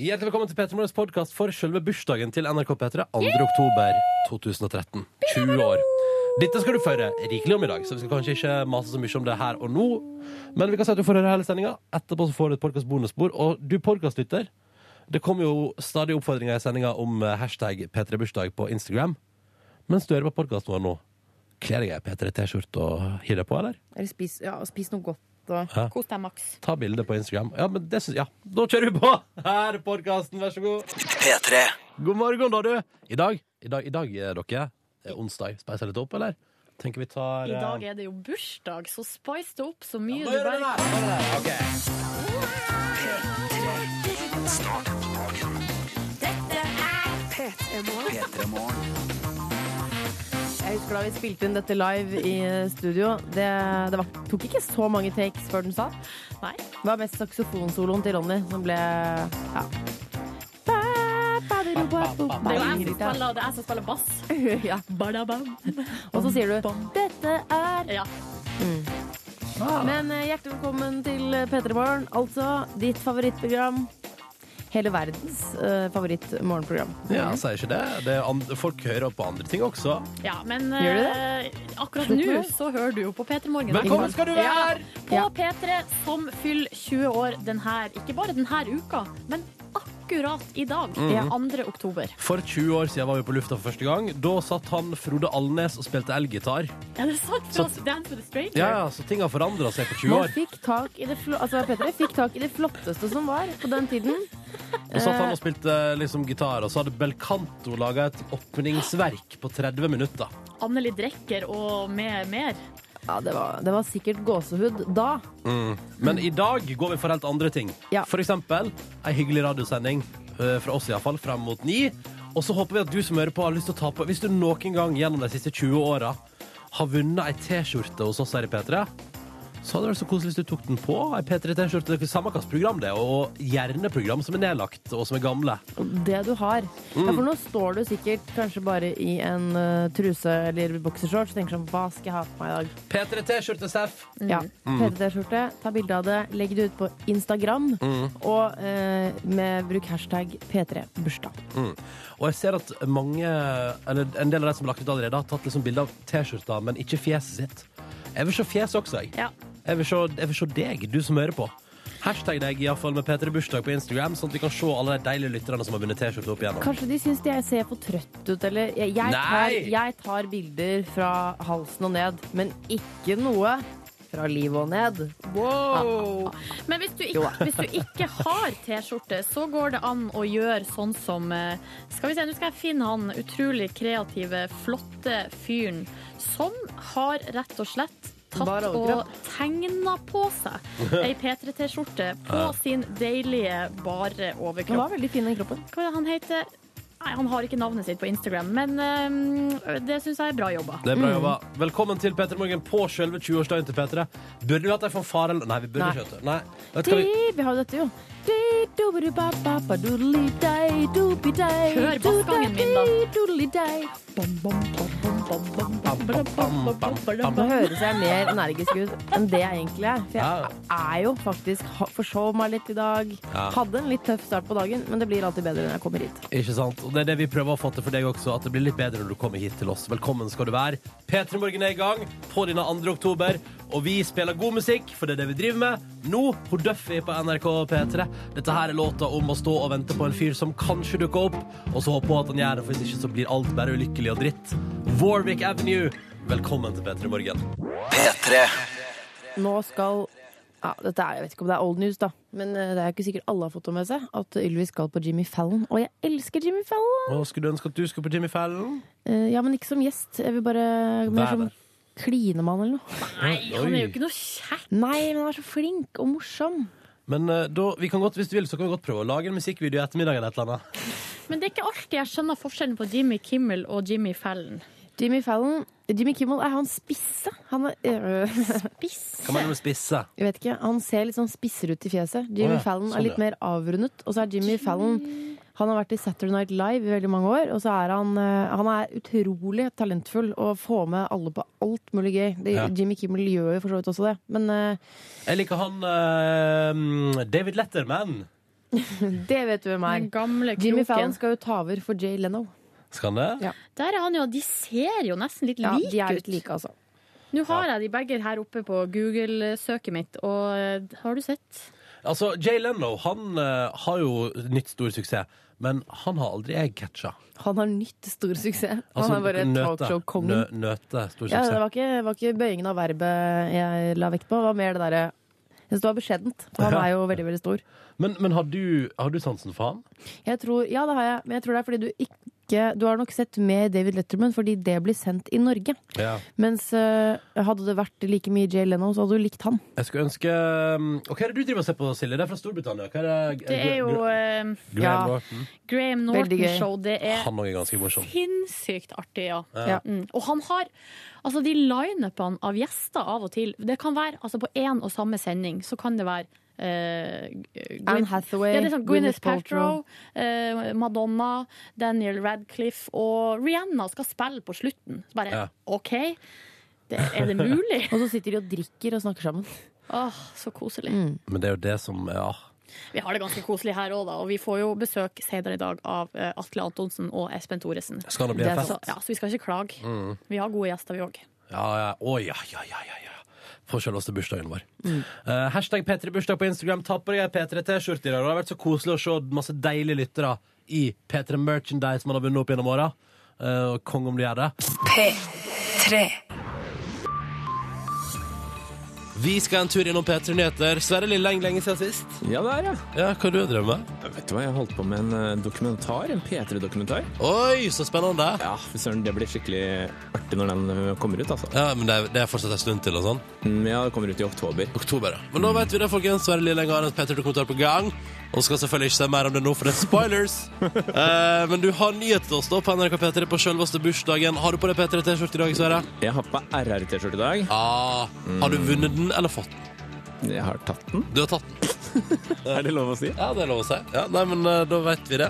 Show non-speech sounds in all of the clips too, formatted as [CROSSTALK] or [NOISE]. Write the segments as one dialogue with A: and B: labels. A: Hjertelig velkommen til Petter Morgens podkast for selve bursdagen til NRK P3. 2. oktober 2013. 20 år. Dette skal du føre rikelig om i dag, så vi skal kanskje ikke mase så mye om det her og nå. Men vi kan si at du får høre hele sendinga. Etterpå så får du et podkast-bonusbord. Og du podkastlytter, det kommer jo stadig oppfordringer i sendinga om eh, hashtag P3bursdag på Instagram. Mens du hører på podkasten vår nå, kler jeg P3T-skjorte og hiver deg på, eller?
B: Eller spis, ja, og spis noe godt og
C: Kos deg, Max.
A: Ta bilde på Instagram. Ja, men det syns Ja, da kjører vi på! Her er podkasten, vær så god.
D: P3
A: God morgen, da, du. I dag, i dag, i dag er dere det er onsdag. Speiser litt opp, eller? Tenker vi tar
C: I dag er det jo bursdag, så spice det opp så mye
A: Nå
C: du
A: eh, gjør vi
C: bare
A: det! Nå gjør vi det. Ok.
E: [LAUGHS]
D: P3 Morgen
B: Jeg husker da vi spilte inn dette live i studio. Det, det var, tok ikke så mange takes før den satt.
C: Nei.
B: Det var mest saksofonsoloen til Ronny som ble ja.
C: Det er jo jeg som spiller, det er jeg som spiller bass.
B: [LAUGHS] Ja.
C: Badabam.
B: Og så sier du 'Dette er' Mm.
C: Ja.
A: Ah.
B: Men eh, hjertelig velkommen til eh, P3 Morgen. Altså ditt favorittprogram. Hele verdens eh, favorittmorgenprogram.
A: Ja, altså. jeg sier ikke det. det er and folk hører på andre ting også.
C: ja, men
B: Gjør du
C: eh, akkurat
B: Slutt
C: nå
B: med det.
C: så hører du jo på P3 Morgen.
A: Velkommen skal du være!
C: Ja, på P3 som fyller 20 år den her, ikke bare denne uka, men akkurat i dag,
A: Mm.
C: 2. oktober.
A: For 20 år siden var vi på lufta for første gang. Da satt han Frode Alnes og spilte elgitar.
C: Er det sant?
A: Så-
C: Fra Dance with a Stranger?
A: Ja, ja, så ting har forandra seg på 20
B: Man
A: år.
B: fikk tak i det, flo altså, Petre fikk tak i det flotteste som var på den tiden.
A: Da satt
C: Eh.
A: han og spilte liksom gitar, og så hadde Belcanto laga et åpningsverk på 30 minutter.
C: Anneli Drekker og mer, mer.
B: Ja, det var, det var sikkert gåsehud da.
A: Mm. Men i dag går vi for helt andre ting.
B: Ja.
A: For eksempel ei hyggelig radiosending eh, fra oss iallfall fram mot ni. Og så håper vi at du som hører på, har lyst til å ta på Hvis du noen gang gjennom de siste 20 åra har vunnet ei T-skjorte hos oss her i P3, så hadde det vært så koselig hvis du tok den på. Ei P3-T-skjorte. Det er Samme hvilket program det er, og gjerne program som er nedlagt, og som er gamle.
B: Det du har. Ja, for nå står du sikkert kanskje bare i en eh, truse eller boksershorts og tenker sånn Hva skal jeg ha på meg i dag?
A: P3-T-skjorte, Seff!
B: Ja,
A: Mm.
B: PT-skjorte. Ta bilde av det, legg det ut på Instagram,
A: Mm.
B: og eh, med, bruk hashtag P3bursdag.
A: Mm. Og jeg ser at mange, eller en del av de som har lagt ut allerede, har tatt liksom bilde av T-skjorta, men ikke fjeset sitt. Jeg vil se fjes også, jeg.
C: Ja.
A: Jeg vil, se, jeg vil se deg, du som hører på. Hashtag deg iallfall med P3 Bursdag på Instagram, sånn at vi kan se alle de deilige lytterne som har vunnet T-skjorte opp igjennom.
B: Kanskje de syns jeg ser for trøtt ut, eller jeg, jeg, tar,
A: Nei!
B: jeg tar bilder fra halsen og ned, men ikke noe fra livet og ned. Ah,
C: Wow. Men hvis du, ikke, hvis du ikke har T-skjorte, så går det an å gjøre sånn som eh, Skal vi se, nå skal jeg finne han utrolig kreative, flotte fyren som har rett og slett
B: Bare
C: tatt
B: overkropp.
C: og tegna på seg ei P3T-skjorte på sin deilige bare
B: Den
C: overkropp.
B: var veldig fin, den kroppen.
C: Hva er det han heter? Nei, han har ikke navnet sitt på Instagram, men eh, det syns jeg er bra jobba.
A: Det er
B: Mm.
A: bra jobba. Velkommen til P3 Morgen på sjølve 20-årsdagen til P3. Burde vi hatt ei fanfare eller Nei, vi burde
B: Nei.
A: ikke. vet du. Nei. Vet du
B: Vi,
A: hva vi...
B: vi har jo dette, jo. Di, dobbedu, ba, ba, ba, doodly, di, doobie, di,
C: Hør bassgangen min, da.
B: doodly, doodly, di. Nå høres jeg mer energisk ut enn det jeg egentlig er. For
A: Ja.
B: jeg er jo faktisk ha- forsov meg litt i dag.
A: Ja.
B: Hadde en litt tøff start på dagen, men det blir alltid bedre når jeg kommer hit.
A: Ikke sant? Og det er det vi prøver å få til for deg også, at det blir litt bedre når du kommer hit til oss. Velkommen skal du være. P3 Morgen er i gang på denne 2. oktober, og vi spiller god musikk, for det er det vi driver med. Nå, hun Duffy på NRK P3. Dette her er låta om å stå og vente på en fyr som kanskje dukker opp, og så håper hun at han gjør det, for hvis ikke så blir alt bare ulykkelig og dritt. Warwick Avenue, velkommen til P3 Morgen.
D: P3
B: Nå skal ja, dette er, Jeg vet ikke om det er old news, da. Men eh, det er jo ikke sikkert alle har fått det med seg at Ylvi skal på Jimmy Fallon. Og jeg elsker Jimmy Fallon!
A: Og skulle du ønske at du skulle på Jimmy Fallon?
B: Eh, ja, men ikke som gjest. Jeg vil bare mer
A: Vær
B: som
A: der.
B: klinemann eller noe.
C: Nei, han er jo ikke noe kjekk.
B: Nei, men han er så flink og morsom.
A: Men eh, da, vi kan godt, hvis du vil, så kan vi godt prøve å lage en musikkvideo i ettermiddag eller et eller annet.
C: Men det er ikke alltid jeg skjønner forskjellen på Jimmy Kimmel og Jimmy Fallon.
B: Jimmy Fallon Mm, Jimmy Kimmel er han spisse. Han er øh,
A: Hva mener du med spisse?
B: Jeg vet ikke, Han ser litt sånn spissere ut i fjeset. Jimmy
A: Å ja,
B: Fallon
A: sånn,
B: er litt
A: ja.
B: mer avrundet. Og så er Jimmy Fallon Han har vært i Saturday Night Live i veldig mange år. Og så er han, eh, han er utrolig talentfull og får med alle på alt mulig gøy. Det,
A: Ja.
B: Jimmy Kimmel gjør øh, jo for så vidt også det. Men eh,
A: Jeg liker han eh, David Letterman.
B: Det vet du hvem er.
C: Den gamle
B: Jimmy Fallon
C: kroken.
B: skal jo ta over for Jay Leno.
A: Skal han det?
B: Ja.
C: Der er han jo, de ser jo nesten litt
B: Ja,
C: like
B: de er litt
C: ut.
B: like, altså.
C: Nå har jeg de begge her oppe på Google-søket mitt, og eh, har du sett?
A: Altså, Jay Leno han eh, har jo nytt stor suksess, men han har aldri jeg catcha.
B: Han har nytt stor suksess.
A: Altså,
B: han er bare
A: nøte.
B: talkshow-kongen.
A: Nø- Nøte stor
B: Ja,
A: suksess.
B: det var ikke, det var ikke bøyingen av verbet jeg la vekt på. Det var mer det derre Jeg syns det var beskjedent. for Han
A: [LAUGHS]
B: er jo veldig, veldig stor.
A: Men, men har, du, har du sansen for han?
B: Jeg tror, ja, det har jeg, men jeg tror det er fordi du ikke Du har nok sett mer David Letterman fordi det blir sendt i Norge.
A: Ja.
B: Mens eh, hadde det vært like mye Jay Leno, så hadde du likt han.
A: Jeg skulle ønske um, Og hva er det du driver og ser på, Silje? Det er fra Storbritannia. Hva er det,
C: Det er jo eh,
A: Graham
B: ja.
A: Norton.
C: Graham
B: Veldig gøy.
C: Norton-show. Det er
A: Han òg er ganske morsom.
C: sinnssykt artig, ja.
B: Ja.
C: Mm. Og han har altså de lineupene av gjester av og til. Det kan være altså på én og samme sending, så kan det være eh, Gwyn-
B: Anne Hathaway,
C: ja, det er sånn,
B: Gwyneth
C: Gwyneth
B: Paltrow.
C: Paltrow, eh, Madonna, Daniel Radcliffe og Rihanna skal spille på slutten. Så bare
A: Ja.
C: OK, det, er det mulig?
B: [LAUGHS] Og så sitter de og drikker og snakker sammen. Mm.
C: Åh, så koselig.
A: Men det er jo det som Ja.
C: Vi har det ganske koselig her òg, da. Og vi får jo besøk senere i dag av eh, Atle Antonsen og Espen Thoresen.
A: Skal det bli
B: Det
A: en
B: er
A: fest? Mm.
C: Så, ja, så vi skal ikke klage. Vi har gode gjester, vi òg.
A: Ja, ja. Å, ja, ja, ja, ja, ja. For selveste bursdagen vår. Eh, hashtag P3bursdag på Instagram. Ta på deg ei P3T-skjorte i dag. Det har vært så koselig å se masse deilige lyttere i P3 Merchandise man har vunnet opp gjennom åra. Eh, og kong om du gjør det.
F: P3.
A: Vi skal en tur innom P3 Nyheter. Sverre Lilleng, lenge siden sist.
G: Ja, det er jeg.
A: Ja, hva du drømmer med?
G: Vet du hva, jeg holdt på med en eh, dokumentar, en P3-dokumentar.
A: Oi, så spennende!
G: Ja, fy søren, det blir skikkelig artig når den eh, kommer ut, altså.
A: Ja, men det er, det er fortsatt en stund til og sånn.
G: Mm, Ja, det kommer ut i oktober.
A: Oktober, ja. Men da vet vi det, folkens. Sverre Lilleng har en P3-dokumentar på gang. Og skal selvfølgelig ikke si mer om det nå, for det
G: [LAUGHS]
A: er spoilers. eh, men du har nyhet til oss da på NRK P3 på selveste bursdagen. Har du på deg P3T-skjorte i dag, Sverre?
G: Jeg har på meg RR-T-skjorte i dag. Mm.
A: Ah, har du vunnet den, eller fått den?
G: Jeg har tatt den.
A: Du har tatt den.
G: Hm? [LAUGHS] Er det lov å si?
A: Ja, det er lov å si. Ja, nei, men eh, da vet vi det.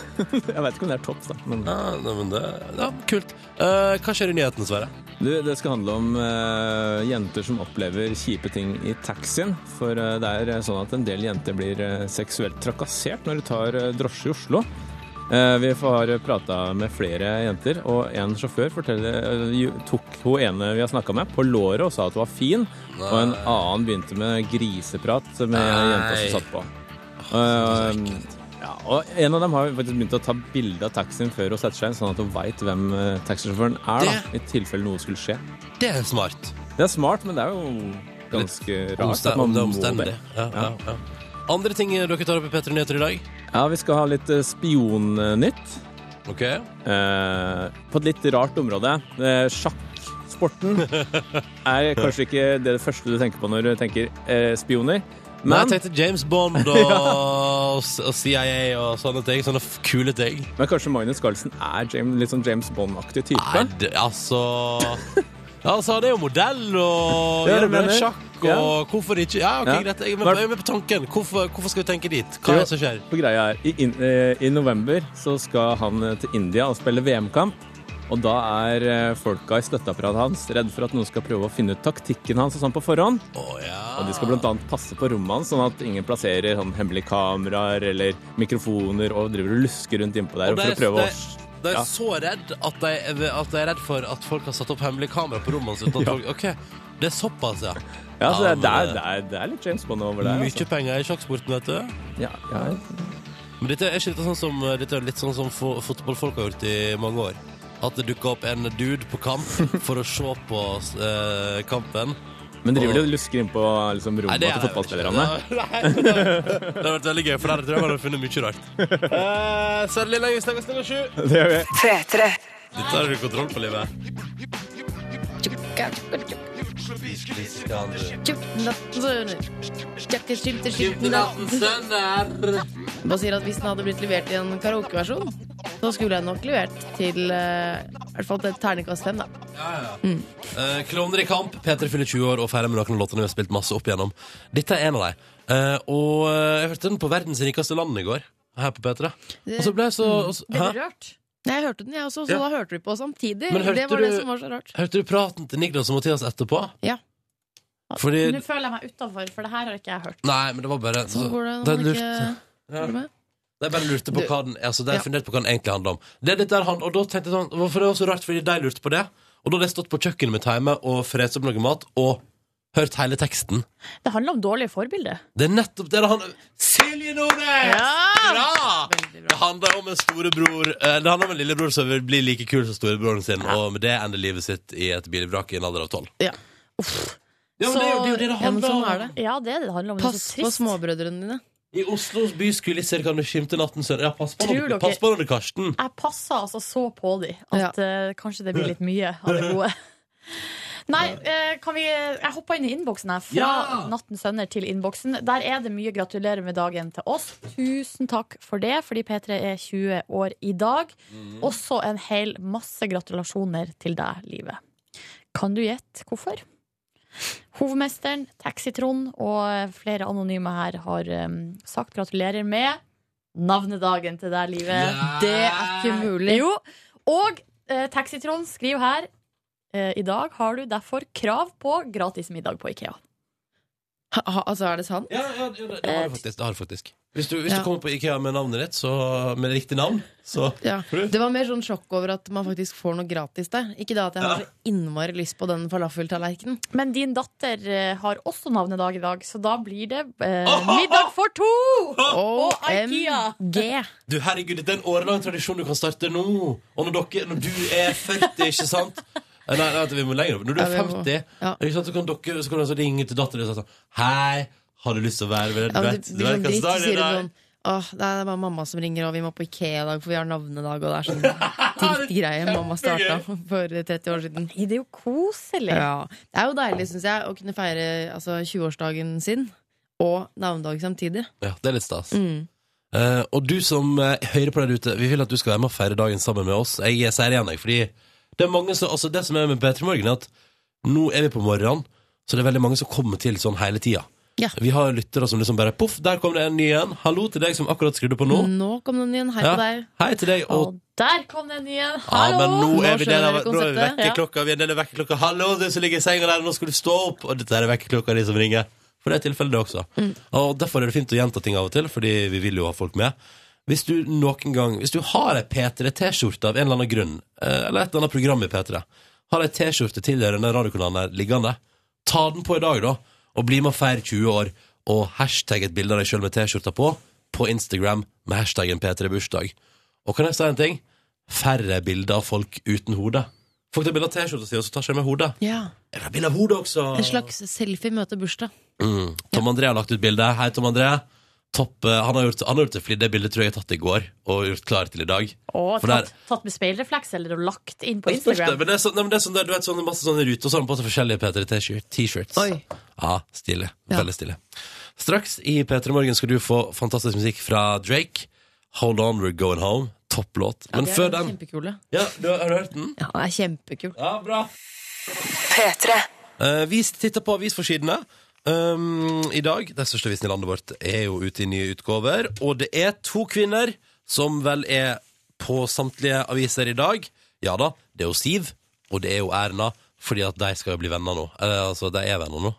G: [LAUGHS] Jeg vet ikke om det er topp, da. Men
A: Ja, nei, men det ja, kult. Eh, hva skjer i nyheten, Sverre?
G: du, det skal handle om eh, jenter som opplever kjipe ting i taxien. For eh, det er eh, sånn at en del jenter blir eh, seksuelt trakassert når du tar eh, drosje i Oslo. Eh, vi har prata med flere jenter, og en sjåfør forteller, eh, jo- tok hun ene vi har snakka med, på låret og sa at hun var fin. Og en annen begynte med griseprat med jenta
A: Nei.
G: som satt på. Eh, Ja, og en av dem har jo faktisk begynt å ta bilde av taxien før hun setter seg inn, sånn at hun veit hvem eh, taxisjåføren er, da, i tilfelle noe skulle skje.
A: Det er smart.
G: Det er smart, men det er jo ganske rart.
A: Omste-
G: at man
A: det er
G: må
A: omstendig.
G: det.
A: Ja, ja, ja. Andre ting dere tar opp i P3 Nyheter i dag?
G: Ja, vi skal ha litt eh, spionnytt.
A: Ok.
G: Eh, på et litt rart område. Eh,
A: [LAUGHS]
G: sjakksporten er kanskje ikke det første du tenker på når du tenker eh, spioner.
A: Men jeg
G: Men,
A: tenkte James
G: [LAUGHS]
A: Bond og, og CIA og sånne ting. Sånne f- kule ting.
G: men kanskje Magnus Carlsen er James, litt sånn James Bond-aktig type?
A: Nei, det-
G: [LAUGHS]
A: altså Ja, Altså, han er jo modell og
G: Ja,
A: gjør
G: det
A: med
G: mener jeg.
A: sjakk
G: Ja.
A: og Hvorfor ikke? Ja, ok,
G: Ja.
A: greit. Jeg, men,
G: Hva-
A: jeg er med på tanken. Hvorfor, hvorfor skal vi tenke dit? Hva er det som skjer?
G: For greia er, i, in, eh, i november så skal han eh, til India og spille VM-kamp. Og da er eh, folka i støtteapparatet hans redd for at noen skal prøve å finne ut taktikken hans og sånn på forhånd.
A: Å ja.
G: Og de skal bl.a. passe på rommet hans, sånn at ingen plasserer sånn hemmelige kameraer eller mikrofoner og driver og lusker rundt innpå der
A: Og
G: for å
A: det er-
G: prøve
A: det
G: å
A: De er
G: Ja.
A: så redd at de, at de er redd for at folk har satt opp hemmelig kamera på rommet hans. uten at
G: Ja.
A: folk- Ok, det er såpass, ja.
G: Ja, så det er,
A: men,
G: det er,
A: eh,
G: det er, det er litt James Bond over der.
A: Mye penger i sjakksporten, vet du.
G: Ja, ja.
A: Men dette er ikke dette sånn som, dette er litt sånn som fo- fotballfolk har gjort i mange år. At det dukker opp en dude på kamp for å se på eh, kampen.
G: Men driver de og lusker innpå liksom, rommet til
A: jeg
G: fotballspillerne?
A: ikke. Nei, nei, nei. Det hadde vært veldig gøy, for der tror jeg man hadde funnet mye rart. Uh,
E: Eh,
A: Sverre Lillehaug, vi snakkes klokka sju.
G: Det gjør vi.
F: P3.
A: Dette har du kontroll på, livet.
B: Bare sier at hvis den hadde blitt levert i en karaokeversjon, så skulle jeg nok levert til eh, i hvert fall til terningkast fem, da.
A: Eh, Klovner i kamp. Peter fyller 20 år og feirer med noen av låtene vi har spilt masse opp igjennom. Dette er en av dem. Eh, og eh, jeg hørte den på verdens rikeste land i går, her på P3. Og så ble jeg så og så- Hæ?
C: Rørt.
B: Mm. Nei, Jeg hørte den, jeg også, så
A: Ja.
B: da hørte vi på samtidig.
A: Men hørte
B: Det var
A: du-
B: det som var så rart.
A: Hørte du praten til Niklas og Mathias etterpå?
B: Ja.
A: Fordi
C: Nå føler jeg meg utafor, for det her har ikke jeg hørt.
A: Nei, men det var bare så,
B: Sånn går det
A: det
B: når man
A: lurt.
B: ikke
A: Ja.
B: Tror du meg?
A: Jeg bare lurte på
B: Du-
A: hva den altså, det har jeg
B: Ja.
A: fundert på hva den egentlig handler om. Det er litt der han, og da tenkte jeg sånn, Hvorfor det var så rart, fordi de lurte på det. Og da hadde jeg stått på kjøkkenet mitt hjemme og frest opp noe mat og hørt hele teksten.
C: Det handler om dårlige forbilder.
A: Det er nettopp det det handler om. Silje Nordnes!
C: Ja!
A: Bra! Det handler om en storebror eh, Det handler om en lillebror som vil bli like kul som storebroren sin, og med det ender livet sitt i et bilvrak i en alder av tolv.
B: Ja.
A: Ja, men det er jo det, er jo det det
B: Ja, men
A: handler
B: sånn
A: om.
B: er det.
C: Ja, det er det det handler om. Det er
B: Pass
C: så
B: på
C: trist.
B: småbrødrene dine.
A: I Oslos byskulisser kan du skimte natten sønn. Ja, pass på
C: Tror
A: nå,
C: dere-
A: pass på nå, Karsten.
C: Jeg passer altså så på de at eh, kanskje det blir litt mye av det gode. Nei, eh, kan vi Jeg hoppa inn i innboksen her. Fra
A: Ja!
C: Natten Sønner til innboksen. Der er det mye gratulerer med dagen til oss. Tusen takk for det, fordi P3 er 20 år i dag. Også en hel masse gratulasjoner til deg, Livet. Kan du gjette hvorfor? Hovmesteren, Taxi-Trond og eh, flere anonyme her har eh, sagt gratulerer med navnedagen til deg, Livet.
B: Det er ikke mulig.
C: Jo, og eh, Taxitrond skriver her eh, I dag har du derfor krav på gratis middag på Ikea.
B: Ha, ha, altså, er det sant?
A: Ja, ja, ja, det, det har du faktisk. Det har du faktisk. Hvis du, hvis du
B: Ja.
A: kommer på Ikea med navnet ditt, så, med riktig navn, så
B: Ja.
A: Prøv.
B: Det var mer sånn sjokk over at man faktisk får noe gratis der. Ikke da at jeg har så innmari lyst på den falafeltallerkenen.
C: Men din datter eh, har også navnedag i dag, så da blir det
A: [LAUGHS]
C: eh,
A: Oh, oh, oh!
C: middag for to! Og Ikea.
B: OMG!
A: Du, herregud, det er en årelang tradisjon du kan starte nå. Og når, dere, når du er 40, ikke sant? Nei, nei, vent, vi må lenger opp. Når du er
B: Ja, vi må.
A: 50,
B: Ja.
A: ikke sant, så kan dere så kan du altså ringe til datteren din og si sånn Hei, har du lyst til å være med? Du
B: Ja, men
A: vet,
B: det
A: du
B: blir
A: vet hva
B: sånn dritt, så
A: som er
B: sier du
A: i dag.
B: sånn Åh, det er bare mamma som ringer, og vi må på Ikea i dag, for vi har navnedag, og det er
A: [LAUGHS]
B: sånn drittgreie mamma starta for 30 år siden.
C: Det er jo koselig.
B: Ja. Det er jo deilig, syns jeg, å kunne feire altså, 20-årsdagen sin og navnedag samtidig.
A: Ja, det er litt stas.
B: Mm.
A: Eh, og du som eh, hører på der ute, vi vil at du skal være med og feire dagen sammen med oss. Jeg, jeg sier det igjen, jeg, fordi det er mange som Altså, det som er med P3 Morgen, er at nå er vi på morgenen, så det er veldig mange som kommer til sånn hele tida.
B: Ja.
A: Vi har lyttere som liksom bare Poff, der kom det en ny en. Hallo til deg som akkurat skrudde på nå.
B: Nå kom den igjen. Hei
A: Ja.
B: på deg.
A: Hei til deg. Og
C: Og der kom den igjen.
A: ja,
C: Hallo!
A: men nå er
B: Nå
A: vi del av
B: skjønner dere
A: Nå er vi
B: konseptet, ja.
A: vekkerklokka. Vi er en del av vekkerklokka. Hallo, du som ligger i senga der, nå skal du stå opp. Og dette er vekkerklokka, de som ringer. For det er tilfellet, det også. Og derfor er det fint å gjenta ting av og til, fordi vi vil jo ha folk med. Hvis du noen gang Hvis du har ei P3-T-skjorte av en eller annen grunn, eh, eller et eller annet program i P3, har ei T-skjorte tilhørende radiokanalen her liggende, ta den på i dag, da, og bli med og feire 20 år, og hashtag et bilde av deg sjøl med T-skjorta på, på Instagram med hashtaggen P3bursdag. Og kan jeg si en ting? Færre bilder av folk uten hode. Folk tar bilde av T-skjorta si, og så tar seg med hodet.
B: Ja.
A: Jeg vil ha bilde av hodet også!
B: En slags selfie møter bursdag.
A: Mm. Tom André har lagt ut bilde. Hei, Tom André. Topp. eh, Han har gjort, han har gjort det flid. Det bildet tror jeg jeg har tatt i går, og gjort klar til i dag.
C: Og
A: For
C: tatt,
A: der-
C: tatt med speilrefleks eller og lagt inn på
A: Det spørs det,
C: Instagram.
A: Men det er sånn, nei, men det er sånn der, du vet, sånne, masse sånne ruter, og så har han på seg forskjellige P3-T-shirts.
B: Oi.
A: Ja, stilig.
B: Ja.
A: Veldig stilig. Straks i P3 Morgen skal du få fantastisk musikk fra Drake. Hold On, We're Going Home. Topplåt. Men
B: De er
A: før den
B: Kjempekule.
A: ja, du, Har du hørt den?
B: Ja, det er kjempekul.
A: Ja, bra.
F: P3.
A: Eh, vi titter på avisforsidene. Um, I dag, Den største avisen i landet vårt er jo ute i nye utgaver. Og det er to kvinner som vel er på samtlige aviser i dag. Ja da, det er jo Siv, og det er jo Erna, fordi at de skal jo bli venner nå. Eller, altså, de er venner nå.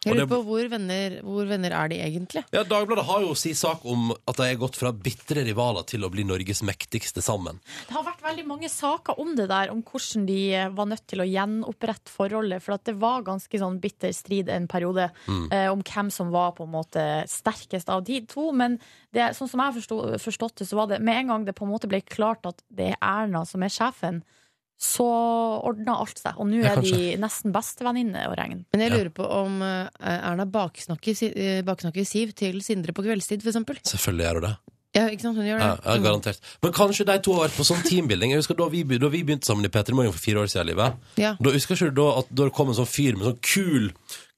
B: Jeg
A: Og
B: lurer
A: det-
B: på hvor venner, hvor venner er de egentlig?
A: Ja, Dagbladet har jo sin sak om at de er gått fra bitre rivaler til å bli Norges mektigste sammen.
C: Det har vært veldig mange saker om det der, om hvordan de eh, var nødt til å gjenopprette forholdet. For at det var ganske sånn bitter strid en periode
A: Mm.
C: eh, om hvem som var på en måte sterkest av de to. Men det, sånn som jeg forsto, forstått det, så var det med en gang det på en måte ble klart at det er Erna som er sjefen, så ordna alt seg. Og nå
A: Ja,
C: er de nesten bestevenninne å regne.
B: Men jeg
A: Ja.
B: lurer på om eh, Erna baksnakker, Si- eh, baksnakker Siv til Sindre på kveldstid, for eksempel.
A: Selvfølgelig gjør hun det.
B: Ja, ikke sant? Hun gjør
A: Ja,
B: det.
A: ja, garantert. Men kanskje de to har vært på sånn teambuilding. Jeg husker Da vi, be- da vi begynte sammen i P3 Morgen for fire år siden, i livet,
B: Ja.
A: da husker ikke du da at da det kom en sånn fyr med sånn kul,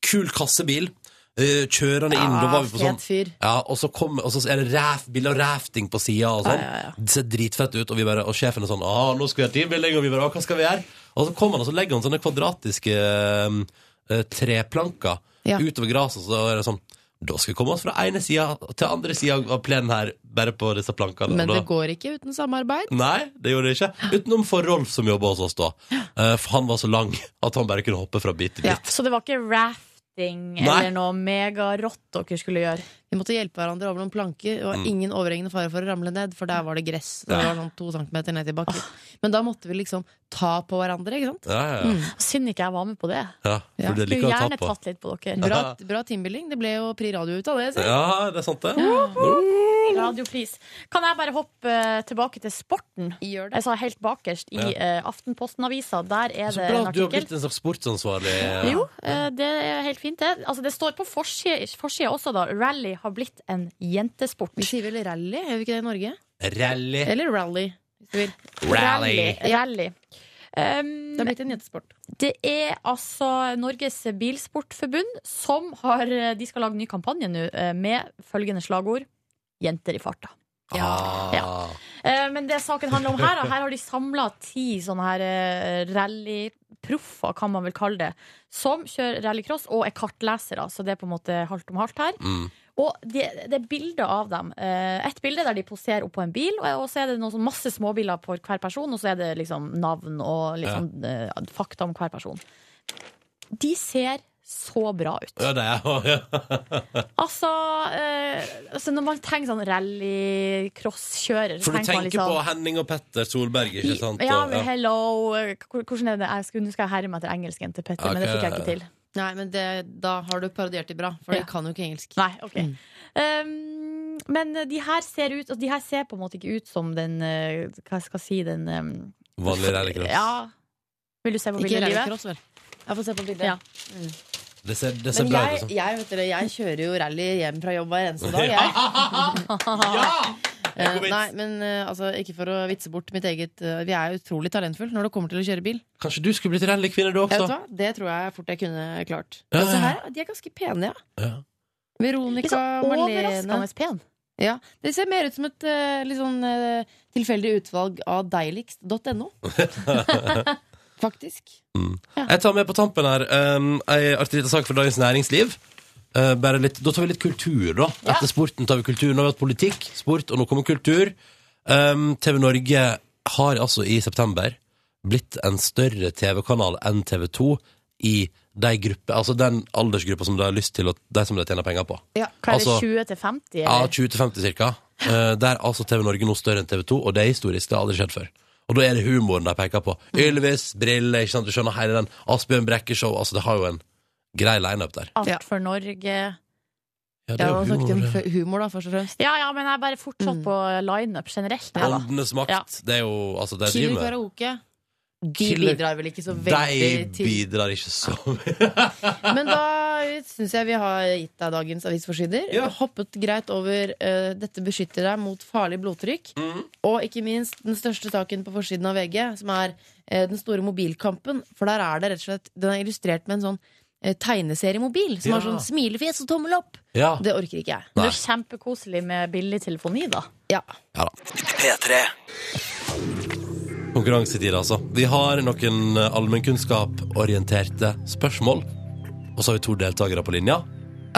A: kul kassebil eh, kjørende inn. da var vi på
B: fet
A: sånn
B: fyr.
A: ja, og, så kom, og så er det raf, bilder av rafting på sida og sånn. Det ser dritfett ut, og, vi bare, og sjefen er sånn ah, 'Nå skal vi ha teambuilding', og vi bare «Ah, 'Hva skal vi gjøre?' Og så kommer han og så legger han sånne kvadratiske eh, treplanker
B: Ja.
A: utover gresset, og så er det sånn da skal vi komme oss fra ene sida til andre sida av plenen her, bare på disse plankene.
B: Men
A: Og da-
B: det går ikke uten samarbeid.
A: Nei, det gjorde det ikke. Utenom for Rolf, som jobber hos oss da. Eh, For han var så lang at han bare kunne hoppe fra bit til bit.
C: Så det var ikke raft kjetting
A: Nei.
C: eller noe megarått dere skulle gjøre.
B: Vi måtte hjelpe hverandre over noen planker. Det
A: Mm.
B: var ingen overhengende fare for å ramle ned, for der var det gress. Så det var sånn to centimeter ned til bakken. Men da måtte vi liksom ta på hverandre, ikke sant? Mm.
A: Ja, ja, ja.
C: Synd ikke jeg var med på det.
A: ja for det
C: Skulle
A: liker jeg å
C: gjerne
A: ta på.
C: tatt litt på dere.
B: Bra, bra teambuilding. Det ble jo Pri Radio ut av det. Så.
A: Ja, det er sant, det.
C: Radiopris. Kan jeg bare hoppe eh, tilbake til sporten?
B: Gjør det.
C: Jeg sa helt bakerst i
A: Ja.
C: eh, Aftenposten-avisa. Der er
A: Så
C: det
A: bra
C: en
A: at du har
C: artikkel.
A: blitt en slags sportsansvarlig.
C: Jo, eh, det er helt fint, det. Altså, det står på forsida forsida også, da. Rally har blitt en jentesport.
B: Vi sier vel rally, gjør vi ikke det i Norge?
A: Rally.
B: Eller rally. hvis du vil.
A: Rally.
B: [LAUGHS]
C: Rally. Um,
B: Det har blitt en jentesport.
C: Eh, det er altså Norges Bilsportforbund som har eh, De skal lage ny kampanje nå eh, med følgende slagord. Jenter i farta.
A: Ah.
C: Ja. Eh, Men det saken handler om her, da, her har de samla ti sånne her eh, rallyproffer, kan man vel kalle det, som kjører rallycross og er kartlesere. Så det er på en måte halvt om halvt her.
A: Mm.
C: Og de, det er bilder av dem. Eh, Et bilde der de poserer oppå en bil, og og så er det noen sånn masse småbiler for hver person, og så er det liksom navn og litt
A: Ja.
C: sånn, eh, fakta om hver person. De ser så bra ut.
A: Ja, det er
C: Altså, eh, altså Når man tenker sånn rallycrosskjører så
A: For du
C: tenker
A: tenker
C: man litt sånn-
A: på Henning og Petter Solberg, ikke sant?
C: ja,
A: Og-
C: men hello Hvor- Hvordan er det? Jeg skulle, nå skal jeg herre meg etter engelsken til Petter, men det
A: Ok.
C: fikk jeg ikke til.
B: Nei, men det, da har du parodiert det bra, for
C: Ja.
B: de kan jo ikke engelsk. Mm.
C: Nei, ok um, Men de her ser ut altså, De her ser på en måte ikke ut som den eh, Hva skal jeg si den um,
A: Vanlig rallycross.
C: Ja Vil du se på
B: Ikke
C: bildet, Live?
B: rallycross, vel. Jeg får se på bildet. Mm.
C: Ja.
A: Det ser, det ser
B: Men
A: bra ut.
B: jeg,
A: Liksom.
B: jeg, vet dere, jeg kjører jo rally hjem fra jobb hver eneste dag, jeg. [LAUGHS] Eh,
A: vits.
B: nei, men eh, altså, ikke for å vitse bort mitt eget eh, Vi er jo utrolig talentfulle når det kommer til å kjøre bil.
A: Kanskje du skulle blitt rallykvinne, du
B: Jeg Vet du
A: også?
B: hva? Det tror jeg fort jeg kunne klart.
A: Ja, ja,
B: Altså,
A: ja.
B: her, de er ganske pene, ja.
A: Ja.
C: Litt
B: Veronica
C: sånn
B: og Marlene.
C: Overraskende pen
B: Ja, det ser mer ut som et eh, litt sånn eh, tilfeldig utvalg av deiligst.no.
A: [LAUGHS]
B: Faktisk.
A: Mm. Jeg tar med på tampen her um, ei artig lita sak fra Dagens Næringsliv. Eh, bare litt, da tar vi litt kultur, da. Etter sporten tar vi kultur. Nå har vi hatt politikk, sport, og nå kommer kultur. Um, TV Norge har altså i september blitt en større TV-kanal enn TV 2 i de gruppe, altså den aldersgruppa som de har lyst til, og de som de tjener penger på.
C: Hva er det,
A: Altså-
C: 20 til 50?
A: Ja,
C: Eller?
A: 20 til 50 cirka. Eh, der er altså TV Norge nå større enn TV 2, og det er historisk. Det har aldri skjedd før. Og da er det humoren de peker på. Ylvis, briller, ikke sant. Du skjønner hele den Asbjørn Brekke-show. Altså, det har jo en grei lineup der.
C: Alt
B: Ja.
C: for Norge Ja,
A: Ja, det
B: Ja,
A: er
B: man
A: jo
B: snakket om
A: humor. det.
B: f- humor, da, først og fremst. Mm.
C: ja, men jeg er bare fortsatt på line-up generelt jeg, da.
A: Åndenes makt.
C: Ja.
A: Det er jo altså, det de
B: Killer
A: driver med.
B: karaoke. De
A: Killer-
B: bidrar vel ikke så
A: De
B: veldig til
A: bidrar ikke så mye.
B: Men da syns jeg vi har gitt deg dagens avisforsider.
A: Ja.
B: Hoppet greit over eh, 'Dette beskytter deg mot farlig blodtrykk'.
A: Mhm.
B: Og ikke minst den største saken på forsiden av VG, som er eh, den store mobilkampen. For der er det rett og slett Den er illustrert med en sånn eh, tegneseriemobil som
A: Ja.
B: har sånn smilefjes og tommel opp.
A: Ja.
B: Det orker ikke jeg.
C: Det
A: Nei.
C: er kjempekoselig med billig telefoni da
B: Ja.
A: ja da.
D: P3.
A: Konkurransetid, altså. Vi har noen eh, allmennkunnskaporienterte spørsmål. Og så har vi to deltakere på linja.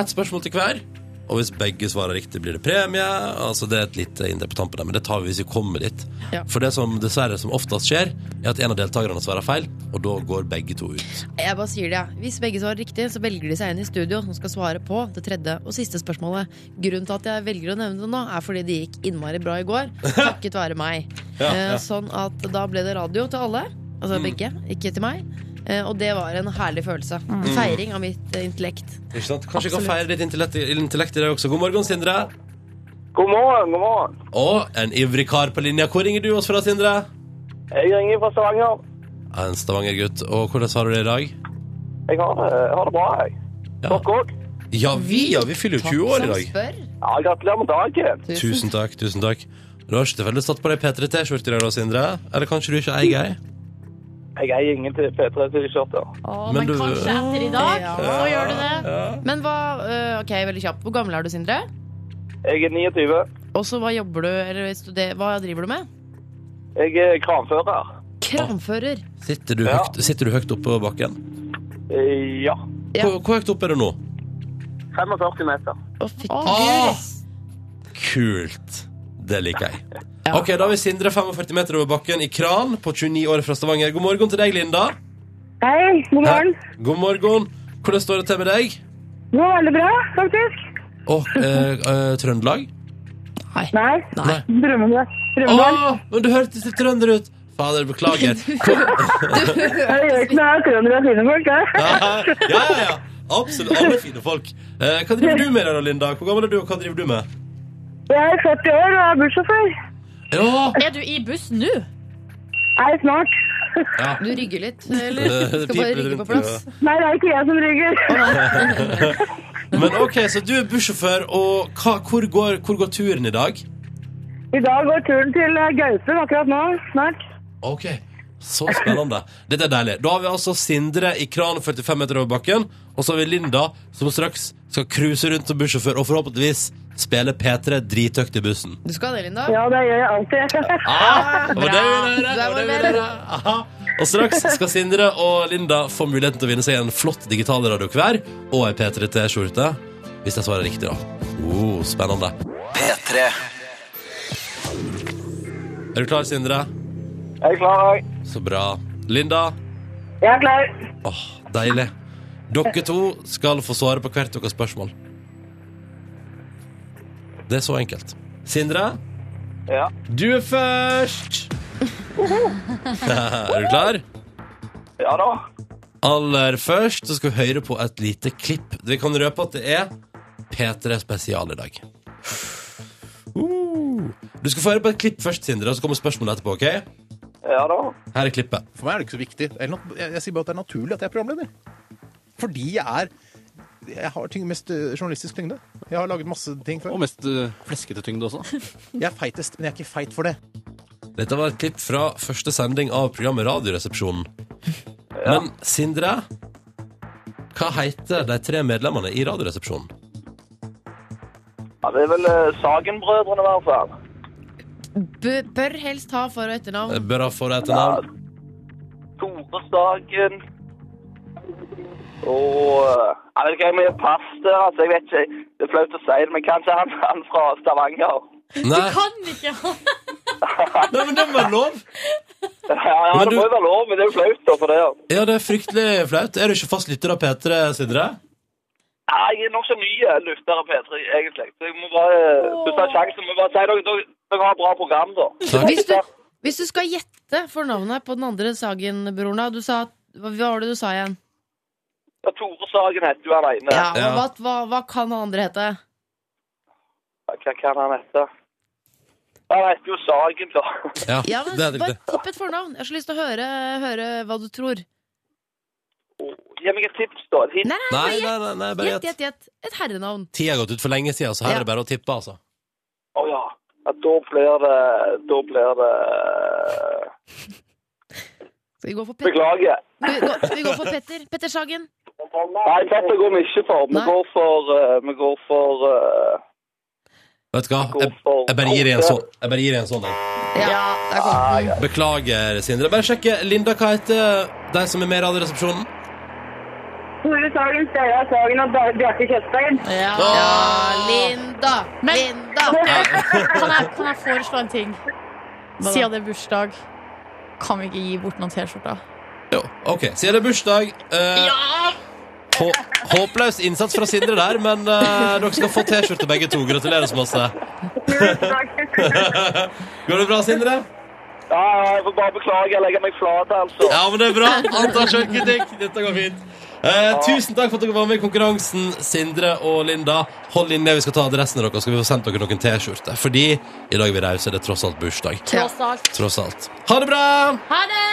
A: Ett spørsmål til hver. Og hvis begge svarer riktig, blir det premie. Altså Det er et lite inntrykk på tampen, der, men det tar vi hvis vi kommer dit.
B: Ja.
A: For det som dessverre som oftest skjer, er at en av deltakerne svarer feil, og da går begge to ut.
B: Jeg bare sier det, jeg. Hvis begge svarer riktig, så velger de seg en i studio som skal svare på det tredje og siste spørsmålet. Grunnen til at jeg velger å nevne det nå, er fordi det gikk innmari bra i går. Takket være meg. Eh, Sånn at da ble det radio til alle. Altså begge, ikke til meg. Eh, Og det var en herlig følelse. En
C: Mm.
B: Feiring av mitt eh, intellekt.
A: Ikke sant? Kanskje vi kan feire ditt intellekt, intellekt i dag også. God morgen, Sindre.
H: God morgen, god morgen.
A: Og en ivrig kar på linja. Hvor ringer du oss fra, Sindre?
H: Jeg ringer fra Stavanger.
A: En Stavanger-gutt. Og hvordan har du det i dag?
H: Jeg har det, jeg har det bra, jeg.
A: Ja.
H: Dere òg?
A: Ja, vi, ja, vi fyller jo 20 år i dag.
B: spør.
H: Ja, gratulerer med dagen.
A: Tusen takk, tusen takk. Du har ikke tilfeldigvis satt på deg P3T-skjorte i dag, da, Sindre? Eller kanskje du ikke eier ei?
H: Jeg eier ingen til P3-T-skjorter.
C: Å,
A: Men
C: men,
A: du-
C: kanskje etter i dag
B: Ja.
C: Så gjør du det
B: Men hva eh, Ok, veldig kjapt. Hvor gammel er du, Sindre?
H: Jeg er 29.
B: Og så hva jobber du, eller studer, hva driver du med?
H: Jeg er kranfører.
B: Kramfører.
A: Sitter, du
H: Ja.
A: høyt- sitter du høyt oppe på bakken?
H: Eh, Ja.
B: Ja.
A: Hvor, hvor høyt oppe er du nå?
H: 45 meter.
B: Å, fy
A: Ah!
B: guri.
A: Kult. Det liker jeg. Ok, Da har vi Sindre 45 meter over bakken i kran på 29 år fra Stavanger. God morgen til deg, Linda.
I: Hei, god morgen.
A: Hei. God morgen. Hvordan står det til med deg?
I: Det var veldig bra, faktisk.
A: Åh, eh, eh, Trøndelag?
I: Nei,
A: Nei. Å,
I: Drømmedag. Drømmedag.
A: men du hørtes litt trønder ut! Fader, beklager.
I: [LAUGHS] Jeg gjør ikke noe av trøndere og fine folk, jeg.
A: Ja, ja, ja. Absolutt. Alle fine folk. Eh, hva driver du med, da, Linda? Hvor gammel er du, og hva driver du med?
I: Jeg er 40 år og er bussjåfør.
A: Ja,
C: Er du i buss nå?
I: Nei, snart.
B: Du rygger litt, eller?
A: Eh,
B: Skal bare
A: piper
B: rygge
A: rundt
B: på
A: i
B: plass.
A: øret.
I: Nei, det er ikke jeg som rygger.
A: [LAUGHS] Men ok, Så du er bussjåfør, og hva, hvor, går, hvor går turen i dag?
I: I dag går turen til eh, Gaupen akkurat nå. Snart.
A: Ok, Så spennende. Dette er deilig. Da har vi altså Sindre i kran 45 meter over bakken, og så har vi Linda, som straks skal cruise rundt som bussjåfør og forhåpentligvis spille P3 drithøyt i bussen.
B: Du skal det, Linda.
I: Ja, det gjør jeg [LAUGHS] alltid.
A: Ah, det var
B: Bra.
A: det vi ville høre, det
B: Der
A: var
B: var
A: det vi
B: det.
A: ville høre. Aha. Og straks skal Sindre og Linda få muligheten til å vinne seg en flott digital radio hver og ei P3 T-skjorte. Hvis jeg svarer riktig, da. Oh, spennende.
D: P3
A: Er du klar, Sindre?
H: Jeg er klar, jeg.
A: Så bra. Linda?
I: Jeg er klar.
A: Åh, deilig. Dere to skal få svare på hvert deres spørsmål. Det er så enkelt. Sindre,
C: [LAUGHS]
H: Ja.
A: du er først! [LAUGHS] er du klar?
H: Ja da.
A: Aller først så skal vi høre på et lite klipp. Vi kan røpe at det er P3 Spesial i dag. Uh. Du skal få høre på et klipp først, Sindre, og så kommer spørsmålet etterpå. ok?
H: Ja da.
A: Her er klippet.
E: For meg er det ikke så viktig. Det er nat- Jeg, jeg sier bare at det er naturlig at jeg er programleder. Fordi jeg er jeg har tyng, mest øh, journalistisk tyngde. Jeg har laget masse ting før.
J: Og mest eh, fleskete tyngde også.
E: Jeg er feitest, men jeg er ikke feit for det.
A: [LAUGHS] Dette var et klipp fra første sending av programmet Radioresepsjonen. Men Sindre, hva heter de tre medlemmene i Radioresepsjonen?
H: Ja, det er vel eh, Sagen-brødrene, i hvert fall.
B: B bør helst ha for- og etternavn.
A: Jeg Bør ha få det etter navn.
H: Tore Sagen. Og eh, Jeg vet ikke om jeg passer, altså. Jeg vet ikke. Det er flaut å si det, men kanskje han, han fra Stavanger.
A: Nei,
C: Kan ikke ha
A: nei, men det var lov!
H: Ja, ja,
A: Men
H: det
A: du-
H: må jo være lov, men det er jo flaut da, for det. ja.
A: Ja, det er fryktelig flaut. Er du ikke fast lytter av P3, Sindre?
H: Ja, jeg er nokså ny eh, lytter av P3, egentlig. Så jeg må bare Hvis jeg har sjansen, må jeg bare si dere dere- dere har et bra program, da.
A: Takk.
B: Hvis du, hvis du skal gjette fornavnet på den andre Sagen-broren da, Du sa hva hva var det du sa igjen?
H: Ja, Tore Sagen heter du han ene.
B: Ja, og hva,
A: Ja.
B: hva, hva kan han andre hete?
H: Hva kan han hete? Han heter jo Sagen, da.
A: Ja,
B: Ja, men
A: det er
B: Bare
A: det.
B: tipp et fornavn. Jeg har så lyst til å høre, høre hva du tror.
H: Gi meg et tips, da. Et hint.
B: Nei,
A: Nei,
B: nei,
A: nei, nei, nei bare
B: gjett,
A: gjett.
B: gjett, gjett. Et herrenavn.
A: Tida har gått ut for lenge siden, så her er det bare å tippe, altså.
H: Å ja. ja. Da blir det Da blir
B: [LAUGHS]
H: det
B: Skal vi gå for Petter?
H: Beklager.
B: Vi går, vi går for Petter. Petter Sagen.
H: Nei, dette går vi ikke for. Vi
B: Nei.
H: går for eh, Vi går for eh,
A: Vet du hva?
H: går
A: Jeg,
H: for-
A: jeg bare gir deg en sånn. Jeg bare gir deg en sånn. jeg.
B: Ja, der kom
H: Ah,
B: den.
A: Beklager, Sindre. Bare sjekke. Linda, hva heter de som er med i Radioresepsjonen?
I: Tore Sagen, Steinar Sagen og Dag- Bjarte Kjøstheim.
C: ja.
B: Ja, Linda!
C: Men-
A: [LAUGHS]
B: Linda!
C: kan, jeg, kan jeg foreslå en ting? Siden det er bursdag, kan vi ikke gi bort noen T-skjorter?
A: Jo, ok. Siden det er bursdag eh, hå Håpløs innsats fra Sindre der, men eh, dere skal få T-skjorte begge to. Gratulerer så masse.
I: Tusen takk.
A: [LAUGHS] Går det bra, Sindre?
H: Ja, ja, jeg får bare beklage. Jeg legger meg flat, altså.
A: Ja, men det er bra. Antar sjølkritikk. Dette går fint. Eh, tusen takk for at dere var med i konkurransen, Sindre og Linda. Hold linja, vi skal ta adressen deres, så skal vi få sendt dere noen T-skjorter. Fordi i dag er vi rause, det er tross alt bursdag.
C: Tross alt.
A: Tross alt. Ha det bra!
C: Ha det!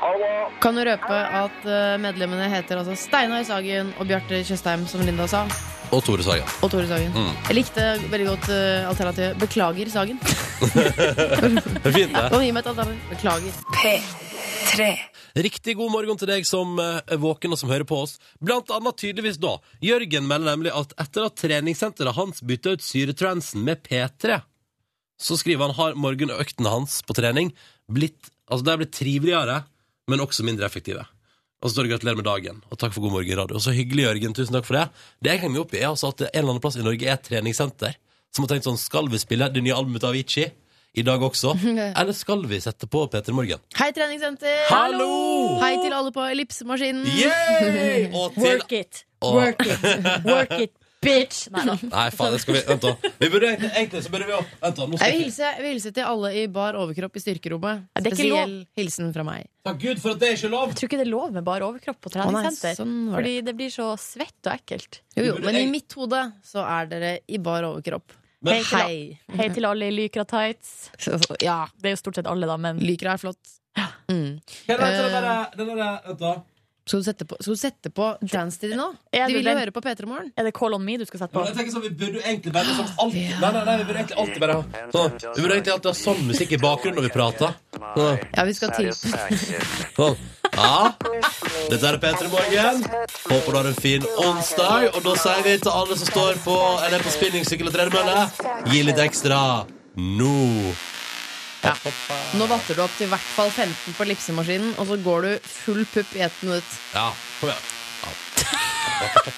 H: Ha det bra.
B: Kan du røpe at eh, medlemmene heter altså Steinar Sagen og Bjarte Tjøstheim, som Linda sa,
A: Og Tore Sagen. Mm.
B: og Tore Sagen. Jeg likte veldig godt eh, alternativet Beklager Sagen.
A: [LAUGHS] Det er fint, det.
B: Kan du gi meg et alternativ? Beklager.
F: P3
A: Riktig god morgen til deg som eh, er våken og som hører på oss. Blant annet tydeligvis da. Jørgen melder nemlig at etter at treningssenteret hans bytta ut syretransen med P3, så skriver han har morgenøktene hans på trening blitt Altså, de har blitt triveligere, men også mindre effektive. Og så står det 'gratulerer med dagen', og 'takk for god morgen, radio'. Så hyggelig, Jørgen. Tusen takk for det. Det jeg henger meg opp i, er altså at det en eller annen plass i Norge er et treningssenter som har tenkt sånn Skal vi spille det nye albumet til Avicii? i dag også? Eller skal vi sette på P3 Morgen?
B: Hei, treningssenter!
A: Hallo!
B: Hei til alle på ellipsemaskinen. [LAUGHS]
A: Yay! Og til-
B: Work
C: it.
A: Og-
B: Work it. Work it, bitch! Nei da.
A: [LAUGHS] Nei, faen, det skal vi Vent, da. Vi burde egentlig, egentlig så burde vi opp. Vent, da. Nå
B: Jeg
A: skal
B: vil,
A: vi
B: hilse, jeg vil hilse til alle i bar overkropp i styrkerommet.
C: Det er ikke lov.
B: Spesiell hilsen fra meg.
A: Takk Gud for at det er ikke lov!
C: Jeg tror ikke det er lov med bar overkropp på
B: Å nei,
C: treningssenter.
B: sånn var det.
C: fordi det blir så svett og ekkelt.
B: Jo, jo, men i mitt hode så er dere i bar overkropp.
C: Hei, til, al- hei
B: [LAUGHS]
C: til alle i Lycra tights.
B: Ja.
C: Det er jo stort sett alle, da, men
B: Lycra er flott. Mm.
A: Hva er det,
B: Eh,
A: den der- den der- Vent, da.
B: Skal du sette på, skal du sette på Dance til de nå?
C: Er
B: De
C: det
B: vil jo
C: den-
B: høre på P3 Morgen.
C: Er det Call on me du skal sette
A: Ja,
C: på?
A: men Jeg tenker sånn, Vi burde jo egentlig bare liksom alltid, nei, nei, nei, vi burde egentlig alltid bare ha sånn, Vi burde egentlig alltid ha sånn musikk i bakgrunnen når vi prater. Sånn.
B: Ja, vi skal til.
A: Sånn. Ja. Dette er P3 Morgen. Håper du har en fin onsdag. Og da sier vi til alle som står på Eller på spinningsykkel og tredemølle, gi litt ekstra nå.
B: Nå vatter du opp til i hvert fall 15 på ellipsemaskinen, og så går du full pupp i ett minutt.
A: Ja, kom igjen.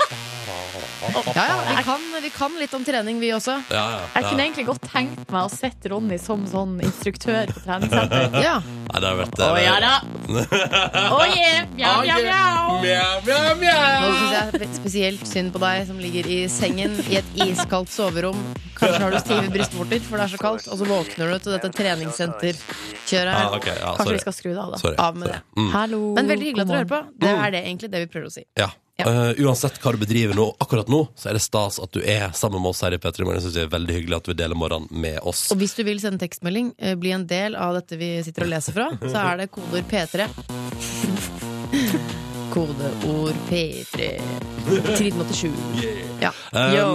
B: Ja, ja, vi kan, vi kan litt om trening, vi også.
A: Ja, ja,
C: Jeg kunne egentlig godt tenkt meg å sette Ronny som sånn instruktør på treningssenter.
B: [LAUGHS] Ja.
A: [LAUGHS] Nei, det har vært eh,
C: Å ja da! Å
A: [LAUGHS]
C: yeah!
A: Å,
C: Mjau,
E: Ah,
C: mjau, mjau!
A: Ah, yeah. Mjau, mjau, mjau.
B: Nå syns jeg spe- spesielt synd på deg som ligger i sengen i et iskaldt soverom. Kanskje har du stive brystvorter, for det er så kaldt, og så våkner du til dette treningssenterkjøret
A: Ah,
B: her.
A: ok, ja,
C: Kanskje
A: sorry.
C: vi skal skru det av, da.
A: Sorry,
B: Av med
A: sorry.
B: det.
A: Mm.
C: Hallo.
B: Men veldig hyggelig at dere hører på. Det
A: Mm.
B: er det egentlig det vi prøver å si.
A: Ja.
B: Ja.
A: Eh, uansett hva du bedriver nå, akkurat nå, så er det stas at du er sammen med oss her i P3 Morgen. Jeg synes det er veldig hyggelig at du deler morgenen med oss.
B: Og hvis du vil sende tekstmelding, eh, bli en del av dette vi sitter og leser fra, så er det kodeord P3. Kodeord P3. 1387. Ja.
A: Um,
B: Yo.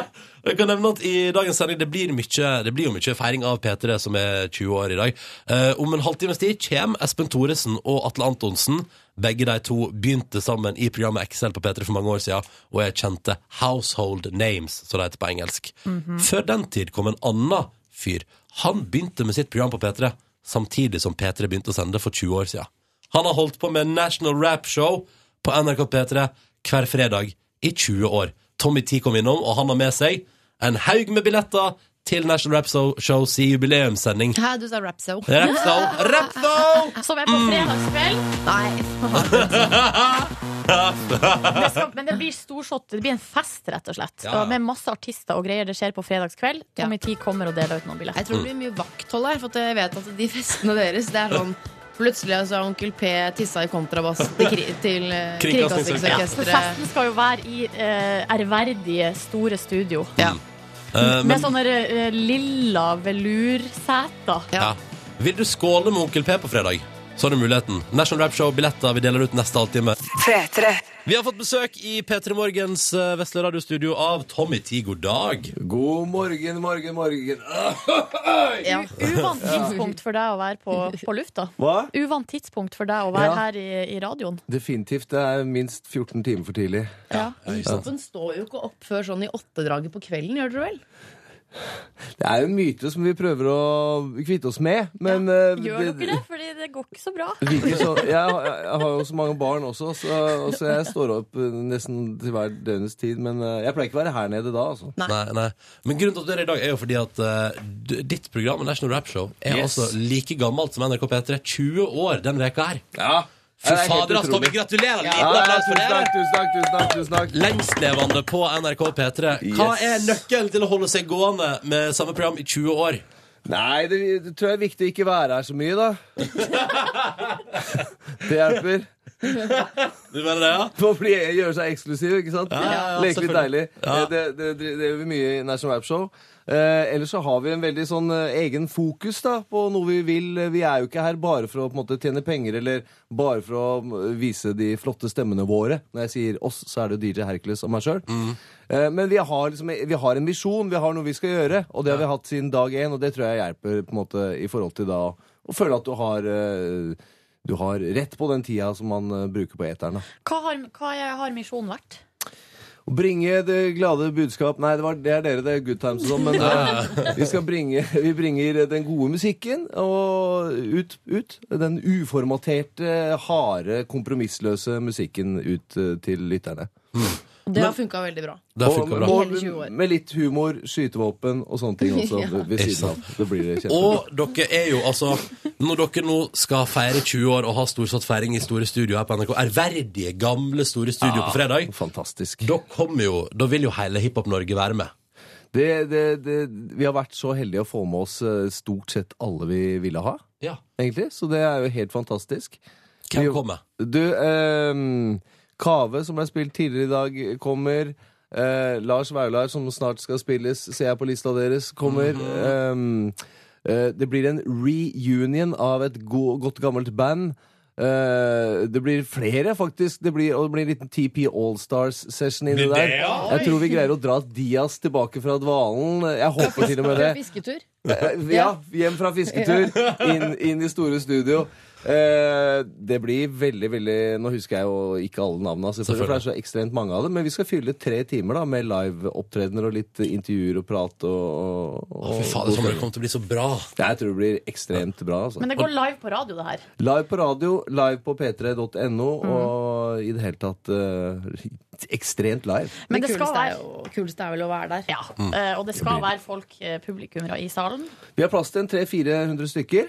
A: [LAUGHS] Jeg kan nevne at i dagens sending det blir, mye, det blir jo mye feiring av P3 som er 20 år i dag. Eh, om en halvtimes tid kommer Espen Thoresen og Atle Antonsen. Begge de to begynte sammen i programmet Excel på P3 for mange år siden og er kjente household names, som det heter på engelsk.
I: Mhm.
A: Før den tid kom en annen fyr. Han begynte med sitt program på P3 samtidig som P3 begynte å sende for 20 år siden. Han har holdt på med National Rap Show på NRK P3 hver fredag i 20 år. Tommy T kom innom, og han har med seg en haug med billetter til National Rap Show- Show si jubileumssending. [LAUGHS]
B: Hæ, du sa rap so.
A: Rap Show! Rap Show!
C: Som er på fredagskveld.
B: Nei.
C: Det
A: Eh,
C: skal, men det blir storshot. Det blir en fest, rett og slett.
A: Ja, ja.
C: Og Med masse artister og greier. Det skjer på fredagskveld. Tommy T kommer og deler ut noen billetter.
B: Jeg tror det blir mye vakthold her, for at jeg vet at de festene deres, det er sånn Plutselig så har onkel P tissa i kontrabass til, kri- til eh,
A: Kringkastingsorkestret.
C: Ja, for
B: Kringkastingsorkestret.
C: festen skal jo være i eh, ærverdige, store studio.
B: Ja.
A: Eh,
C: Med
A: men,
C: sånne eh, lilla velurseter.
A: ja. Vil du skåle med Onkel P på fredag? Så har du muligheten. National Rap Show-billetter vi deler ut neste halvtime.
F: P3.
A: Vi har fått besøk i P3 Morgens eh, Vesle radiostudio av Tommy T. God dag.
J: God morgen, morgen, morgen. [LAUGHS]
B: Ja.
C: Uvant tidspunkt for deg å være på, på lufta.
J: Hva?
C: Uvant tidspunkt for deg å være
J: Ja.
C: her i, i radioen.
J: Definitivt. Det er minst 14 timer for tidlig.
C: Ja.
B: Kroppen står jo ikke opp før sånn i åttedraget på kvelden, gjør dere vel?
J: Det er jo en myte som vi prøver å kvitte oss med, men eh,
C: Gjør dere det? Fordi det går ikke så bra.
J: det virker så, jeg, har- jeg har jo så mange barn også, så, og så jeg står opp eh, nesten til hver døgnets tid. Men eh, jeg pleier ikke å være her nede da, altså.
B: Nei.
A: Nei, nei. Men grunnen til at du er her i dag, er jo fordi at eh, d- ditt program, National Rap Show, er
J: Yes.
A: altså like gammelt som NRK P3. 20 år den veka her.
J: Ja.
A: Fy fader, ass, Tommy, gratulerer! Liten applaus for
J: tusen
A: det!
J: takk, tusen takk, tusen takk, tusen takk.
A: Lengstlevende på NRK P3. Hva er
J: Yes.
A: nøkkelen til å holde seg gående med samme program i 20 år?
J: Nei, det, det tror jeg er viktig å ikke være her så mye,
A: [LAUGHS]
J: da. det hjelper.
A: Du mener det, ja?
J: For å bli, gjøre seg eksklusiv, ikke sant?
A: ja, ja,
J: Leke litt deilig.
A: selvfølgelig. Ja.
J: Eh, Det, det, det, det gjør vi mye i National Rap Show. Eh, ellers så har vi en veldig sånn eh, egen fokus da, på noe vi vil. Vi er jo ikke her bare for å på en måte tjene penger eller bare for å mm, vise de flotte stemmene våre. Når jeg sier oss, så er det jo DJ Hercules og meg sjøl. Eh, men vi har, liksom, vi har en visjon, vi har noe vi skal gjøre, og det har vi hatt siden dag én. Og det tror jeg hjelper på en måte i forhold til da å føle at du har eh, du har rett på den tida som man eh, bruker på eteren. da.
C: Hva har, hva har misjonen vært?
J: Å bringe det glade budskap Nei, det, var, det er dere det er good times og sånn, men eh, vi, skal bringe, vi bringer den gode musikken og ut. ut den uformaterte, harde, kompromissløse musikken ut eh, til lytterne.
B: Det har funka veldig bra.
J: Det har
A: funket Mm, bra.
B: I hele 20 år.
J: Med litt humor, skytevåpen og sånne ting også.
B: [LAUGHS] Ja.
J: ved
A: Ikke
J: siden av. Det blir det kjempebra.
A: Og dere er jo altså Når dere nå skal feire 20 år og ha storsatt feiring i store studio her på NRK, ærverdige, gamle store
J: Ja,
A: studio på fredag,
J: fantastisk.
A: da kommer jo Da vil jo hele Hiphop-Norge være med.
J: Det, det, det, vi har vært så heldige å få med oss eh, stort sett alle vi ville ha,
A: Ja.
J: egentlig. Så det er jo helt fantastisk.
A: Hvem
J: Vi-
A: kommer?
J: Du, ehm, Kave, som ble spilt tidligere i dag, kommer. Eh, Lars Vaular, som snart skal spilles, ser jeg på lista deres, kommer.
A: Mhm.
J: Ehm, eh, det blir en reunion av et go godt gammelt band. Eh, det blir flere, faktisk. Det blir, og det blir en liten TP Allstars-session inni
A: Blir det,
J: der.
A: ja?
J: Jeg tror vi greier å dra Dias tilbake fra dvalen. Jeg håper til og med det.
B: Fisketur.
J: Eh, Ja, hjem fra
A: [LAUGHS]
J: fisketur, inn, inn i store studio. Eh, det blir veldig, veldig Nå husker jeg jo ikke alle navnene, selvfølgelig, for det er så ekstremt mange av dem. Men vi skal fylle tre timer da med liveopptredener og litt intervjuer og prat. Og, og,
A: Å, fy fader, det kommer til å bli så bra.
J: jeg tror det blir ekstremt bra. Altså.
C: Men det går live på radio, det her.
J: Live på radio, live på p3.no,
C: Mhm.
J: og i det hele tatt eh, ekstremt live.
C: Men
B: det
C: det skal
B: kuleste er
C: være
B: jo kuleste er vel å være der.
C: ja, eh, Og det skal være folk, eh, publikummere, i salen.
J: Vi har plass til en 300-400 stykker.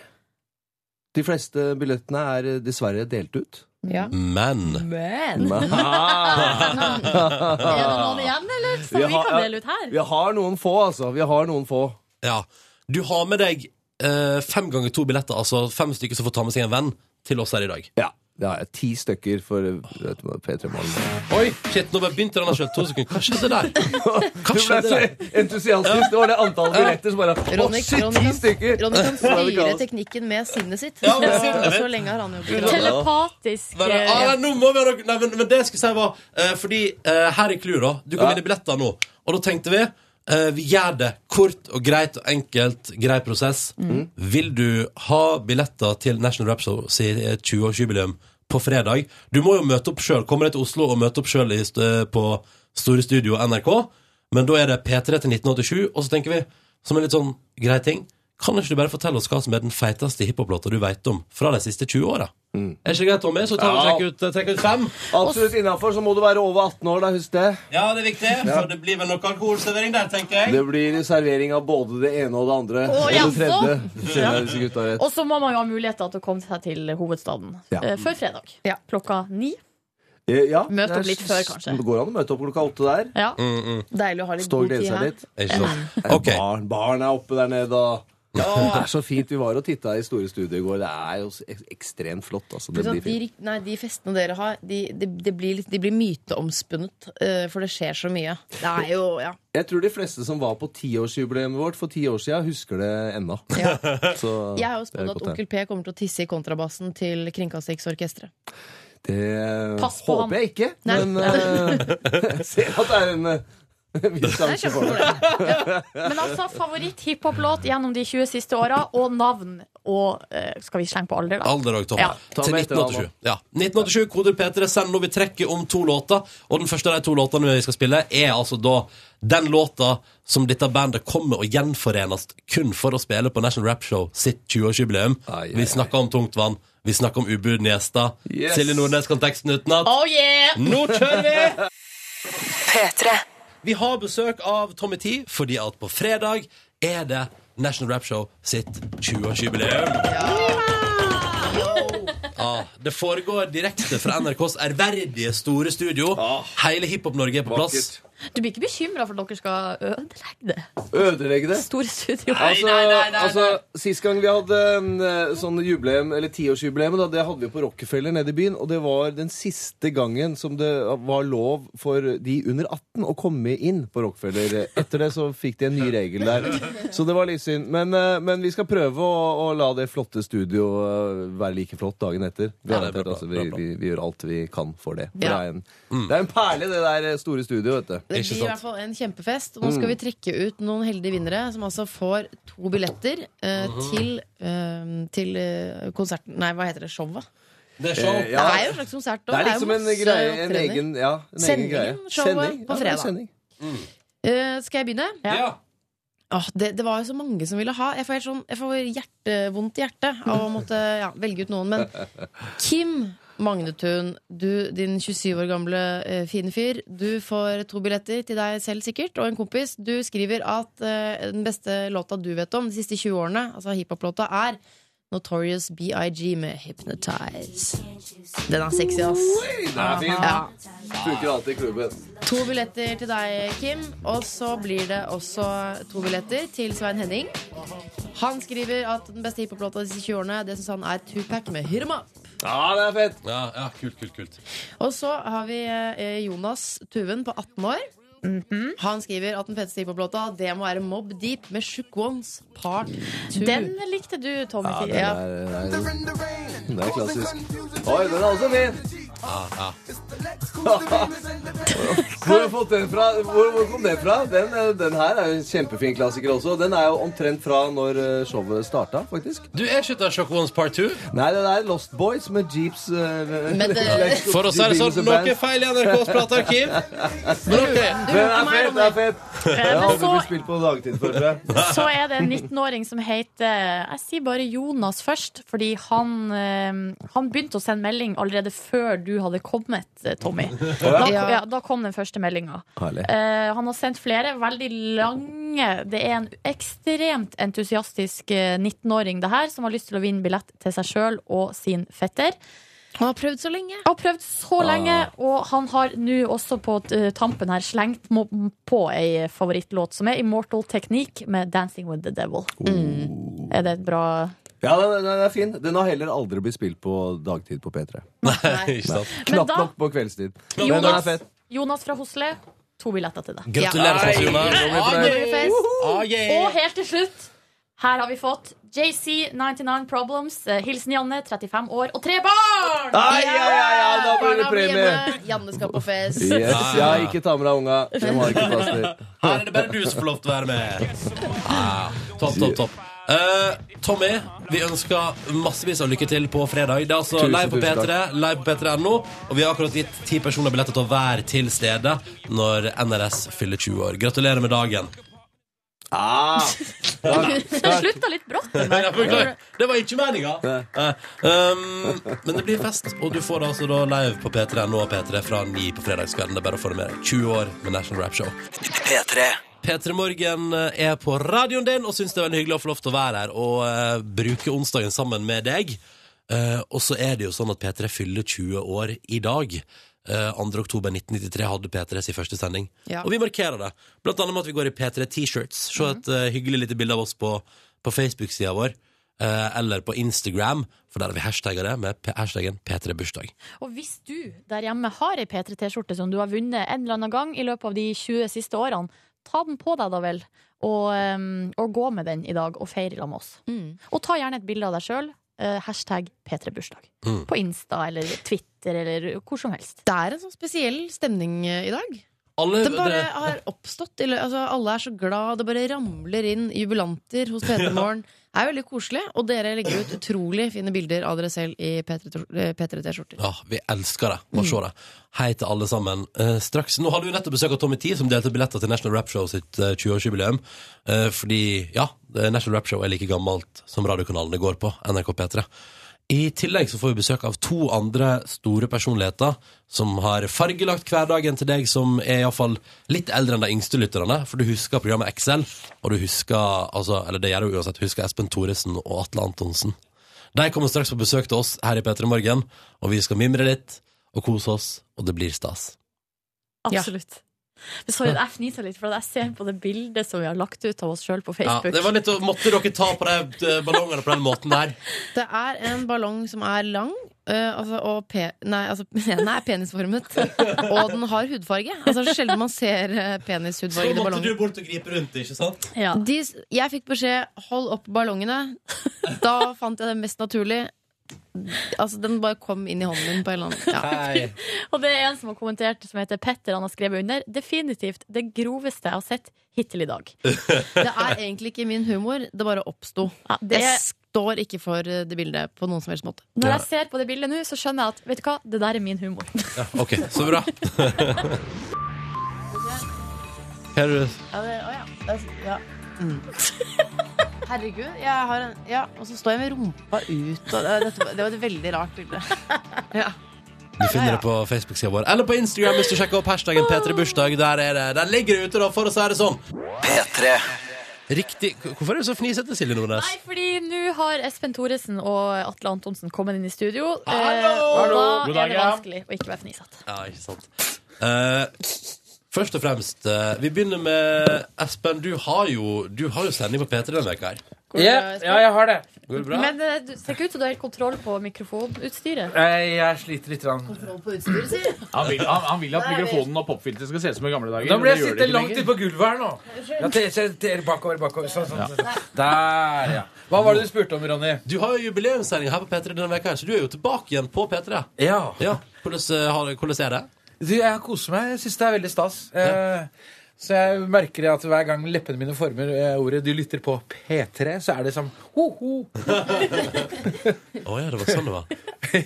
J: De fleste billettene er eh, dessverre delt ut.
B: Ja.
A: Men
B: Men
C: [LAUGHS] Er det noen igjen, eller? Som
J: Vi
C: vi
J: har-
C: kan dele ut her?
J: Vi har noen få, altså. Vi har noen få.
A: Ja. Du har med deg eh, fem ganger to billetter, altså fem stykker som får ta med seg en venn til oss her i dag.
J: [LAUGHS] Ja. Det har jeg. Ti stykker for eh, vet du, hva, P3 Morgen.
A: Oi, shit, nå bare begynte den å skjøle to sekunder. Hva skjedde der?
J: [LAUGHS] Du
A: Hva
J: ble
A: skjedde
J: så
A: der?
J: entusiastisk. Det var det antallet billetter som bare Å,
B: Ronny,
J: shit,
B: Ronny,
J: ti
B: kan,
J: stykker!
B: Ronny kan
J: Så var [LAUGHS] det
B: styre
J: kaos.
B: teknikken med sinnet sitt.
A: Ja, men-
B: [LAUGHS] så, så lenge har han gjort det. bra.
C: Telepatisk.
A: Bare,
C: eh,
A: ah, nei, nå må vi ha noe- nei, men, men det jeg skulle si var eh, Fordi eh, her er clouet, da. Du kan
J: Ja.
A: vinne billetter nå. Og da tenkte vi eh, vi gjør det kort og greit og enkelt. Grei prosess. Vil du ha billetter til National Rap Show sitt 20-årsjubileum på fredag? Du må jo møte opp sjøl. Kommer deg til Oslo og møte opp sjøl eh, på Store Studio NRK. Men da er det P3 til 1987, og så tenker vi, som en litt sånn grei ting kan ikke du bare fortelle oss hva som er den feiteste hiphop-låta du veit om fra de siste 20 åra? Er ikke det greit, Tommy? Så tar vi og trekker ut, eh, trekker ut fem.
J: Absolutt innafor, så må du være over 18 år, da, husk det.
A: Ja, det er viktig, for det blir vel noe alkoholservering der, tenker jeg.
J: Det blir servering av både det ene og det andre.
C: Å,
J: og
C: ja,
J: det tredje.
C: så.
J: Kjenner jeg disse gutta rett.
C: Og så må man jo ha muligheter til å komme seg til hovedstaden
J: Eh. Ja.
C: eh, før fredag.
B: Ja.
C: Klokka ni.
J: Eh, Ja,
C: Møt
J: det er
C: opp litt før, kanskje.
J: Det går an å møte opp klokka åtte der.
C: Ja.
J: Mm.
B: Deilig å ha litt
J: Stå og
B: god
J: glede
B: tid
J: seg
B: her.
J: litt.
A: Ikke sant?
B: [LAUGHS]
J: Eh,
A: Ok,
J: Barn, barn er oppe der nede og ja, det er så fint. Vi var og titta i store studio i går. Det er jo s- ek- ekstremt flott. Altså. Det
B: Pluss at
J: blir
B: de,
J: fint.
B: rik- nei, de festene dere har, de, de, de, blir, litt- de blir myteomspunnet, eh, for det skjer så mye. Det er jo, ja.
J: Jeg tror de fleste som var på tiårsjubileet vårt for ti år siden, husker det ennå. [LAUGHS] Så
B: Jeg
J: Ah, det er
B: har jo spådd at
J: godt,
B: Onkel P kommer til å tisse i kontrabassen til Kringkastingsorkestret.
J: Det Det
C: Pass på
J: Eh, håper jeg ikke,
B: Nei. [LAUGHS]
J: men eh, [LAUGHS] jeg ser at det er en eh, [LAUGHS]
B: [LAUGHS]
J: viss sjanse for det.
C: Men altså, favoritt-hiphop-låt gjennom de 20 siste åra, og navn. Og eh, skal vi slenge på alder, da?
A: alder og Tommy.
C: Ja.
J: Ta
A: Til
J: med etter, da,
A: 1987. Ja. 1987, koder P3, send nå. Vi trekker om to låter. Og den første av de to låtene vi skal spille, er altså da den låta som dette bandet kommer og gjenforenes kun for å spille på National Rap Show sitt 20-årsjubileum.
J: Ai, ai,
A: Vi snakker om tungt vann. Vi snakker om ubudne gjester.
J: Yes.
A: Silje Nordnes kan teksten utenat.
C: Oh yeah!
A: Nå kjører vi!
F: P3.
A: Vi har besøk av Tommy T, fordi at på fredag er det National Rap Show sitt 20-årsjubileum. Ja, Ah, det foregår direkte fra NRKs ærverdige store studio. Hele Hiphop-Norge er på plass.
J: Vakkert.
C: Du blir ikke bekymra for at dere skal ødelegge det
J: Ødelegge det.
C: store studioet?
J: Altså, altså, Sist gang vi hadde mm, sånn jubileum, eller tiårsjubileum, da, det hadde vi på Rockefeller nede i byen. Og det var den siste gangen som det var lov for de under 18 å komme inn på Rockefeller. Etter det så fikk de en ny regel der. Så det var litt synd. Men, eh, men vi skal prøve å, å la det flotte studio eh, være like flott dagen etter. Vi,
A: det er bra,
J: altså,
A: bra,
J: vi,
A: bra. Mm.
J: vi, vi gjør alt vi kan for det. For
B: Ja.
J: det, er en, det er en perle, det der eh, store studioet, vet du.
B: Det
A: Ikke
B: blir i
A: sant?
B: hvert fall en kjempefest.
J: Mm.
B: Og nå skal vi trekke ut noen heldige vinnere, som altså får to billetter eh, til, eh, til eh, konserten Nei, hva heter det? Showet?
A: Det er show.
J: Eh,
B: Det
J: ja.
B: er jo en slags konsert. og
J: Det er
B: jo
J: liksom en
B: masse
J: greie, en
B: opptredener.
J: egen, ja, en egen
B: Sendingen,
J: greie.
B: showet
J: Sending,
B: på
J: ja, det er
B: fredag.
J: sending.
A: Mm.
B: Eh, skal jeg begynne?
A: Ja.
B: Åh, det, det var jo så mange som ville ha. Jeg får helt sånn, jeg får hjerte, vondt i hjertet av å måtte ja, velge ut noen. Men Kim Magnetun, du, din 27 år gamle eh, fine fyr, du får to billetter til deg selv sikkert, og en kompis. Du skriver at eh, den beste låta du vet om de siste 20 årene, altså hiphop-låta, er Notorious BIG med 'Hypnotize'. Den er sexy, ass.
J: Den er fin.
B: Ja.
J: Funker alltid i klubben.
B: To billetter til deg, Kim. Og så blir det også to billetter til Svein Henning. Han skriver at den beste hiphop-låta de siste 20 årene Det synes han er Tupac med 'Hit 'em Up'.
J: Ja, det er fett.
A: Ja, ja kult, kult, kult.
B: Og så har vi eh, Jonas Tuven på 18 år.
C: Mhm.
B: Han skriver at den feteste hiphop-låta Det må være Mob Deep med Shook Ones Part 2.
C: Den likte du, Tommy.
J: Ja, den
B: Ja.
J: er, den er, den er klassisk. Oi, den er også fin!
A: Ja, ja.
J: Hvor, har du fått den fra? Hvor, hvor kom den fra? Den, eh, den her er jo en kjempefin klassiker også. Den er jo omtrent fra når eh, showet starta, faktisk.
A: Du er ikke av Shock Ones Part 2.
J: Nei, det er Lost Boys med Jeeps eh, [LAUGHS]
B: Men det-
A: For å si det sånn, noe er feil i NRKs platearkiv. Men ok.
J: Den er fett! den er fett Jeg har
C: men
J: aldri
C: så-
J: blitt spilt på dagtid før, tror jeg.
C: Så er det en 19-åring som heter Jeg sier bare Jonas først, fordi han, eh, han begynte å sende melding allerede før du hadde kommet, eh, Tommy. Da,
B: Ja.
C: ja, da kom den første meldinga.
J: Herlig.
C: Eh, han har sendt flere veldig lange. Det er en ekstremt entusiastisk eh, 19-åring det her, som har lyst til å vinne billett til seg sjøl og sin fetter.
B: Han har prøvd så lenge.
C: Jeg har prøvd så lenge, og han har nå også på eh, tampen her slengt mo- på ei favorittlåt, som er Immortal Technique med 'Dancing With The Devil'.
J: Mm.
B: Mm.
C: Er det et bra
J: Ja, den, den er fin. Den har heller aldri blitt spilt på dagtid på P3.
A: Nei, [LAUGHS] ikke sant.
C: Men
J: Knapt
C: da,
J: nok på kveldstid. Men den er
C: Jonas,
J: fett.
C: Jonas fra Hosle, to billetter til deg.
A: Gratulerer, Sats Jonas.
B: Fest.
A: Ah,
C: Og
A: yeah.
C: helt til slutt, her har vi fått JC99 Problems. eh, Hilsen Janne, 35 år og tre barn!
J: Ai, ai, ai, ai, da blir det
B: Barna blir
J: premie!
B: hjemme. Janne skal på fest.
J: [LAUGHS] Yes, ja, ikke ta med deg unga. De har ikke plass til.
A: Her er det bare du som får lov til å være med. Ah, topp, topp, topp. Eh, Tommy, vi ønsker massevis av lykke til på fredag. Det er altså
J: Tusen,
A: live på
J: tusen
A: P3, live på p3.no, og vi har akkurat gitt ti personer billetter til å være til stede når NRS fyller 20 år. Gratulerer med dagen.
J: Ah,
C: Det slutta litt brått. den
A: Nei,
C: der.
A: jeg beklager. Det var ikke meninga. Eh, Um, men det blir fest, og du får det altså da live på P3.no og P3 fra 9 på fredagskvelden. Det er bare å få det med deg. 20 år med National Rap Show.
D: P3
A: P3 Morgen eh, er på radioen din og syns det er veldig hyggelig å få lov til å være her og eh, bruke onsdagen sammen med deg. Eh, og så er det jo sånn at P3 fyller 20 år i dag. Eh, 2. oktober 1993 hadde P3 sin første sending.
B: Ja.
A: Og vi markerer det. Blant annet med at vi går i P3 T-shirts. Se et
B: Mhm.
A: eh, hyggelig lite bilde av oss på, på Facebook-sida vår. eh, eller på Instagram, for der har vi hashtagga det med p- hashtaggen P3bursdag.
C: Og hvis du der hjemme har ei P3T-skjorte som du har vunnet en eller annen gang i løpet av de 20 siste årene, ta den på deg da vel, og, um, og gå med den i dag og feire sammen med oss.
B: Mm.
C: Og ta gjerne et bilde av deg sjøl. Hashtag P3bursdag.
A: Mm.
C: På Insta eller Twitter eller hvor som helst.
B: Det er en sånn spesiell stemning eh, i dag.
A: Alle,
B: Den
A: [LAUGHS]
B: bare har oppstått. i lø- Altså, alle er så glad, det bare ramler inn jubilanter hos P3 Morgen. Det er veldig koselig, og dere legger ut utrolig fine bilder av dere selv i eh, P3T-skjorter.
A: Ja, vi elsker det. Bare se det. Hei til alle sammen. Eh, straks, Nå hadde vi nettopp besøk av Tommy Tee, som delte billetter til National Rap Show sitt eh, 20-årsjubileum. Eh, fordi, ja, eh, National Rap Show er like gammelt som radiokanalen det går på, NRK P3. I tillegg så får vi besøk av to andre store personligheter som har fargelagt hverdagen til deg, som er iallfall litt eldre enn de yngste lytterne. For du husker programmet Excel, og du husker altså, eller det gjør du uansett, husker Espen Thoresen og Atle Antonsen. De kommer straks på besøk til oss her i P3 Morgen, og vi skal mimre litt og kose oss, og det blir stas.
C: Absolutt. Sorry, jeg fnisa litt, for jeg ser på det bildet som vi har lagt ut av oss sjøl på
A: Ja,
C: Facebook.
A: det var litt å Måtte dere ta på de eh, ballongene på den måten der?
B: Det er en ballong som er lang. eh, altså, og pe nei, altså, [LAUGHS] den er penisformet. Og den har hudfarge. Altså Sjelden man ser eh,
A: Så
B: penishudfargede
A: måtte du
B: ballonger.
A: bort og gripe rundt, ikke sant?
C: Ja.
B: De, s- jeg fikk beskjed 'hold opp ballongene'. Da fant jeg det mest naturlig. Altså Den bare kom inn i hånden min. på en eller annen ja.
A: Nei.
C: [LAUGHS] Og det er en som har kommentert, som heter Petter. Han har skrevet under. Definitivt det groveste jeg har sett hittil i
A: [LAUGHS]
C: dag.
B: Det er egentlig ikke min humor. Det bare oppsto.
C: Ja, det
B: Jeg
C: er
B: står ikke for eh, det bildet på noen som helst måte.
C: Når jeg ser på det bildet nå, så skjønner jeg at vet du hva, det der er min humor. [LAUGHS]
A: Ja, ok, så [LAUGHS] bra. Her er det-
B: Ja, det, å ja. Det, ja. Mm. [LAUGHS] Herregud, jeg har en Ja, og så står jeg med rumpa ut, og det, dette, var- det var et veldig rart bilde. Ja.
A: Du finner det på Facebook-sida vår eller på Instagram hvis du sjekker opp hashtagen P3bursdag. Der, er det. der ligger det ute, da, for å si det sånn. P3 Riktig. Hvorfor er du så fnisete, Silje Nordnes?
C: Nei, fordi nå har Espen Thoresen og Atle Antonsen kommet inn i studio. eh,
A: Hallo!
C: Og
A: God dag,
C: da er det
A: ja.
C: vanskelig å ikke være fnisete.
A: Ja, ikke sant. Eh, først og fremst, eh, vi begynner med Espen. Du har jo, du har jo sending på P3 denne veka her.
K: Ja, ja, jeg har det.
A: Går det bra?
C: Men eh, du ser ikke ut som du har helt kontroll på mikrofonutstyret.
K: Jeg, jeg sliter litt. Rann.
L: Han vil, han, han vil at
C: Nei, det-
L: mikrofonen og popfilteret skal se ut som i gamle dager.
K: Da
L: men
K: blir
L: det
K: jeg
L: gjør det
K: sitte
L: ikke
K: langt
L: lenger.
K: inn på gulvet her nå. Ja, til, til, til bakover, bakover. Sånn, sånn, sånn. Der, ja. Hva var det du spurte om, Ronny?
A: Du har jo jubileumssending her på P3 denne veka her, så du er jo tilbake igjen på P3.
K: Ja.
A: Hvordan, eh, har- hvordan er det?
K: Du, jeg koser meg. Jeg syns det er veldig stas. Eh, så jeg merker at hver gang leppene mine former eh, ordet 'du lytter på P3', så er det som [LAUGHS] ho-ho.
A: Å ja, det var sånn det var.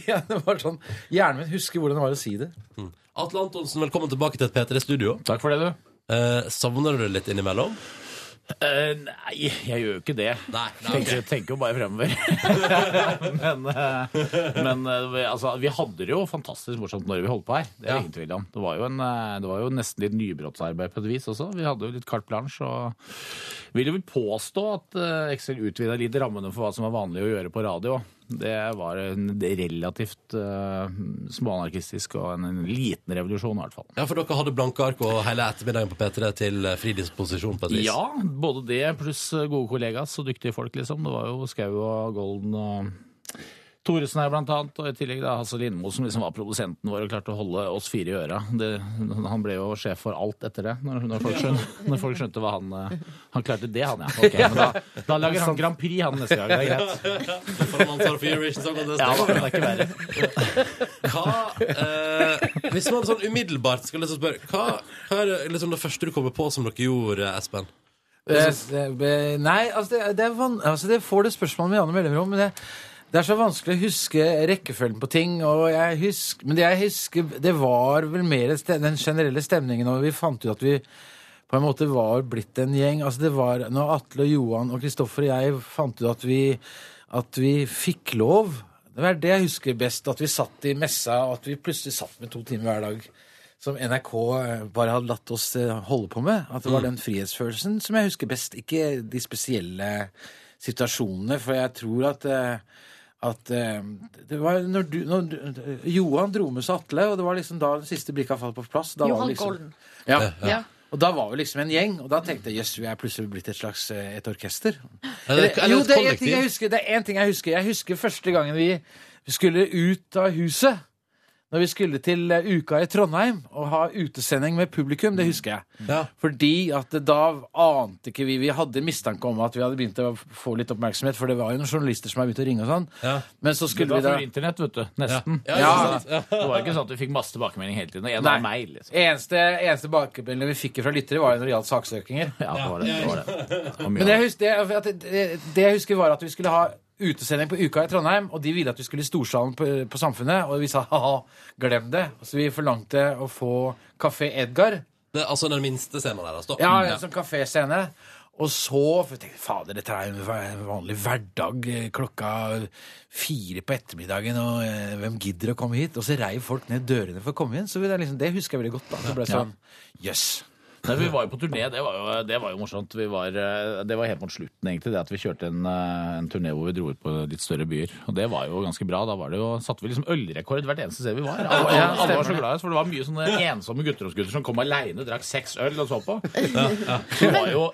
K: ja, det var sånn. Hjernen min husker hvordan det var å si det.
A: [LAUGHS] Atle Antonsen, velkommen tilbake til et P3-studio.
L: Takk for det, du.
A: savner du det litt innimellom?
L: Eh, nei, jeg gjør jo ikke det.
A: Nei,
L: nei, tenker, tenker jo bare fremover.
J: [LAUGHS]
L: men eh, [LAUGHS] men eh, vi- altså, vi hadde det jo fantastisk morsomt når vi holdt på her. Det er det ingen tvil om. Det var, jo en, eh, det var jo nesten litt nybrottsarbeid på et vis også. Vi hadde jo litt carte blanche og vil jo vel påstå at eh, Excel utvida litt rammene for hva som var vanlig å gjøre på radio. Det var en det er relativt eh, småanarkistisk og en, en liten revolusjon, i hvert fall.
A: Ja, for dere hadde blanke ark og hele ettermiddagen på P3 til eh, fri disposisjon på et vis.
L: Ja, både det pluss gode kollegas og dyktige folk, liksom. Det var jo Skau og Golden og Thoresen her, blant annet. Og i tillegg da Hasse Lindmo, som liksom var produsenten vår og klarte å holde oss fire i øra. Det, han ble jo sjef for alt etter det, når, når, folk, skjønte, når folk skjønte hva han eh, Han klarte det, han, ja.
A: [LAUGHS]
L: Ok, men da, da lager han Grand Prix, han, neste gang. Det er greit.
A: [LAUGHS] For han ansvar for Eurovision Song Contest.
L: Ja, da, det er ikke verre.
A: Hva, eh, hvis man sånn umiddelbart skal liksom spørre, hva, hva er det, liksom det første du kommer på som dere gjorde, Espen?
K: Eh, eh, Nei, altså det, det, er van, altså det får du spørsmål med i andre mellomrom, men det, det er så vanskelig å huske rekkefølgen på ting. Og jeg husker, men det jeg husker, det var vel mer ste- den generelle stemningen når vi fant ut at vi på en måte var blitt en gjeng. Altså det var når Atle og Johan og Kristoffer og jeg fant ut at vi, at vi fikk lov. Det var det jeg husker best, at vi satt i messa, og at vi plutselig satt med to timer hver dag. Som NRK bare hadde latt oss eh, holde på med. At det var
A: Mm.
K: den frihetsfølelsen som jeg husker best. Ikke de spesielle situasjonene, for jeg tror at eh, at eh, det var når du, når du Johan dro med seg Atle, og det var liksom da den siste brikka falt på plass. Da var
C: Johan
K: det liksom,
C: Golden.
K: ja.
C: Ja. Ja.
K: Og da var vi liksom en gjeng, og da tenkte jeg jøss, vi er plutselig blitt et slags eh, et orkester.
A: Eller- eller
K: jo,
A: et
K: det er én
A: kollektiv.
K: ting jeg husker. Det er en ting jeg husker. Jeg husker første gangen vi skulle ut av huset. Når vi skulle til eh, Uka i Trondheim og ha utesending med publikum, det husker jeg. Fordi at det- da ante ikke vi Vi hadde mistanke om at vi hadde begynt å få litt oppmerksomhet, for det var jo noen journalister som hadde begynt å ringe og sånn. Men så skulle vi
L: det var
K: da
L: før internett, vet du. Nesten.
K: Ja. Ja.
L: Det var ikke sånn at vi fikk masse tilbakemelding hele tiden. En
K: Nei.
L: av meg, liksom.
K: Eneste, eneste bakmeldingen vi fikk fra lyttere, var jo når det gjaldt saksøkinger.
L: det var det, det var
K: Men jeg husker, det, at det, det jeg husker, var at vi skulle ha utesending på Uka i Trondheim, og de ville at vi skulle i storsalen på, på Samfunnet, og vi sa ha-ha, glem det. Så vi forlangte å få Kafé Edgar.
A: Det er altså den minste scenen der, altså.
K: Ja, en sånn kaféscene. Og så for jeg tenkte fader, dette er en vanlig hverdag eh, klokka fire på ettermiddagen, og eh, hvem gidder å komme hit? Og så reiv folk ned dørene for å komme inn. Så det, er liksom, det husker jeg veldig godt. da. Så ble jeg
L: Ja.
K: sånn, jøss.
L: Nei, vi var jo på turné, det var jo, det var jo morsomt. Vi var, eh, det var helt mot slutten, egentlig, det at vi kjørte en, eh, en turné hvor vi dro ut på litt større byer. Og det var jo ganske bra. Da var det jo, satte vi liksom ølrekord hvert eneste sted vi var. Alle,
K: Ja,
L: alle, alle var så
K: stemmer det.
L: glad i oss, for det var mye sånne ensomme gutteromsgutter som kom aleine, drakk seks øl og så på.
K: [LAUGHS]
C: Ja,
L: Så det var jo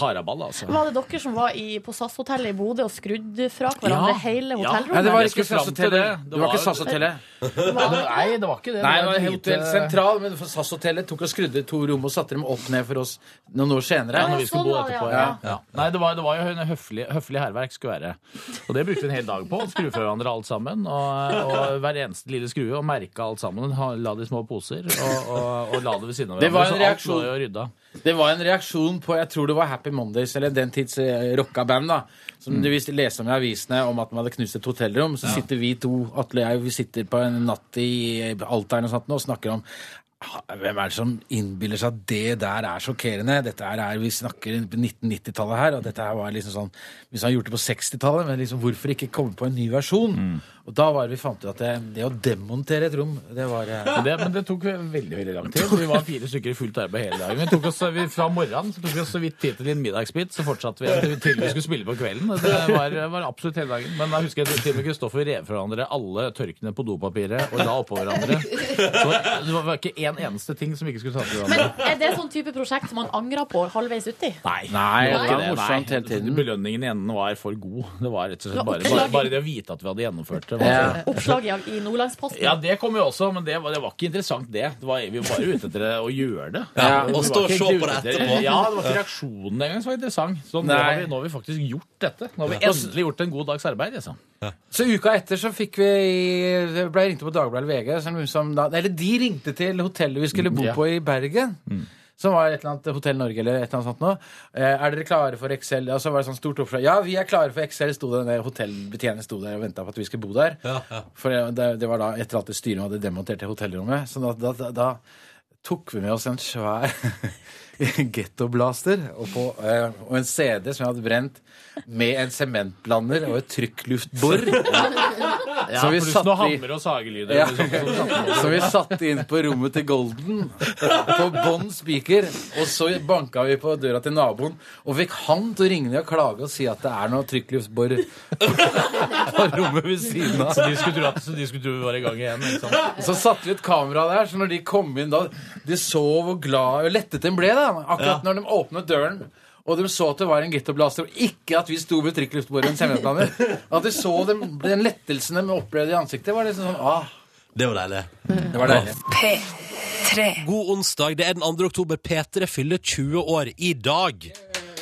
L: haraball, altså.
C: Var det dere som var i, på SAS-hotellet i Bodø og skrudde fra hverandre
L: Ja.
C: hele
L: Ja.
C: hotellrommet?
L: Nei, det var
K: ikke SAS-hotellet. Det var ikke SAS-hotellet.
L: Nei, det var ikke det.
K: Nei, det var
L: et lite-
K: Hotell Sentral, men for SAS-hotellet tok og skrudde to rom og satte dem opp ned for oss noen år senere.
L: Ja, når vi skulle bo etterpå. Ja.
K: Ja.
L: Ja. Nei, det var, det var jo en høflig, høflig hærverk skulle være. Og det brukte vi en hel dag på. Skru fra hverandre alt sammen. Og, og hver eneste lille skrue. Og merka alt sammen. ha- La det i små poser. Og, og, og la det ved siden av
K: Det var en
L: hverandre. så alt
K: reaksjon.
L: lå jo rydda.
K: Det var en reaksjon på jeg tror det var Happy Mondays, eller den tids eh, rocka band, da.
L: Mm.
K: Som du visst leste om i avisene, om at man hadde knust et hotellrom. Så sitter vi to, Atle og jeg, vi sitter på en natt i Alta eller noe sånt nå og snakker om Hvem er det som innbiller seg at det der er sjokkerende? Dette her er, Vi snakker på 1990-tallet her, og dette her var liksom sånn Hvis han har gjort det på 60-tallet, men liksom hvorfor ikke komme på en ny versjon?
L: Mm.
K: Og da var det vi fant ut at det, det å demontere et rom, det var eh,
L: Men det, men det tok veldig veldig lang tid. Vi var fire stykker i fullt arbeid hele dagen. Vi tok oss, vi, fra morgenen så tok vi oss så vidt tid til en middagsbit, så fortsatte vi til til vi skulle spille på kvelden. Det var, var absolutt hele dagen. Men da husker jeg til og med Kristoffer rev fra hverandre alle tørkene på dopapiret og la oppå hverandre. Så det var ikke en eneste ting som ikke skulle tas til hverandre.
C: Er det sånn type prosjekt man angrer på halvveis uti?
L: Nei.
K: Nei,
L: det var ikke
K: det var morsomt
L: Nei. Belønningen i enden var for god. Det var rett og slett bare, bare,
C: Oppslaget.
L: bare det å vite at vi hadde gjennomført det.
K: Ja.
L: Var
C: Oppslaget i Nordlandsposten.
L: Ja, det kom jo også, men det var, det var ikke interessant, det. det var, vi var bare ute etter å gjøre det.
A: Ja,
L: Vi
A: og
L: var
A: stå og
L: ikke
A: se
L: ute
A: på det
L: etter-
A: etterpå.
L: Ja, det var ikke reaksjonen engang som Sånn var interessant. Så nå
K: Nei.
L: har, vi, nå har vi faktisk gjort dette. Nå har vi
K: Ja.
L: endelig gjort en god dags arbeid, liksom.
K: Så uka etter så fikk vi det ble ringt opp på Dagbladet eller VG. så noen Som da, eller de ringte til hotellet vi skulle bo
L: Ja.
K: på i Bergen.
L: Mm.
K: Som var et eller annet Hotell Norge eller et eller annet sånt nå. Eh, er dere klare for Excel? Og så var det sånn stort oppslag. Ja, vi er klare for Excel, sto det. Den hotellbetjenten sto der og venta på at vi skulle bo der. For det, det var da etter at styret hadde demontert det hotellrommet. Så da, da, da, da tok vi med oss en svær [LAUGHS] gettoblaster og, på, eh, og en CD som jeg hadde brent, med en sementblander og et trykkluftbor.
L: [LAUGHS] Ja,
K: Så vi
L: pluss
K: satt
L: noe
K: i-
L: hammer og sagelyder.
K: Ja.
L: liksom, som
K: [LAUGHS]
L: satt på.
K: Så vi satte inn på rommet til Golden på bånn spiker, og så banka vi på døra til naboen og fikk han til å ringe ned og klage og si at det er noe trykkluftbor [LAUGHS] på rommet ved siden av.
L: Så de skulle tro at så de skulle tro vi var i gang igjen. Ikke sant?
K: Så satte vi et kamera der, så når de kom inn da De så hvor glad og lettet de ble, da. Akkurat
L: Ja.
K: når de åpnet døren. Og de så at det var en ghettoblaster, og ikke at vi sto med trykkluftbordet og en sementblander. At de så dem, den lettelsen de opplevde i ansiktet, var liksom sånn ah.
A: Det var deilig.
K: Det var deilig.
A: God onsdag. Det er den 2. oktober. P3 fyller 20 år i dag.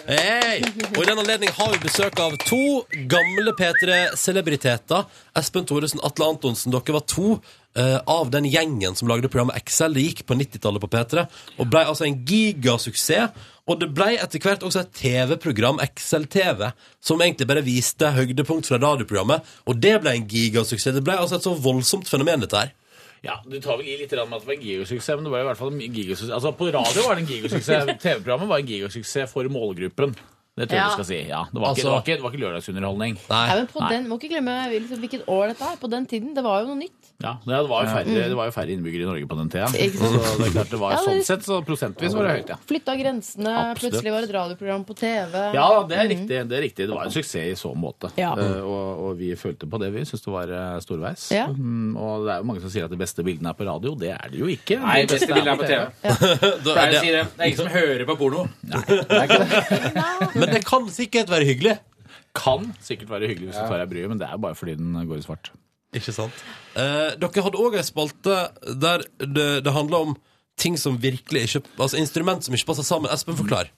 A: Hey! Og i den anledning har vi besøk av to gamle P3-celebriteter. Espen Thoresen, Atle Antonsen. Dere var to eh, av den gjengen som lagde programmet Excel. Det gikk på 90-tallet på P3 og ble altså en gigasuksess. Og det ble etter hvert også et TV-program, Excel-TV, som egentlig bare viste høydepunkt fra radioprogrammet. Og det ble en gigasuksess. Det ble altså et så voldsomt fenomen, dette her.
L: Ja, Du tar vel i litt grann med at det var en gigasuksess, men det var jo i hvert fall en gigasuksess. Altså, På radio var det
K: [LAUGHS]
L: en gigasuksess. TV-programmet var en gigasuksess for målgruppen. Det tror jeg
B: Ja.
L: du skal si. ja. Det var,
A: Altså-
L: ikke, det var, ikke, det var ikke lørdagsunderholdning.
B: Ja, men på den, må ikke glemme liksom, hvilket år dette er. På den tiden, det var jo noe nytt.
L: Ja, det var, jo
B: Ja.
L: færre,
B: Mm.
L: det var jo færre innbyggere i Norge på den tida. Så
B: Ikke sant?
L: det er klart det var
B: Ja, men-
L: sånn sett, så prosentvis var det høyt, ja.
B: Flytta grensene,
L: Absolutt.
B: plutselig var det et radioprogram på TV.
L: Ja, det er riktig. Det er riktig. Det var en suksess i så måte.
B: Mhm. Ja.
L: Eh, og, og vi følte på det. Vi syntes det var eh, storveis.
B: Ja.
L: Mm, og det er jo mange som sier at de beste bildene er på radio. Det er det jo ikke.
K: Nei,
L: De
K: beste bildene er på TV.
L: [LAUGHS]
A: Da-
K: Pleier å si det. Det er ingen som hører på porno.
A: Men det kan sikkert være hyggelig.
L: Kan sikkert være hyggelig hvis du tar deg bryet, men det er bare fordi den går i svart.
A: Ikke sant? Eh, dere hadde òg ei spalte der det, det handla om ting som virkelig ikke Altså instrument som ikke passer sammen. Espen, forklar.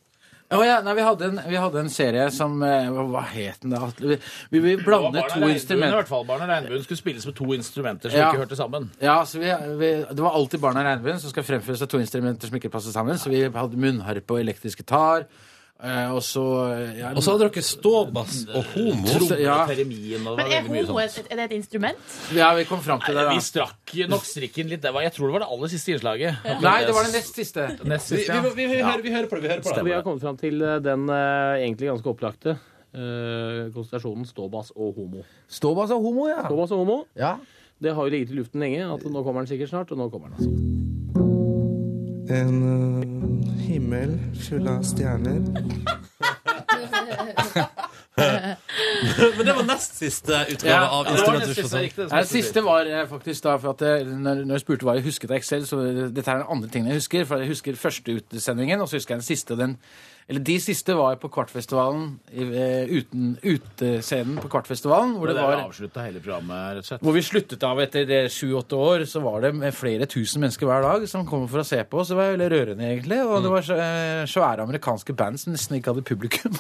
K: Å ja, nei, vi hadde, en, vi hadde en serie som eh, Hva hva het den da? Atle? Vi, vi, vi blandet to
L: I
K: instrumenter.
L: hvert fall Barn og regnbuen skulle spilles med to instrumenter som
K: Ja.
L: ikke hørte sammen.
K: Ja, så vi, vi, Det var alltid Barna Regnbuen som skal fremføres av to instrumenter som ikke passer sammen. Så vi hadde munnharpe og elektrisk gitar. eh, Og så ja,
A: Og så hadde dere ståbass og homo.
K: Tro- ja.
C: Men er homo et, er det et instrument?
K: ja, vi kom fram til det,
L: Vi
K: da.
L: strakk nok strikken litt. Det var, jeg tror det var det aller siste innslaget.
K: Nei, det var det nest siste.
L: Nest siste, ja. Ja.
A: på det. Vi hører
L: på det.
M: Vi har kommet fram til eh, den eh, egentlig ganske opplagte eh, konsentrasjonen ståbass og homo.
K: Ståbass og homo, ja.
M: Ståbass og homo.
K: Ja.
M: Det har jo ligget i luften lenge. at Nå kommer den sikkert snart, og nå kommer den. altså.
N: En eh, himmel full av stjerner.
A: Men det var nest siste utgave
K: Ja,
A: av
K: ja, det var
A: Instrument som
K: nest
A: ikke
K: siste,
A: passer
K: riktig,
A: sammen.
K: det som Nei, det siste var eh, faktisk da for at eh, når, når jeg spurte hva jeg husket av Excel, så eh, dette er den andre tingen jeg husker. For jeg husker første utsendingen, og så husker jeg den siste. og Den, eller de siste var på Kvartfestivalen, i, eh, uten utescenen på Kvartfestivalen, hvor
L: Men
K: det
L: der
K: var
L: avslutta hele programmet, rett og slett.
K: hvor vi sluttet av etter det sju-åtte år, så var det med flere tusen mennesker hver dag som kom for å se på oss. Det var veldig rørende, egentlig. Og
A: Mm.
K: det var så- eh, svære amerikanske band som nesten ikke hadde publikum.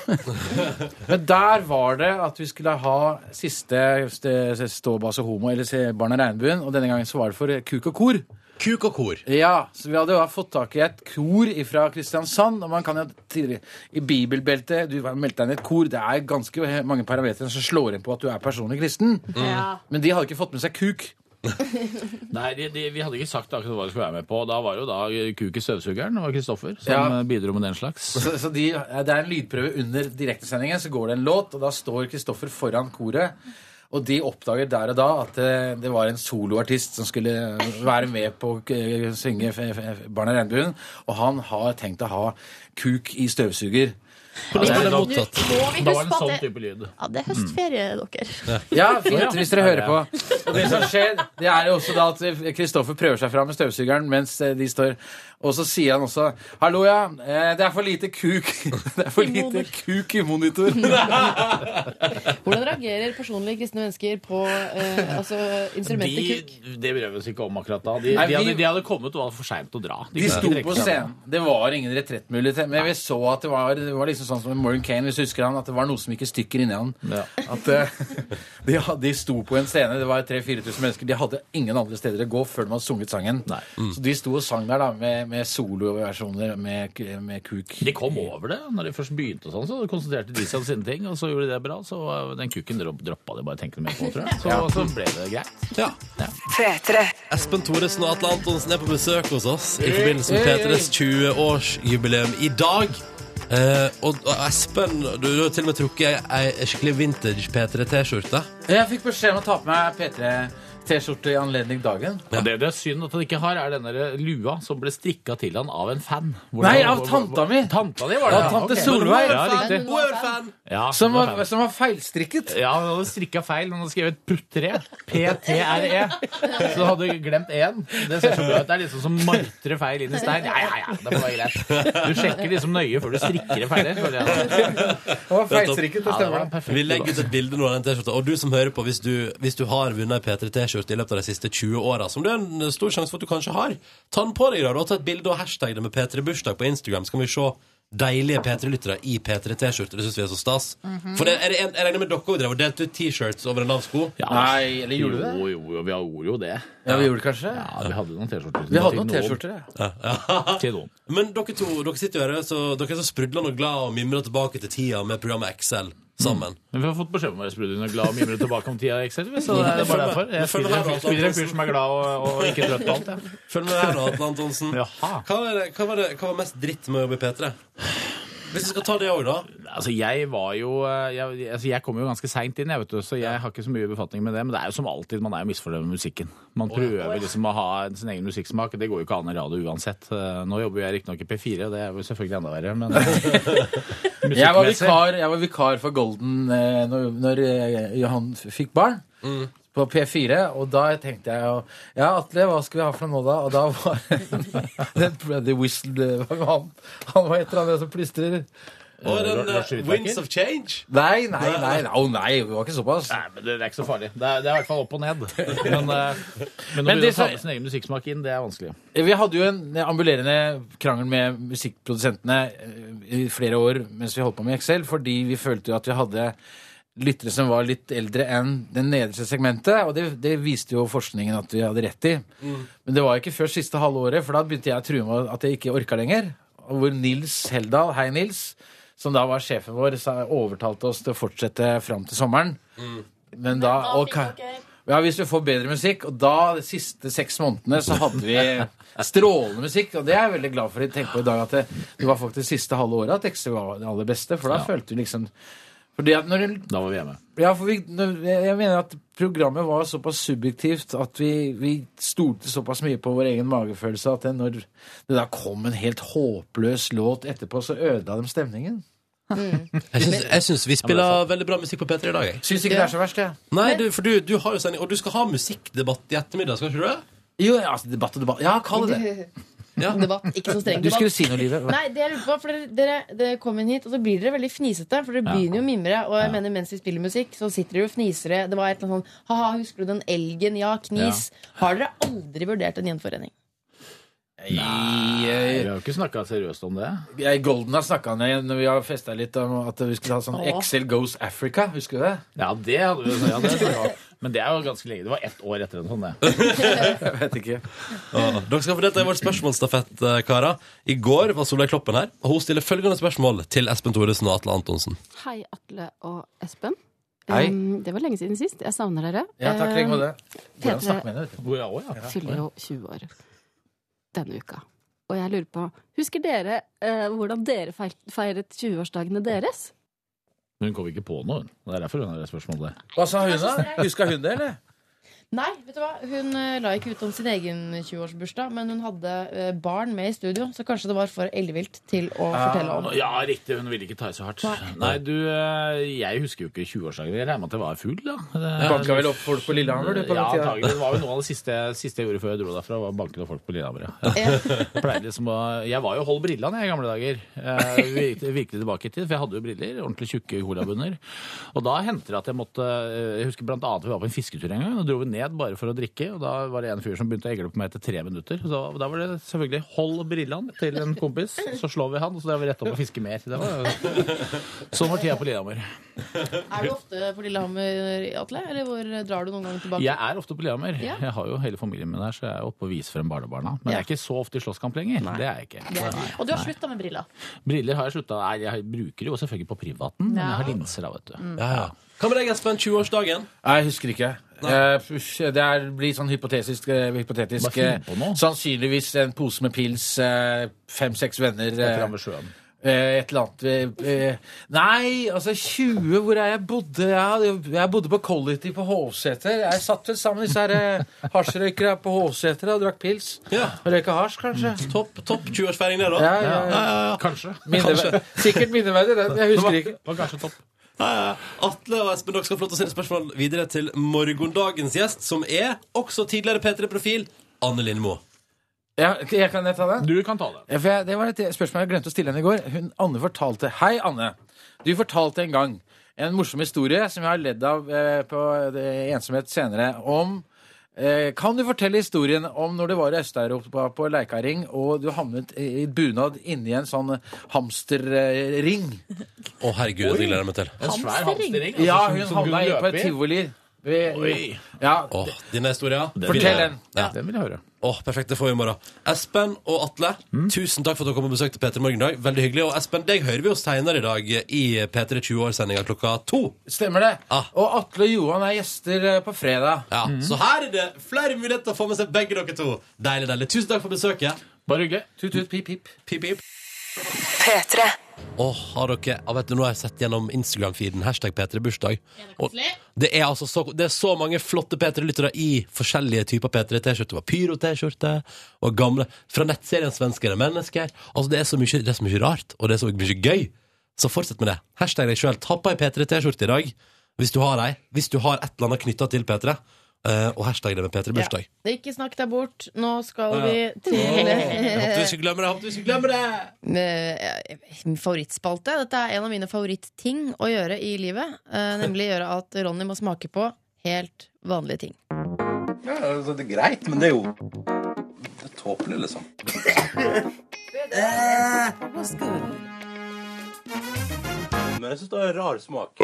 K: Men der var det at vi skulle ha siste st- st- ståbass og homo, eller se Barna Regnbuen, og denne gangen så var det for Kuk og Kor.
A: Kuk og kor.
K: Ja, så vi hadde jo fått tak i et kor fra Kristiansand, og man kan jo tidligere i bibelbeltet, du har meldt deg inn i et kor, det er ganske mange parametre som slår inn på at du er personlig kristen.
L: Ja.
K: Men de hadde ikke fått med seg kuk.
L: Nei, de, de, vi hadde ikke sagt akkurat hva vi skulle være med på. Da var jo da Kuki Støvsugeren og Kristoffer som
K: Ja.
L: eh, bidro med den slags.
K: Så, så de, det er en lydprøve under direktesendingen, så går det en låt, og da står Kristoffer foran koret. Og de oppdager der og da at eh, det var en soloartist som skulle være med på å eh, synge F- F- F- Barna i regnbuen, og han har tenkt å ha kuk i støvsuger.
C: Hvordan var det
K: da-
C: mottatt? Nå må vi Da var det huske en på at sånn det- type lyd. Ja, det er høstferie, dere.
K: Ja, fint hvis dere hører på. Og det som skjer, det er jo også da at Kristoffer prøver seg fram med støvsugeren mens eh, de står Og så sier han også Hallo, ja. eh, Det er for lite kuk [LAUGHS] Det er for lite kuk i monitor. [LAUGHS]
B: Hvordan reagerer personlige kristne mennesker på eh, altså, instrumentet
L: De,
B: kuk?
L: det bryr vi oss ikke om akkurat da. De,
K: Nei,
L: de,
K: vi-
L: hadde, de hadde kommet og var for seint å dra.
K: De sto på scenen. Det var ingen retrettmulighet. Men vi så at det var, det var liksom sånn som med Morgan Kane, hvis du husker han, at det var noe som gikk i stykker inni han. At eh, [LAUGHS] de, had- de sto på en scene, det var 3000-4000 mennesker, de hadde ingen andre steder å gå før de hadde sunget sangen. Mm. Så de sto og sang der da, med, med soloversjoner med, k- med kuk.
L: De kom over det når de først begynte, og sånn, så konsentrerte de seg om sine ting. Og så gjorde de det bra, så eh, den kukken dro- droppa de bare tenkte mer på, tror jeg. Så,
A: Ja.
L: så ble det greit.
A: Ja. [LAUGHS] Espen Thoresen og Atle Antonsen er på besøk hos oss i forbindelse med
L: Hey, hey,
A: P3s 20-årsjubileum i dag. Eh, og og Espen, du, du har til og med trukket ei ei skikkelig vintage P3-T-skjorte.
K: Jeg fikk beskjed om å ta på meg P3-T-skjorte i anledning dagen.
L: Og det det er synd at han ikke har, er den der lua som ble strikka til han av en fan. Hvor-
K: Nei, av
L: hvor- hvor-
K: tanta mi!
L: Tanta di var
K: Ja,
L: det, ja,
K: tante
L: ok.
K: Solveig.
L: Ja, riktig.
K: Hun var fan.
L: Ja,
K: Som
L: hun var
K: var,
L: fan.
K: som var feilstrikket.
L: Ja, han hadde strikka feil. Han hadde skrevet puttre. P-T-R-E. E. Så du hadde glemt én. Det ser så bra ut. Det er liksom som martre feil inn i stein. Ja, ja, ja, det må være greit. Du sjekker liksom nøye før du strikker det ferdig. føler jeg. Ja, det var en perfekt
A: Vi legger ut et bilde nå av den T-skjorta. Og du som hører på, hvis du, hvis du har vunnet ei P3-T-skjorte i løpet av de siste 20 åra, som det er en stor sjanse for at du kanskje har, ta den på deg da, og ta et bilde og hashtag det med P3bursdag på Instagram, så kan vi se deilige P3-lyttere i P3-T-skjorter. Det syns vi er så stas.
L: Mhm.
A: For det, er det en, jeg regner med dere også drev og delte ut T-shirts over en lav sko?
L: Ja.
K: Nei, eller gjorde du det?
L: Jo, jo, jo, vi gjorde jo det.
K: Ja, vi gjorde kanskje?
L: Ja, vi hadde noen T-skjorter.
K: Vi hadde noen
L: Til
K: T-skjorter, ja.
A: Ja.
L: [LAUGHS] Til noen.
A: Men dere to dere sitter jo her, så dere er så sprudlende og glad og mimrer tilbake til tida med programmet Excel sammen.
L: Mm. Men vi har fått beskjed om å være sprudlende glad og mimre tilbake om tida i Excel. Så det
A: Mm.
L: er bare derfor. Jeg spiller en fyr- spiller en fyr som er glad og, og ikke trøtt på alt. jeg.
A: Følg med her nå, Atle Antonsen. Hva var, det, hva, var det, hva var mest dritt med å jobbe i P3? Hvis du skal ta det òg, da.
L: Altså, jeg var jo eh, Jeg, altså, jeg kom jo ganske seint inn, jeg, vet du, så jeg har ikke så mye befatning med det. Men det er jo som alltid, man er jo misfornøyd med musikken. Man prøver liksom å ha sin egen musikksmak. Det går jo ikke an i radio uansett. Eh, Nå jobber jeg riktignok i P4, og det er jo selvfølgelig enda verre,
A: [LAUGHS]
L: men
K: Jeg var,
L: Musikkmessig.
K: vikar, jeg var vikar for Golden eh, når, når eh, Johan f- fikk barn. På P4, og da tenkte jeg jo Ja, Atle, hva skal vi ha fra nå, da? Og da var [LAUGHS] den, The Whistle hva var han, han var et eller annet som plystrer.
A: Og den eh, Winds of Change.
K: Nei, nei, nei. Å nei, det var ikke såpass.
L: Nei, men det er ikke så farlig. Det er, det er i hvert fall opp og ned. Men, eh, men å
K: Men
L: begynne
K: det
L: å ta
K: som-
L: med sin egen musikksmak inn, det er vanskelig.
K: Eh, Vi hadde jo en ambulerende krangel med musikkprodusentene eh, i flere år mens vi holdt på med Excel, fordi vi følte jo at vi hadde lyttere som var litt eldre enn det nederste segmentet, og det, det viste jo forskningen at vi hadde rett i.
A: Mm.
K: Men det var ikke før siste halve året, for da begynte jeg å true med at jeg ikke orka lenger. Og hvor Nils Heldal, hei Nils, som da var sjefen vår, sa- overtalte oss til å fortsette fram til sommeren.
A: Mm.
K: Men da, ok. Ja, hvis vi får bedre musikk, og da de siste seks månedene så hadde vi strålende musikk, og det er jeg veldig glad for. Jeg tenker på i dag at det, det var faktisk siste halve året at Excel var det aller beste, for da følte vi liksom fordi at når en
L: Da var vi hjemme.
K: ja, for vi, når- jeg jeg mener at programmet var såpass subjektivt at vi, vi stolte såpass mye på vår egen magefølelse at det, når det da kom en helt håpløs låt etterpå, så ødela de stemningen. Mm.
A: Jeg syns vi spiller veldig bra musikk på P3 i dag. Jeg.
K: Syns ikke det er så verst, jeg.
A: Nei, du, for du, du har jo sending, og du skal ha musikkdebatt i ettermiddag, skal ikke du det?
K: Jo, altså debatt og debatt. Ja, kall det [LAUGHS] det.
B: Debatt, ikke så streng
K: Du skulle
B: debatt.
K: si noe, Live.
B: Nei, det jeg lurer på, for dere, dere, dere kom inn hit, og så blir dere veldig fnisete. For dere
K: Ja.
B: begynner jo å mimre. Og jeg mener, mens vi spiller musikk, så sitter dere og fniser. dere. Det var et eller annet sånn Ha-ha, husker du den elgen? Ja, knis. Har dere aldri vurdert en gjenforening?
K: Nei, jeg
L: har jo ikke snakka seriøst om det.
K: Jeg, Golden har snakka ned når vi har festa litt om at vi skulle ha sånn
L: Åh.
K: Excel Goes Africa. Husker du det?
L: Ja, det hadde vi jo ja, det hadde vi. Men det er jo ganske lenge. Det var ett år etter en sånn, det.
K: [LAUGHS] Jeg vet ikke.
A: Ja, dere skal få dette i vår spørsmålsstafett, eh, karer. I går var Solveig Kloppen her, og hun stiller følgende spørsmål til Espen Thoresen og Atle Antonsen.
O: Hei, Atle og Espen.
K: Hei.
O: Um, det var lenge siden sist. Jeg savner dere.
K: Ja, takk, like med det. Hvordan
O: P3
K: snakker med henne? vet du?
O: fyller jo 20 år denne uka. Og jeg lurer på Husker dere eh, hvordan dere feil- feiret 20-årsdagene deres?
L: Hun kom ikke på noe, hun. Det er derfor hun har det spørsmålet.
K: Hva sa hun, da? Huska hun det, eller?
B: Nei, vet du hva? hun eh, la ikke ut om sin egen 20-årsbursdag, men hun hadde eh, barn med i studio, så kanskje det var for ellevilt til å fortelle om.
L: Ah, Ja, riktig. Hun ville ikke ta i så hardt. Nei, du, eh, jeg husker jo ikke 20-årsdagen. Jeg regner med at jeg var full, da.
K: Du banka vel opp folk på Lillehammer, du, på den
L: ja,
K: tida?
L: antagelig. Det var jo noe av det siste, siste jeg gjorde før jeg dro derfra, var å banke opp folk på Lillehammer, ja. [LAUGHS] Jeg Pleide liksom å Jeg var jo hold brillene, jeg, i gamle dager. Eh, Virkelig, virkelig tilbake i tid, for jeg hadde jo briller. Ordentlig tjukke colabunner. Og da hendte det at jeg måtte eh, Jeg husker blant annet vi var på en fisketur en gang, og dro vi ned bare for å drikke, og da var det en fyr som begynte å egle på meg etter tre minutter. Så da- da var det selvfølgelig 'hold brillene' til en kompis, så slår vi han, og så drar vi rett opp og fisker mer. Det var Sånn var tida på Lillehammer.
B: Er du ofte på Lillehammer, Atle? Eller hvor eh, drar du noen gang tilbake?
L: Jeg er ofte på Lillehammer.
B: Ja.
L: Jeg har jo hele familien min her, så jeg er oppe og viser frem barnebarna. Men jeg er ikke så ofte i slåsskamp lenger. Det er jeg ikke. Nei.
C: Og du har slutta med
O: [LAUGHS]
C: briller.
L: Briller har jeg slutta Nei, jeg bruker jo selvfølgelig på privaten, men
C: Ja.
L: jeg har linser da, vet du.
K: Ja, ja.
A: Hva med deg, Espen? 20-årsdagen?
K: Nei, jeg husker ikke. Eh, push, det er, blir sånn hypotetisk, eh, hypotetisk
L: Bare finn
K: eh, Sannsynligvis en pose med pils, eh, fem-seks venner
L: Etter han
K: eh,
L: ved sjøen.
K: eh, Et eller annet eh, eh, Nei, altså 20 Hvor er jeg bodde? Jeg, hadde- jeg bodde på Quality på Hovseter. Jeg satt vel sammen med disse her, eh, hasjrøykere på Hovseter og drakk pils. Og røyka hasj, kanskje.
A: Topp, topp 20-årsfeiring der, da.
K: Ja, ja, ja.
L: Kanskje.
K: Minnever- Sikkert minneverdig, den. Jeg husker ikke.
L: Det var kanskje topp.
A: Ja, ja. Atle og Espen, dere skal få lov til å sende spørsmål videre til morgendagens gjest, som er også tidligere P3-profil Anne Lindmo.
K: Ja, jeg kan jeg ta den?
L: Du kan ta den.
K: Ja, for jeg, det var et spørsmål jeg glemte å stille henne i går. Hun, Anne fortalte Hei, Anne. Du fortalte en gang en morsom historie som jeg har ledd av eh, på det, Ensomhet senere, om eh, Kan du fortelle historien om når du var i Øst-Europa på leikaring, og du havnet i i bunad inni en sånn hamsterring?
A: Å, herregud, det gleder jeg meg til.
L: En svær hamsterring? altså,
K: Ja,
L: som-
K: hun
L: som
K: havna i
L: løp
K: på et tivoli. Ved-
A: Oi.
K: Ja.
A: Åh, denne historien
K: Den vil Fortell jeg- den.
A: Ja.
L: Den vil jeg høre.
A: Åh, perfekt, det får vi i morgen. Espen og Atle, tusen takk for at dere kom og besøkte P3 Morgendag. Veldig hyggelig. Og Espen, deg hører vi jo senere i dag i P3 20-årssendinga klokka to.
K: Stemmer det. Og Atle og Johan er gjester eh, på fredag.
A: Ah. Ja, Så her er det flere muligheter å få med seg begge dere to. Deilig, deilig. Tusen takk for besøket.
L: Bare hyggelig.
K: Tut, tut, pip, pip.
A: Pip, pip. Åh, har dere, ja, vet du, Nå har jeg sett gjennom Instagram-feeden. Hashtag P3bursdag. Og Det er altså så, det er så mange flotte P3-lyttere i forskjellige typer P3-T-skjorter. Det var Pyro-T-skjorte og gamle Fra nettserien 'Svensker er mennesker'. Altså, det er, så mye, det er så mye rart, og det er så mye gøy. Så fortsett med det. Hashtag deg sjøl. Ta på ei P3-T-skjorte i dag hvis du har ei. Hvis du har et eller annet knytta til P3. eh, og hashtag det med P3bursdag.
B: Ikke snakk deg bort. Nå skal
A: Ja.
B: vi til
A: Jeg håpet vi skulle glemme det! Jeg håpet vi skulle glemme det!
B: Eh, min favorittspalte. Dette er en av mine favorittting å gjøre i livet. Eh, nemlig gjøre at Ronny må smake på helt vanlige ting.
P: Ja, altså, det er greit, men det er jo Det er tåpelig, liksom.
B: [LAUGHS]
P: Men jeg syns det har en rar smak.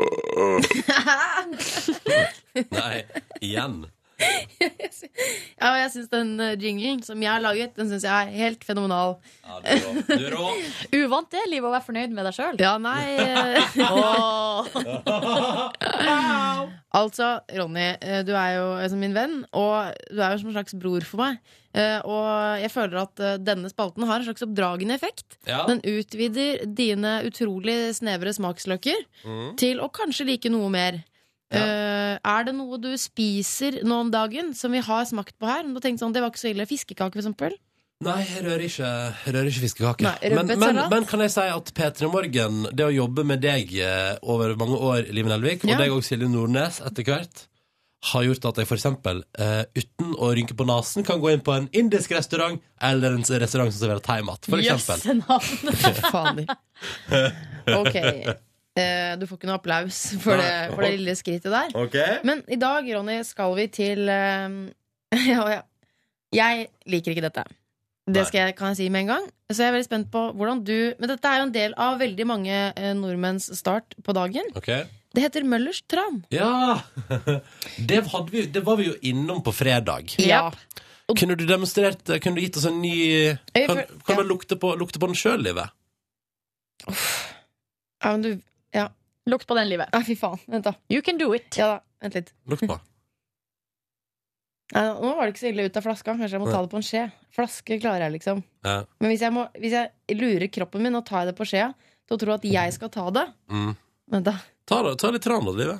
A: Nei, igjen.
B: ja, og jeg syns den eh, jinglen som jeg har laget, den syns jeg er helt fenomenal.
A: Du
B: [LAUGHS]
A: er rå.
C: Uvant det livet å være fornøyd med deg sjøl.
B: Ja, nei eh, Altså, Ronny, eh, du er jo altså, min venn, og du er jo som en slags bror for meg. Eh, Og jeg føler at eh, denne spalten har en slags oppdragende effekt.
Q: Ja.
B: Den utvider dine utrolig snevre smaksløker
Q: Mm.
B: til å kanskje like noe mer. Eh, er det noe du spiser nå om dagen som vi har smakt på her? Om Du har tenkt sånn, Det var ikke så ille. Fiskekake, for eksempel.
A: Nei, jeg rører ikke, jeg rører ikke fiskekaker.
B: Nei,
A: men,
B: rødbetsalat?
A: men, men kan jeg si at P3 Morgen, det å jobbe med deg eh, over mange år, Liven Elvik,
B: Ja.
A: og deg og Silje Nordnes etter hvert, har gjort at jeg for eksempel, eh, uten å rynke på nasen, kan gå inn på en indisk restaurant, eller en restaurant som serverer thaimat, for eksempel.
C: Jøsse navn.
B: Fader. [LAUGHS] Ok. Eh, du får ikke noe applaus for
A: Nei.
B: det, for det lille skrittet der.
A: Ok.
B: Men i dag, Ronny, skal vi til eh, [LAUGHS] ja, ja. Jeg liker ikke dette. Det skal jeg, kan jeg si med en gang. Så jeg er veldig spent på hvordan du Men dette er jo en del av veldig mange eh, nordmenns start på dagen.
A: [LAUGHS] Ok.
B: Det heter Møllers tran.
A: Ja! [LAUGHS] Det, hadde vi, det var vi jo innom på fredag.
B: Ja.
A: Kunne du demonstrert, eh, kunne du gitt oss en ny
B: Jeg
A: Kan,
B: føl-
A: kan man lukte på, lukte på den sjøl, Livet?
B: Ja, men du, ja.
C: Lukt på den, livet.
B: Nei, fy faen. Vent, da.
C: You can do it.
B: Ja da, vent litt.
A: Lukt på.
B: Nei, nå var det ikke så ille ut av flaska. Kanskje jeg må ta det på en skje. Flaske klarer jeg, liksom.
A: Ja.
B: Men hvis jeg, må, hvis jeg lurer kroppen min og tar det på skjea, til å tro at jeg skal ta det
A: Mm.
B: Vent, da.
A: Ta, det- ta litt tran, da, Live.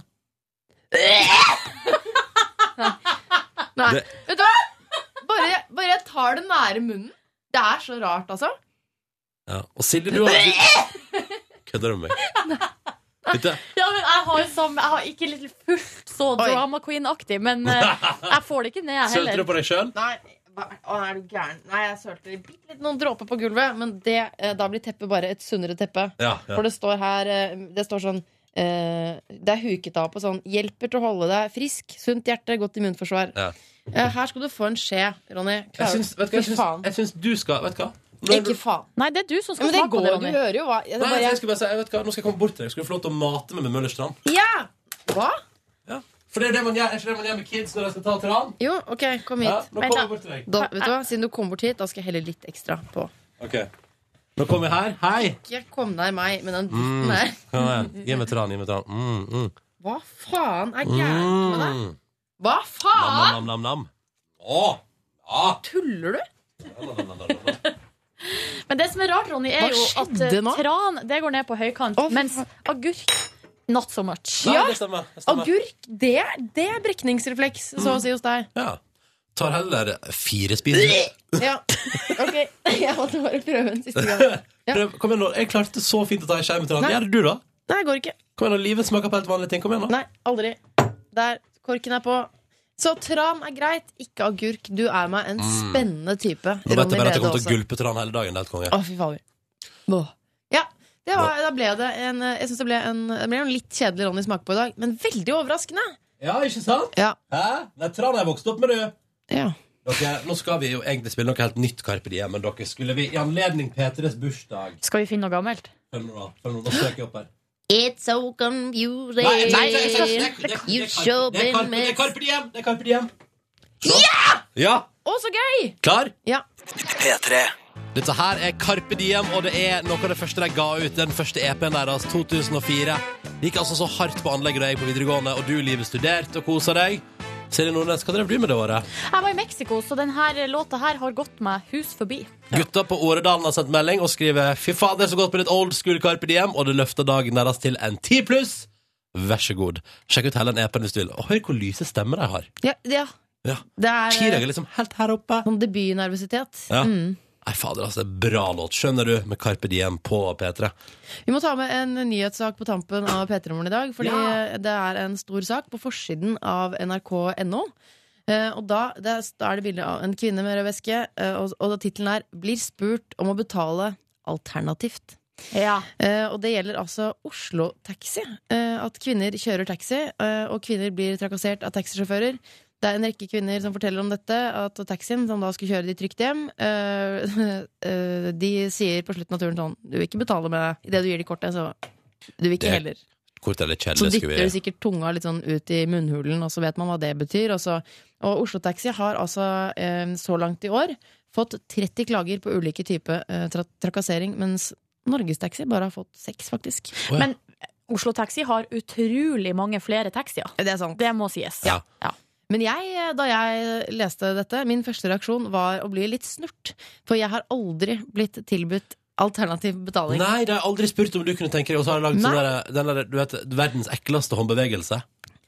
B: Nei.
A: Det-
B: Vet du hva? Bare, bare jeg tar det nære munnen. Det er så rart, altså.
A: Ja. Og Silje,
B: [LAUGHS]
A: du har du- Kødder du med meg? Dette,
C: Ja, men jeg har, som, jeg har ikke litt fullt så drama queen-aktig, men eh, jeg får det ikke ned, jeg
A: sølte
C: heller.
A: du på deg sjøl?
B: Nei, hva- å, er du gæren? Nei, jeg sølte litt, bitte litt noen dråper på gulvet, men det, eh, da blir teppet bare et sunnere teppe.
A: Ja, ja.
B: For det står her eh, Det står sånn eh, Det er huket av på sånn 'Hjelper til å holde deg frisk. Sunt hjerte, godt immunforsvar'.
A: Ja.
B: Eh, her skal du få en skje, Ronny.
A: Jeg syns, vet du hva, jeg
B: Fy
A: syns, jeg syns du skal Vet du hva? Nå er
B: Ikke
A: du-
B: faen.
C: Nei, det er du som skal
B: Men det
C: smake på
B: går,
C: det,
B: du
C: Ronny.
B: hører jo hva jeg, det
A: Nei,
B: bare,
A: jeg skulle bare si, jeg vet hva, nå skal jeg komme bort til deg. Skal du få lov til å mate meg med Møllerstrand?
B: Ja! Hva?
A: For det er det man gjør, er ikke det man gjør med kids når de skal ta tran?
B: Jo, ok, kom hit.
A: Ja, nå kommer jeg bort til deg.
B: da, vet du hva? Siden du kom bort hit, da skal jeg helle litt ekstra på.
A: Ok. Nå kommer jeg her. Hei!
B: Ikke kom deg meg med den
A: Mm. [LAUGHS]
B: dritten der.
A: Kom igjen. Gi meg tran, gi meg tran. Mm, mm.
B: Hva faen er gærent med deg?
A: Mm.
B: Hva faen?
A: Nam, nam, nam, nam. Å! Ja!
B: Tuller du?
C: Men det som er rart, Ronny,
B: Hva
C: er jo at eh,
B: skjedde nå?
C: tran det går ned på høykant, mens agurk not so much.
A: Nei, det stemmer. Det stemmer. Mm.
B: Agurk, det, er- det er brekningsrefleks, så å si hos deg.
A: Ja. Tar heller fire
B: [LAUGHS]
A: spiser.
B: Ja, ok. [LAUGHS] Jeg måtte bare prøve en siste
A: [LAUGHS]
B: gang.
A: Prøv. Kom igjen nå, Jeg klarte så fint å ta en skje med tran.
B: Nei.
A: Gjør det du, da?
B: Nei, det går ikke.
A: Kom igjen nå, Livet smaker på helt vanlige ting. Kom igjen nå.
B: Nei, aldri. Der, korken er på. Så tran er greit, ikke agurk. Du er meg en
A: Mm.
B: spennende type.
A: Nå vet jeg bare at jeg
B: Brede
A: kommer til å
B: også.
A: gulpe tran hele dagen. Det er helt konge.
B: Å, fy fader. Åh. Ja, det var, da ble det en eh, Jeg synes det ble en, det ble en litt kjedelig Ronny smak på i dag, men veldig overraskende.
A: Ja, ikke sant?
B: Ja.
A: Hæ? Det er tran jeg vokste opp med, du.
B: Ja.
A: Dere, nå skal vi jo egentlig spille noe helt nytt Carpe Diem, men dere skulle vi i anledning P3s bursdag
C: Skal vi finne noe gammelt?
A: Følg med nå, følg med nå, nå søker jeg opp her.
B: It's so confusing.
A: Nei, nei, nei, nei, nei, det er- det er
B: You've
A: Carpe-
B: sure
A: det er
B: been
A: Carpe- det er Carpe Diem! Det er Carpe Diem! Så. Ja!
B: Å, så gøy!
A: Klar?
B: Ja.
A: P3. Dette her er Carpe Diem, og det er noe av det første de ga ut. Den første EP-en deres, 2004. Det gikk altså så hardt på anlegget da jeg gikk på videregående, og du, Livet, studerte og kosa deg. Silje Nordnes, hva drev du med det året?
C: Jeg var i Mexico, så denne låta her har gått meg hus forbi.
A: Gutta på Åredalen har sendt melding og skriver Fy fader, så godt på litt old school Carpe Diem, og det løfter dagen deres til en 10 pluss. Vær så god. Sjekk ut hele den EP-en hvis du vil. Og hør hvor lyse stemmer de har.
B: Ja, ja.
A: Ja.
B: Det er
A: Chirag er liksom helt her oppe.
B: Sånn debutnervøsitet.
A: Ja.
B: Mm.
A: Nei, fader, altså. det er Bra låt, skjønner du, med Carpe Diem på P3.
B: Vi må ta med en nyhetssak på tampen av P3-morgen i dag. Fordi det er en stor sak på forsiden av nrk.no. Eh, og da, det, er- da er det bilde av en kvinne med rød veske, eh, og, og tittelen er 'Blir spurt om å betale alternativt'. Eh, og det gjelder altså Oslo-taxi. Eh, at kvinner kjører taxi, eh, og kvinner blir trakassert av taxisjåfører. Det er en rekke kvinner som forteller om dette, at taxien som da skulle kjøre de trygt hjem, eh, [LAUGHS] eh, de sier på slutten av turen sånn Du vil ikke betale med det Idet du gir de kortet, så Du vil ikke
A: Det-
B: heller.
A: Kort eller
B: Så
A: kjedelig,
B: dytter
A: skulle
B: du
A: vi
B: sikkert tunga litt sånn ut i munnhulen, og så vet man hva det betyr. Og, så, og Oslo Taxi har altså eh, så langt i år fått 30 klager på ulike typer eh, tra trakassering, mens Norges Taxi bare har fått seks, faktisk.
C: Å, ja. Men Oslo Taxi har utrolig mange flere taxier.
B: Det,
C: må sies.
B: Ja. Men jeg, eh, da jeg leste dette, min første reaksjon var å bli litt snurt. For jeg har aldri blitt tilbudt alternativ betaling.
A: Nei, de har aldri spurt om du kunne tenke deg Og så har de lagd sånn der, den der, du vet, verdens ekleste håndbevegelse.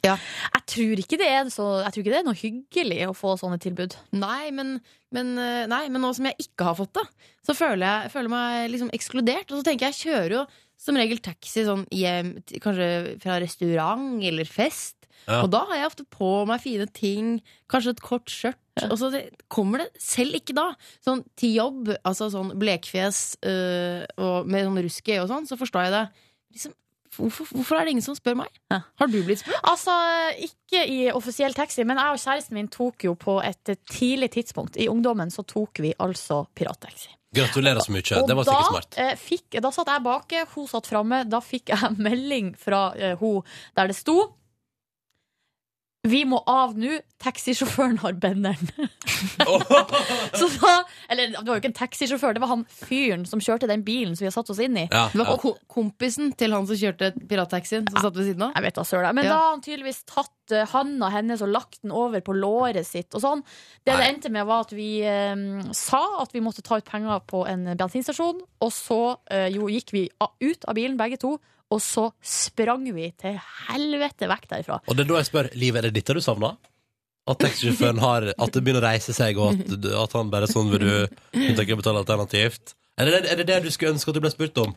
C: Jeg tror ikke det er, så, jeg tror ikke det er noe hyggelig å få sånne tilbud.
B: Nei, men, men, eh, nei, men nå som jeg ikke har fått det, så føler jeg føler meg liksom ekskludert. Og så tenker jeg, jeg kjører jo som regel taxi sånn hjem, til- kanskje fra restaurant eller fest.
Q: Ja.
B: Og da har jeg ofte på meg fine ting, kanskje et kort skjørt. Og så det, kommer det selv ikke da. Sånn til jobb, altså sånn blekfjes øh, og med sånn rusk i øyet og sånn, så forstår jeg det. Liksom, hvorfor, hvorfor er det ingen som spør meg? Har du blitt spurt?
C: Altså, ikke i offisiell taxi, men jeg og kjæresten min tok jo på et tidlig tidspunkt. I ungdommen så tok vi altså pirattaxi.
A: Gratulerer så mye.
C: Og
A: Det var
C: da,
A: sikkert smart.
C: eh, Fikk, da satt jeg bak, hun satt [LAUGHS] eh, framme. Da fikk jeg melding fra eh, hun der det sto Vi må av nå. Taxisjåføren har benderen. [LAUGHS] så da Eller det var jo ikke en taxisjåfør, det var han fyren som kjørte den bilen som vi har satt oss inn i.
B: Det var ko kompisen til han som kjørte pirattaxien, som satt ved siden av.
C: Ah. Jeg vet da søren. Men da har han tydeligvis tatt eh, handa hennes og lagt den over på låret sitt og sånn. Det det endte med, var at vi eh, sa at vi måtte ta ut penger på en bensinstasjon, og så eh, jo, gikk vi a- ut av bilen begge to, og så sprang vi til helvete vekk derifra.
A: Og det er da jeg spør, Liv, er det dette du savner? At taxisjåføren har At det begynner å reise seg, og at, du- at han bare sånn vil du du tenker å betale alternativt? Er det, er det det du skulle ønske at du ble spurt om?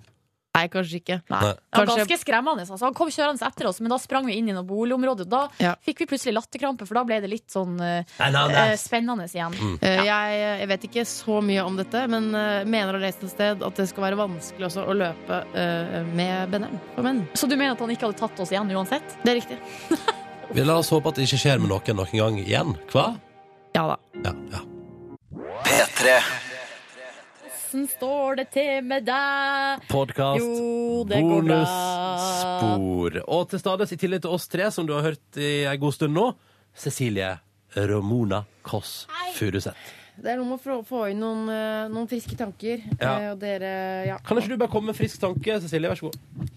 B: Nei, kanskje ikke.
A: Nei.
C: Det var ganske skremmende. Altså. Han kom kjørende etter oss, men da sprang vi inn i noe boligområde. Da
B: Ja.
C: fikk vi plutselig latterkrampe, for da ble det litt sånn eh,
B: Nei, nei, nei.
C: eh, spennende igjen.
B: Eh, Jeg, jeg vet ikke så mye om dette, men eh, mener å lese et sted at det skal være vanskelig også å løpe eh, med benderen for menn.
C: Så du mener at han ikke hadde tatt oss igjen uansett?
B: Det er riktig.
A: Vi lar oss håpe at det ikke skjer med noen noen gang igjen. Hva?
B: Ja da.
A: Ja,
D: P3.
C: Hvordan står det til med deg?
A: Podkast.
C: Jo, det går bra.
A: Bonusspor. Og til stades, i tillegg til oss tre, som du har hørt i en god stund nå, Cecilie Romona Kåss Furuseth.
B: Det er noe med å få- få inn noen, eh, noen friske tanker.
A: Ja.
B: eh, Og dere, ja.
A: Kan ikke du bare komme med en frisk tanke, Cecilie? Vær så god.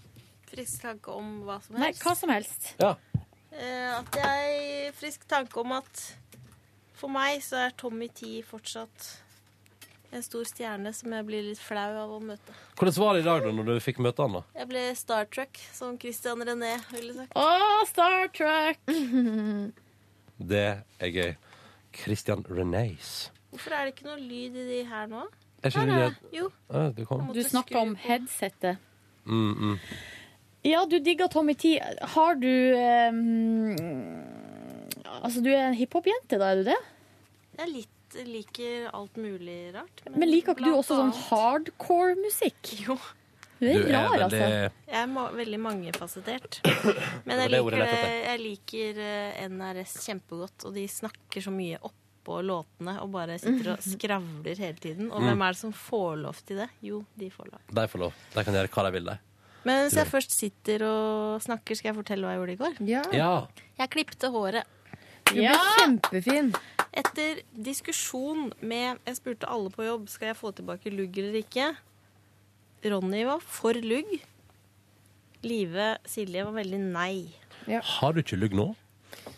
Q: Frisk tanke om hva som
C: Nei,
Q: helst.
C: hva som helst.
A: Ja.
Q: Eh, at jeg Frisk tanke om at for meg så er Tommy Tee fortsatt en stor stjerne som jeg blir litt flau av å møte.
A: Hvordan var det i dag da når du fikk møte han? da?
Q: Jeg ble Star Trek, som Christian René ville sagt.
C: Å, Star
Q: [LAUGHS]
C: Trek!
A: Det er gøy. Christian Renace.
Q: Hvorfor er det ikke noe lyd i de her nå?
A: Er ikke
Q: Her
A: det-
Q: Jo.
A: Ja, det kom.
Q: Jeg
C: Du
Q: måtte
C: snakka om headsettet.
A: Mm, mm.
C: Ja, du digger Tommy T. Har du eh, Altså, du er en hiphop-jente, da, er du det?
Q: Jeg er litt, liker alt mulig rart.
C: Men liker ikke du
Q: blant
C: også sånn
Q: annet-
C: hardcore musikk?
Q: Jo.
C: Du er rar,
Q: Jeg
C: altså.
Q: er ma veldig mangefasettert.
C: [LAUGHS]
Q: Men
C: Det var
Q: jeg
C: det ordet
Q: liker,
C: jeg lette
Q: det, jeg liker eh, NRS kjempegodt, og de snakker så mye oppå låtene og bare
C: [LAUGHS]
Q: sitter og skravler hele tiden. Og
A: Mm.
Q: hvem er det som får lov til det? Jo, de får lov.
A: De får lov. De kan gjøre hva de vil, de.
Q: Men hvis jeg først sitter og snakker, skal jeg fortelle hva jeg gjorde i går?
A: Ja.
Q: Jeg klipte håret.
B: Du ble kjempefin.
Q: Etter diskusjon med Jeg spurte alle på jobb skal jeg få tilbake lugg eller ikke. Ronny var for lugg. Live Silje var veldig nei.
A: Har du ikke lugg nå?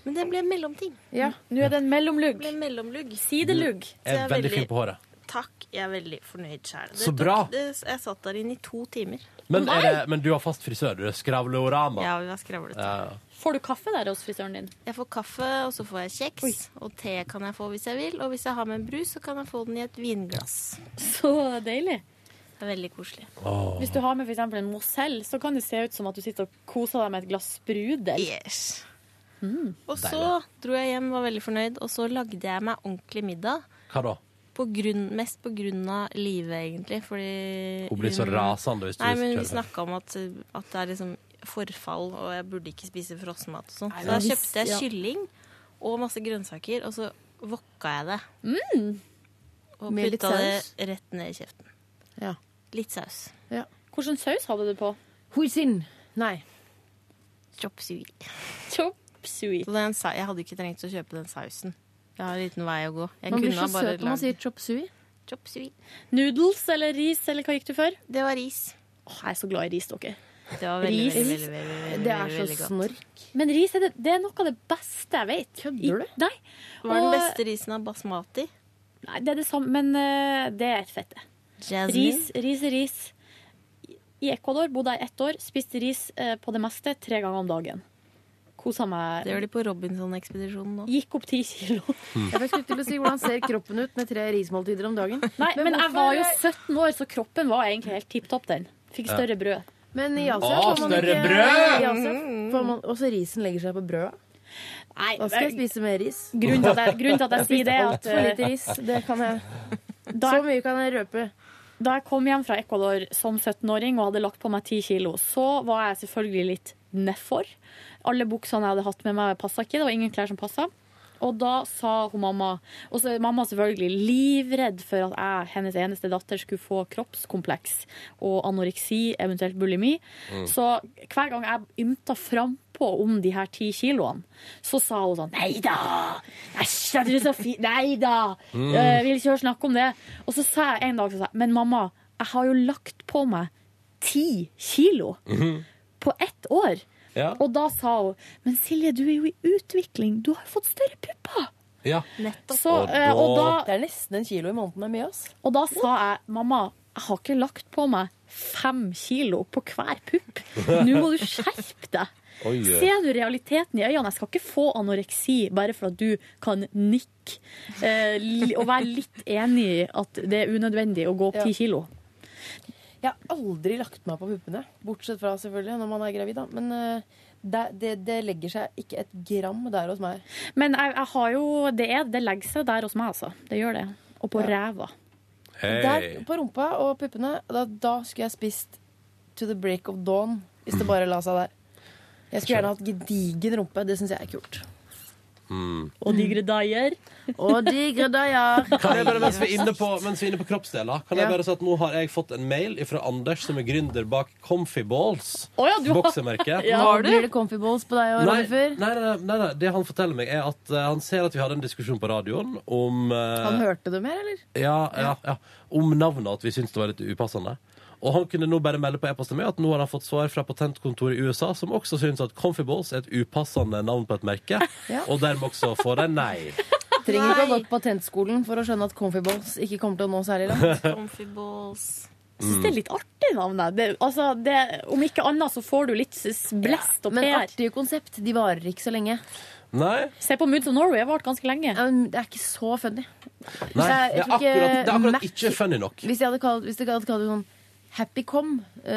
Q: Men det ble en mellomting.
C: Nå er det en mellomlugg.
Q: Det ble en mellomlugg.
C: Sidelugg.
Q: Så
A: Jeg er veldig fin på håret.
Q: Takk. Jeg er veldig fornøyd sjæl.
A: Så bra.
Q: Jeg satt der inne i to timer.
A: Men, er det, men du har fast frisør, du. Skravleorama.
Q: Ja, vi var skravlete.
A: Ja.
C: Får du kaffe der hos frisøren din?
Q: Jeg får kaffe, og så får jeg kjeks. Og te kan jeg få hvis jeg vil. Og hvis jeg har med en brus, så kan jeg få den i et vinglass.
C: Så deilig.
Q: Det er veldig koselig.
C: Hvis du har med f.eks. en Moselle, så kan det se ut som at du sitter og koser deg med et glass sprudel.
Q: Yes. Og så dro jeg hjem, var veldig fornøyd, og så lagde jeg meg ordentlig middag.
A: Hva da?
Q: På grunn, mest på grunn av livet, egentlig. Fordi
A: Hun blir så rasende hvis du
Q: Nei, men
A: kjører
Q: vi
A: det.
Q: snakka om at, at det er liksom forfall, og jeg burde ikke spise frossenmat og sånn.
C: Nei,
Q: Så
C: men
Q: da
C: hvis-
Q: kjøpte jeg
C: ja.
Q: kylling og masse grønnsaker, og så vokka jeg det.
C: Mm.
Q: Og
C: Med litt
Q: putta
C: saus?
Q: det rett ned i kjeften. Litt saus.
C: Hvilken saus hadde du på?
B: Hoisin. Nei.
Q: Chop suey.
C: Chop suey.
Q: Så den, sa- jeg hadde ikke trengt å kjøpe den sausen. Jeg har en liten vei å gå. Jeg
B: Man blir
Q: kunne ha
B: så
Q: bare
B: søt når man
Q: lagd-
B: sier chop sui.
Q: Chop suey.
C: Noodles eller ris, eller hva gikk du for?
Q: Det var ris.
C: Åh, jeg er så glad i ris, dere.
Q: Det var veldig,
C: Ris.
Q: veldig, veldig, veldig, veldig,
C: Det er
Q: veldig,
C: så
Q: veldig godt.
C: snork. Men ris er, det, det er noe av det beste jeg vet. Kødder du? Nei.
Q: Hva er
C: Og-
Q: den beste risen av basmati?
C: Nei, det er det samme, men eh, det er et fette.
Q: Jasmine?
C: Ris, ris, ris. I Ecuador bodde jeg ett år, spiste ris eh, på det meste tre ganger om dagen. Kosa meg.
Q: Det gjør de på Robinson-ekspedisjonen nå.
C: Gikk opp ti kilo.
B: Jeg skulle til å si hvordan ser kroppen ut med tre rismåltider om dagen. [LAUGHS]
C: Nei, men, jeg
B: hvorfor-
C: var jo 17 år, så kroppen var egentlig helt tipp topp, den. Fikk
B: Ja.
C: større brød.
B: Men i Asia
C: Å,
B: får man
C: større
B: ikke
C: brød!
B: I Asia får man også risen legger seg på brødet.
C: Nei,
B: Da skal jeg spise mer ris.
C: Grunnen til at jeg- grunnen til at jeg
B: spiste
C: sier det er at,
B: altfor lite ris. Det kan jeg. Så mye kan jeg røpe.
C: Da jeg kom hjem fra Ecuador som 17-åring og hadde lagt på meg 10 kilo, så var jeg selvfølgelig litt nedfor. Alle buksene jeg hadde hatt med meg, passa ikke. Det var ingen klær som passa. Og da sa hun mamma, og så er mamma selvfølgelig livredd for at jeg, hennes eneste datter, skulle få kroppskompleks og anoreksi, eventuelt bulimi.
Q: Mm.
C: Så hver gang jeg ymta frampå på om de her ti kiloene, så sa hun sånn Nei da! Æsj, er du så fin? Nei da!
B: Mm.
C: Eh, vil ikke høre snakk om det. Og så sa jeg en dag så sa jeg, Men mamma, jeg har jo lagt på meg ti kilo på ett år.
A: Ja.
C: Og da sa hun Men Silje, du er jo i utvikling. Du har jo fått større pupper.
A: Ja.
C: Så, eh, og da,
B: Det er nesten en kilo i måneden. Det er mye, ass.
C: og da sa jeg mamma, jeg har ikke lagt på meg fem kilo på hver pupp. Nå må du skjerpe deg.
B: Oi, eh.
C: Ser du realiteten i øynene? Jeg skal ikke få anoreksi bare for at du kan nikke eh, li- og være litt enig i at det er unødvendig å gå opp
B: Ja.
C: ti kilo.
B: Jeg har aldri lagt meg på puppene. Bortsett fra selvfølgelig når man er gravid, da. Men eh, det, det, det legger seg ikke et gram der hos meg.
C: Men jeg, jeg har jo det, er, det legger seg der hos meg, altså. Det gjør det. Og på ræva.
B: Der, på rumpa og puppene, da, da skulle jeg spist to the break of dawn. Hvis
C: [LAUGHS]
B: det bare la seg der. Jeg skulle gjerne hatt gedigen rumpe. Det syns jeg er kult.
C: Og digre daier.
B: Og digre daier.
A: Mm. Kan jeg bare, mens vi er inne
B: [LAUGHS]
A: på, mens vi er inne på kroppsdeler, kan jeg
B: Ja.
A: bare si at nå har jeg fått en mail fra Anders, som er gründer bak Comfy Balls.
B: Å ja, du har-
A: Boksemerket.
B: [LAUGHS] Ja, har du? Blir det comfy balls på deg og
A: Nei,
B: Ronny?
A: nei, nei, nei, nei, det han forteller meg, er at eh, han ser at vi hadde en diskusjon på radioen om eh,
B: Han hørte det mer, eller?
A: Ja, ja, ja. Om navnet at vi syntes det var litt upassende. Og han kunne nå bare melde på e-posten med at nå har han fått svar fra patentkontoret i USA, som også syns at Comfy Balls er et upassende navn på et merke,
B: Ja.
A: og dermed også får de
B: [LAUGHS]
A: nei.
B: Trenger ikke å ha gått patentskolen for å skjønne at comfy balls ikke kommer til å nå særlig langt.
R: [LAUGHS] Comfy balls.
C: Jeg synes det er litt artig navn. da. Det, altså, det, om ikke annet så får du litt s- blest og
B: Men
C: pr.
B: artige konsept, de varer ikke så lenge.
A: Nei.
C: Se på Moods of Norway, jeg har vart ganske lenge.
B: Det er ikke så funny.
A: nei.
B: Jeg-
A: Det
B: jeg
A: er
B: tror ikke
A: akkurat, det er
B: Mac-
A: akkurat ikke funny nok.
B: Hvis de hadde kalt, hvis de hadde kalt det sånn Happycom eh,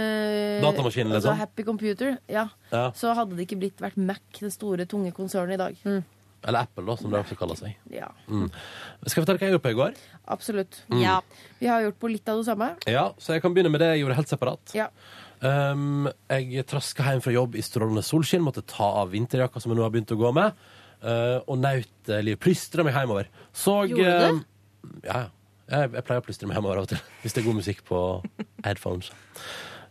A: Datamaskinen,
B: altså
A: liksom?
B: Happy Computer, ja.
A: Ja.
B: Så hadde det ikke blitt vært Mac, det store, tunge konsernet i dag.
C: Mm.
A: Eller Apple, da, som det også kaller seg.
B: Ja,
A: Mm. Skal jeg fortelle hva jeg gjorde på i går?
B: absolutt.
A: Mm. Ja.
B: Vi har gjort på litt av det samme.
A: Ja, Så jeg kan begynne med det jeg gjorde helt separat.
B: Ja.
A: Um, jeg traska hjem fra jobb i strålende solskinn, måtte ta av vinterjakka som jeg nå har begynt å gå med, eh, og naut eh, livet. Plystra meg hjemover. Så
B: Gjorde du det?
A: eh, Ja, ja. Jeg, jeg pleier å plystre meg hjemover av og til, [LAUGHS] hvis det er god musikk på headphones.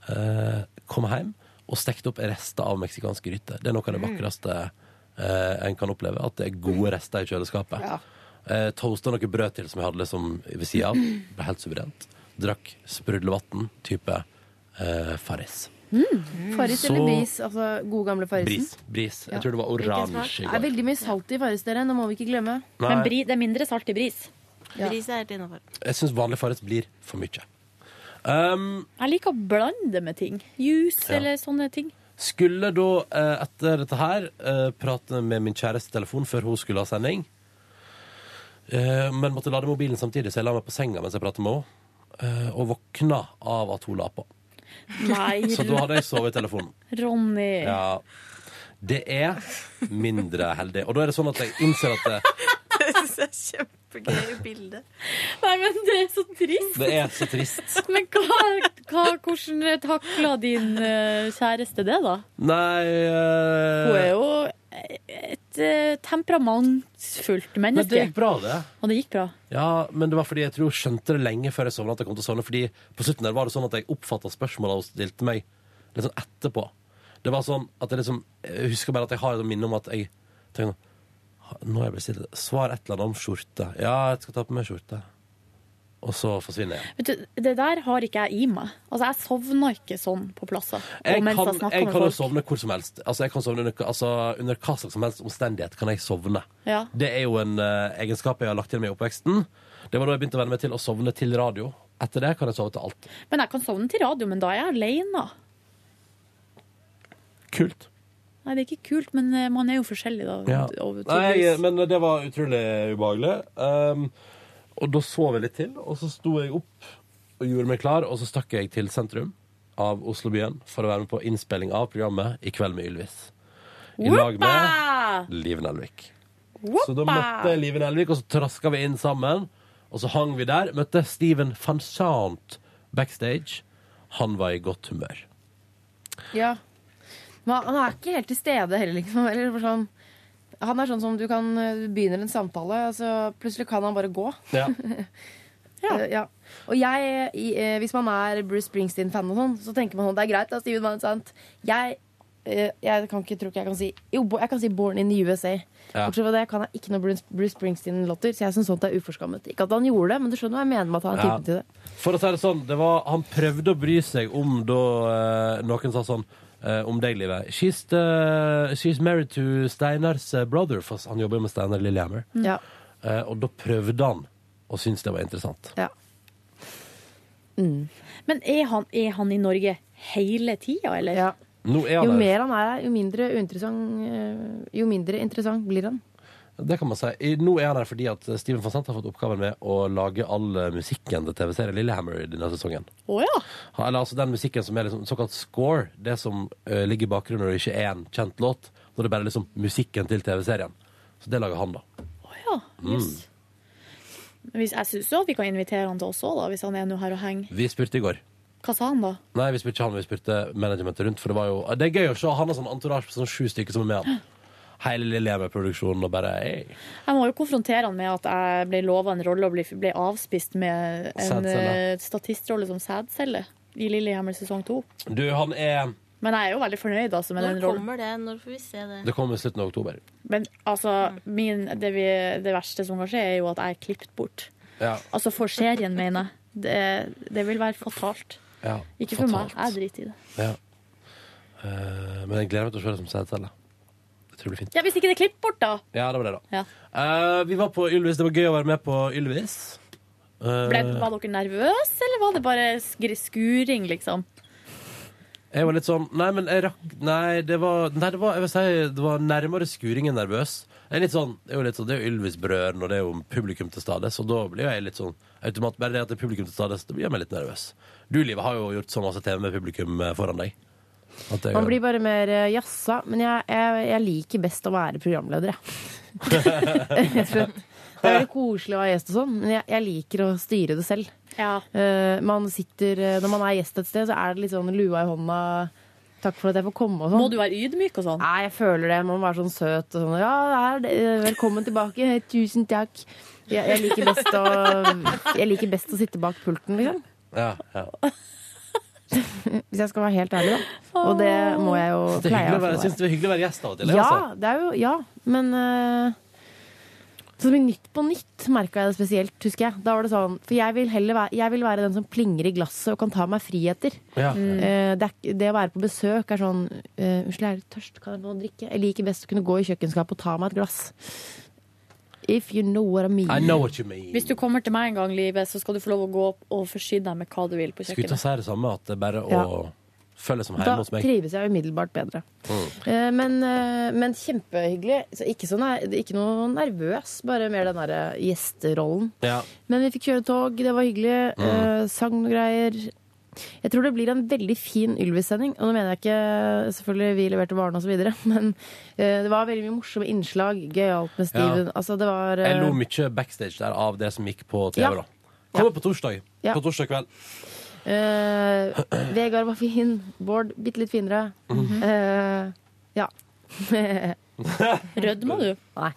A: Eh, kom hjem og stekte opp rester av meksikansk gryte. Det er noe av det
G: Mm.
A: vakreste eh, en kan oppleve, at det er gode rester i kjøleskapet.
G: Ja.
A: Eh, toasta noe brød til som jeg hadde liksom ved sida av. Ble helt suverent. Drakk sprudlevann type eh, Farris.
B: Farris
C: Mm.
A: Så-
B: eller bris? Altså god gamle farrisen.
A: Bris. bris.
B: Ja.
A: Jeg tror det var oransje i
B: Det er
A: går.
B: veldig mye salt i Farris, dere. Nå må vi ikke glemme.
A: Nei. Men bri-
C: det er mindre salt i bris.
A: Ja.
R: Bris er helt innafor.
A: Jeg syns vanlig Farris blir for mye. Um,
C: Jeg liker å blande det med ting. Juice
A: Ja.
C: eller
A: [LAUGHS]
C: sånne ting.
A: skulle da eh, etter dette her eh, prate med min kjæreste i telefon før hun skulle ha sending. Eh, men måtte lade mobilen samtidig, så jeg la meg på senga mens jeg pratet med henne. eh, og våkna av at hun la på.
C: Nei,
A: Så da hadde jeg sovet i telefonen.
C: Ronny.
A: Ja. Det er mindre heldig. Og da er det sånn at jeg innser at det,
R: [LAUGHS] Det syns jeg er kjempegøy bilde.
C: Nei, men det er så trist.
A: det er så trist.
C: Men hva, hva, hvordan takla din eh, kjæreste det, da?
A: Nei eh,
C: Hun er jo et eh, temperamentsfullt
A: Men det
C: menneske.
A: gikk bra, det.
C: Og det gikk bra.
A: Ja, men det var fordi jeg tror hun skjønte det lenge før jeg sovna at jeg kom til å sovne. Fordi på slutten der var det sånn at jeg oppfatta spørsmåla hun stilte meg, litt sånn etterpå. Det var sånn at jeg liksom Jeg husker bare at jeg har et minne om at jeg tenkte sånn, "Ha, Nå er jeg bestilt Svar et eller annet om skjorte. Ja, jeg skal ta på meg skjorte. Og så forsvinner jeg.
C: Vet du, det der har ikke jeg i meg. Altså, Jeg sovna ikke sånn på plasser. og
A: Jeg
C: mens
A: kan,
C: jeg snakket
A: jeg
C: med
A: kan jo
C: folk.
A: sovne hvor som helst. Altså, jeg kan sovne under, altså, under hva slags som helst omstendighet kan jeg sovne.
C: Ja.
A: Det er jo en eh, egenskap jeg har lagt til meg i oppveksten. Det var da jeg begynte å venne meg til å sovne til radio. Etter det kan jeg sove til alt.
C: Men jeg kan sovne til radio, men da er jeg alene.
A: Kult.
C: Nei, det er ikke kult, men eh, man er jo forskjellig, da. og- og-
A: Nei, jeg- men det var utrolig ubehagelig. Um, og da sov jeg litt til, og så sto jeg opp og gjorde meg klar, og så stakk jeg til sentrum av Oslobyen for å være med på innspilling av programmet I kveld med Ylvis. I lag med
C: Woppa!
A: Liv Nelvik.
C: Woppa!
A: Så da møtte jeg Live Nelvik, og så traska vi inn sammen. Og så hang vi der. Møtte Steven van Sant backstage. Han var i godt humør.
B: Ja. Men han er ikke helt til stede heller, liksom. Eller for sånn, han er sånn som du kan du begynner en samtale, og så plutselig kan han bare gå.
A: Ja.
B: Eh, ja. Og jeg, i, eh, hvis man er Bruce Springsteen-fan og sånn, så tenker man sånn, det er greit, da, Steven Van Sant. Jeg eh, Jeg kan ikke tro ikke jeg kan si Jo, bo- jeg kan si 'Born in the USA'.
A: Ja.
B: Bortsett fra det kan jeg ikke noe Bruce- Bruce Springsteen-låter, så jeg syns sånt er uforskammet. Ikke at han gjorde det, men du skjønner hva jeg mener med at han har
A: Ja.
B: typen til det.
A: For å si det sånn, det var, han prøvde å bry seg om da eh, noen sa sånn eh, om deg, Live. She's, the- she's married to Steinars eh, brother, for han jobber jo med Steinar Lillehammer.
B: Ja.
A: Eh, og da prøvde han å synes det var interessant.
C: Men er han, er han i Norge hele tida, eller?
A: Nå er
B: Jo
A: han der.
B: mer han er her, jo mindre uinteressant, eh, jo mindre interessant blir han.
A: Det kan man si. I- Nå er han her fordi at Steven van Sant har fått oppgaven med å lage all eh, musikken til TV-serien Lillehammer i denne sesongen.
C: Å ja.
A: Ha- Eller altså den musikken som er liksom såkalt score, det som eh, ligger i bakgrunnen når det ikke er en kjent låt, når det bare er liksom musikken til TV-serien. Så det lager han, da.
C: ja.
A: Mm.
C: Men hvis, jeg syns jo at vi kan invitere han til oss òg, hvis han er nå her og henger.
A: Vi spurte i går.
C: Hva sa han da?
A: Nei, vi spurte ikke han, vi spurte managementet rundt. For det var jo Det er gøy å se. Han har sånn entourage på sånn sju stykker som er med han. Hele Lillehammer-produksjonen og bare hey.
C: Jeg må jo konfrontere han med at jeg ble lova en rolle og ble, ble avspist med en
A: Sædcelle.
C: eh, statistrolle som sædcelle i Lillehammer sesong to.
A: Du, han er
C: Men jeg er jo veldig fornøyd altså, med
Q: Når
C: den rollen.
Q: kommer det? Når får vi se det?
A: Det kommer i slutten av oktober.
C: Men altså, min, det, vi, det verste som kan skje, er jo at jeg er klippet bort.
A: Ja.
C: Altså for serien, mener jeg. Det, det vil være fatalt.
A: ja.
C: Ikke for meg. Jeg driter i det.
A: Ja. Eh, men jeg gleder meg til å se det som sædcelle. Jeg tror det blir fint.
C: Ja, Hvis ikke det er klippet bort, da!
A: Ja, det var det, da.
C: Ja.
A: Eh, vi var på Ylvis. Det var gøy å være med på Ylvis. Eh,
C: Ble, var dere nervøse, eller var det bare skri- skuring, liksom?
A: Jeg var litt sånn Nei, men jeg rakk Nei, det var, nei, det var Jeg vil si det var nærmere skuring enn nervøs. Jeg er litt sånn, det er jo litt sånn, det er jo Ylvis-brødrene, og det er jo publikum til stades. Og da blir jo jeg litt sånn automat, Bare det at det er publikum til stades, det blir jeg meg litt nervøs. Du, Liv, har jo gjort så masse TV med publikum eh, foran deg. At jeg-
B: Man blir bare mer eh, jazza, men jeg, jeg, jeg liker best å være programleder, jeg. Rett og slett. Det er veldig koselig å være gjest og sånn, men jeg, jeg liker å styre det selv. Eh, man sitter, eh, når man er gjest et sted, så er det litt sånn lua i hånda. Takk for at jeg får komme og sånn.
C: Må du være ydmyk og sånn?
B: Nei, jeg føler det. Man må være sånn søt og sånn. Ja, her, eh, velkommen tilbake. Tusen takk. Jeg, jeg, liker best å, jeg liker best å sitte bak pulten, liksom.
A: Ja, ja.
B: Hvis jeg skal være helt ærlig, da. Og det må jeg jo
A: Syns det er hyggelig
B: pleie
A: å
B: å
A: være-
B: være.
A: syns det er hyggelig å være gjest av og til. jeg,
B: Ja,
A: altså.
B: det er jo Ja, men eh, så med Nytt på nytt merka jeg det spesielt, husker jeg. Da var det sånn, For jeg vil, heller være, jeg vil være den som plinger i glasset og kan ta meg friheter.
A: Ja.
B: Mm. Eh, det, er, ikke- det å være på besøk er sånn eh, 'Unnskyld, jeg er litt tørst. Kan jeg få noe å drikke?' Jeg liker best å kunne gå i kjøkkenskapet og ta meg et glass. If you know what I mean.
A: I know what you mean.
C: Hvis du kommer til meg en gang i livet, så skal du få lov å gå opp og forsyne deg med hva du vil på
A: Skulle ikke
C: kjøkkenet.
A: si det samme, at det er bare å
B: Ja.
A: følge som hjemme
B: Da
A: hos meg.
B: trives jeg umiddelbart bedre.
A: Mm.
B: Eh, Men, eh, men kjempehyggelig. Så ikke, så ner- ikke noe nervøs, bare mer den derre gjesterollen.
A: Ja.
B: Men vi fikk kjøre tog, det var hyggelig.
A: Mm.
B: Eh, sang noen greier. Jeg tror det blir en veldig fin Ylvis-sending. Og nå mener jeg ikke selvfølgelig vi leverte varene osv., [LAUGHS] men eh, det var veldig mye morsomme innslag. Gøyalt med Steven.
A: Ja.
B: Altså, det var eh,
A: Jeg lo mye backstage der av det som gikk på TV.
B: Ja.
A: da Kommer på torsdag.
B: Ja.
A: På torsdag kveld.
B: eh, Vegard var fin. Bård bitte litt finere.
A: Mhm.
B: Eh,
C: [LAUGHS]
B: ja.
C: Rødma du?
B: Nei.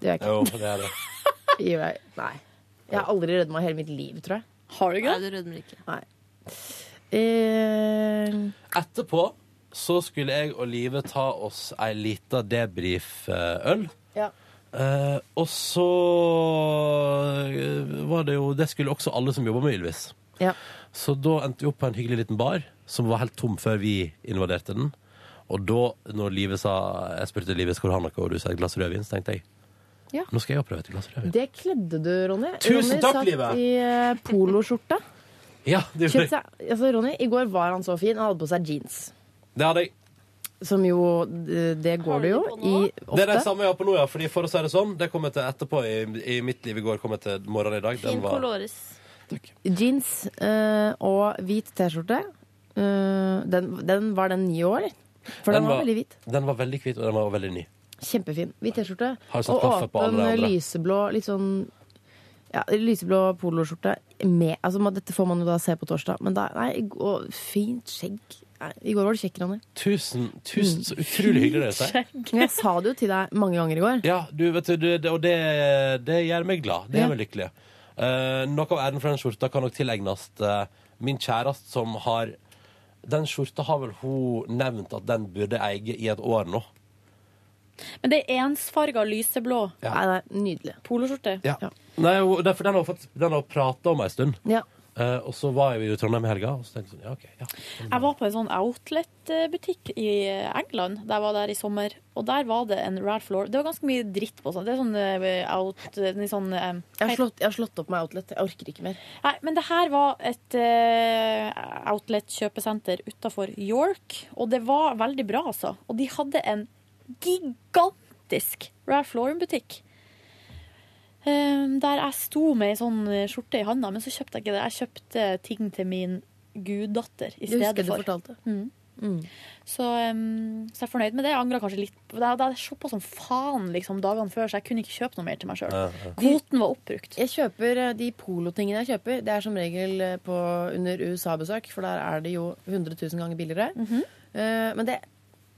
B: Det gjør jeg ikke.
A: Jo, det
B: [LAUGHS]
A: er det.
B: Gjør jeg? Nei. Jeg har aldri rødma i hele mitt liv, tror jeg.
C: Har du ikke?
Q: Nei, du rødmer ikke.
B: Nei. Eh,
A: Etterpå så skulle jeg og Live ta oss ei lita debrief-øl.
B: Ja.
A: Eh, og så eh, var det jo Det skulle også alle som jobba med Ylvis.
B: Ja.
A: Så da endte vi opp på en hyggelig liten bar som var helt tom før vi invaderte den. Og da, når Live sa Jeg spurte Live skal du ha noe, og du sa et glass rødvin, så tenkte jeg
B: Ja.
A: nå skal jeg også prøve et glass rødvin.
B: Det kledde du, Ronny.
A: Tusen
B: Ronny
A: takk,
B: satt
A: Live.
B: i eh, poloskjorte.
A: Ja, [LAUGHS] det
B: Kjøpt
A: gjorde jeg.
B: seg, altså, Ronny, I går var han så fin. Han hadde på seg jeans.
A: Det hadde jeg.
B: Som jo eh, Det går det jo i ofte.
A: Det er det samme jeg har på nå, ja. Fordi for å si det sånn, det kom jeg til etterpå i, i mitt liv i går. Kom jeg til morgenen i dag. Den
Q: Fin
A: var
Q: colores.
B: Jeans eh, og hvit T-skjorte. Eh, den, den var den ni år, eller? For den, var, veldig hvit.
A: Den var veldig hvit, og den var veldig ny.
B: Kjempefin. Hvit T-skjorte.
A: Har du satt
B: Og
A: kaffe på alle
B: åpen,
A: de andre?
B: lyseblå, litt sånn ja, lyseblå poloskjorte. Med, altså, man- dette får man jo da se på torsdag. Men da, nei, i går- fint skjegg. Nei, I går var det kjekk, Ronny.
A: Tusen, tusen,
B: Mm.
A: så utrolig hyggelig det er.
B: Men jeg sa det jo til deg mange ganger i går.
A: Ja, du, vet du, det, og det, det gjør meg glad. Det
B: Ja.
A: gjør meg lykkelig. Eh, noe av æren for den skjorta kan nok tilegnes eh, min kjæreste som har Den skjorta har vel hun nevnt at den burde eie i et år nå.
C: Men det er ensfarga lyseblå.
A: Ja.
B: Nei, det er nydelig.
C: Poloskjorte.
A: Ja. Nei, hun- det er for den har hun fått- den har hun prata om ei stund.
B: Ja.
A: Eh, og så var jeg jo i Trondheim i helga, og så tenkte jeg sånn, ja, ok, ja.
C: Jeg var på en sånn outlet-butikk i England da jeg var der i sommer. Og der var det en Ralph Lauren Det var ganske mye dritt på sånn. Det er sånn eh, out... en Sånn, eh,
B: Jeg har, slått, jeg har slått opp med outlet. Jeg orker ikke mer.
C: Nei, men det her var et eh, outlet-kjøpesenter utafor York, og det var veldig bra, altså. Og de hadde en gigantisk Ralph Lauren-butikk. Eh, der jeg sto med ei sånn skjorte i handa, men så kjøpte jeg ikke det. Jeg kjøpte ting til min guddatter i
B: Det husker
C: stedet
B: jeg du
C: for.
B: fortalte.
C: Mm. Så, um, så jeg er fornøyd med det. Jeg angrer kanskje litt. på det. Jeg shoppa som faen liksom, dagene før, så jeg kunne ikke kjøpe noe mer til meg sjøl. Kvoten var oppbrukt.
B: Jeg kjøper eh, De polotingene jeg kjøper, det er som regel eh, på, under USA-besøk, for der er det jo 100 000 ganger billigere. Eh, men det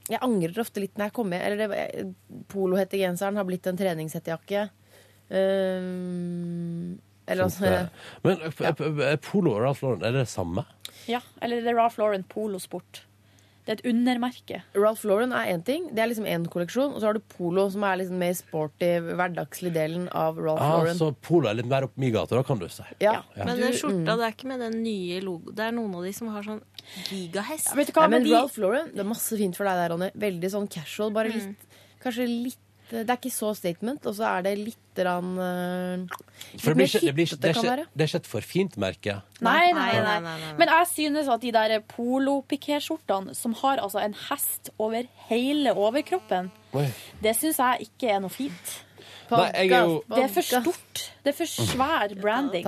B: jeg angrer ofte litt når jeg kommer Eller det, eh, jeg- polohettegenseren har blitt en treningshettejakke. Eh, eller
A: Synes
B: altså
A: det- Men eh, eh, eh, polo og Ralph Lauren, er det det samme?
C: Ja, eller det er Ralph Lauren polosport. Det er et undermerke.
B: Ralph Lauren er én ting. Det er liksom én kolleksjon. Og så har du polo, som er liksom mer sporty, hverdagslig delen av Ralph
A: Ah,
B: Lauren.
A: så polo er litt mer opp min gate, da kan du si.
B: Ja.
Q: Men eh,
A: Du-
Q: den
C: mm.
Q: skjorta, det er ikke med den nye logo Det er noen av de som har sånn gigahest.
B: Nei, men Ralph Lauren, det er masse fint for deg der, Ronny. Veldig sånn casual.
A: Mm.
B: Bare litt, kanskje litt Det er ikke så statement, og så er det litt rann, eh,
A: For det
B: litt mer
A: blir ikke, det blir ikke,
B: hipt,
A: det er
B: kan
A: ikke,
B: være.
A: det er ikke et for fint merke.
C: Nei, nei, nei, Men jeg synes at de der polopikéskjortene som har altså en hest over hele overkroppen,
A: Oi.
C: det syns jeg ikke er noe fint.
A: Nei, jeg er jo-
C: Det er for stort. Det er for svær branding.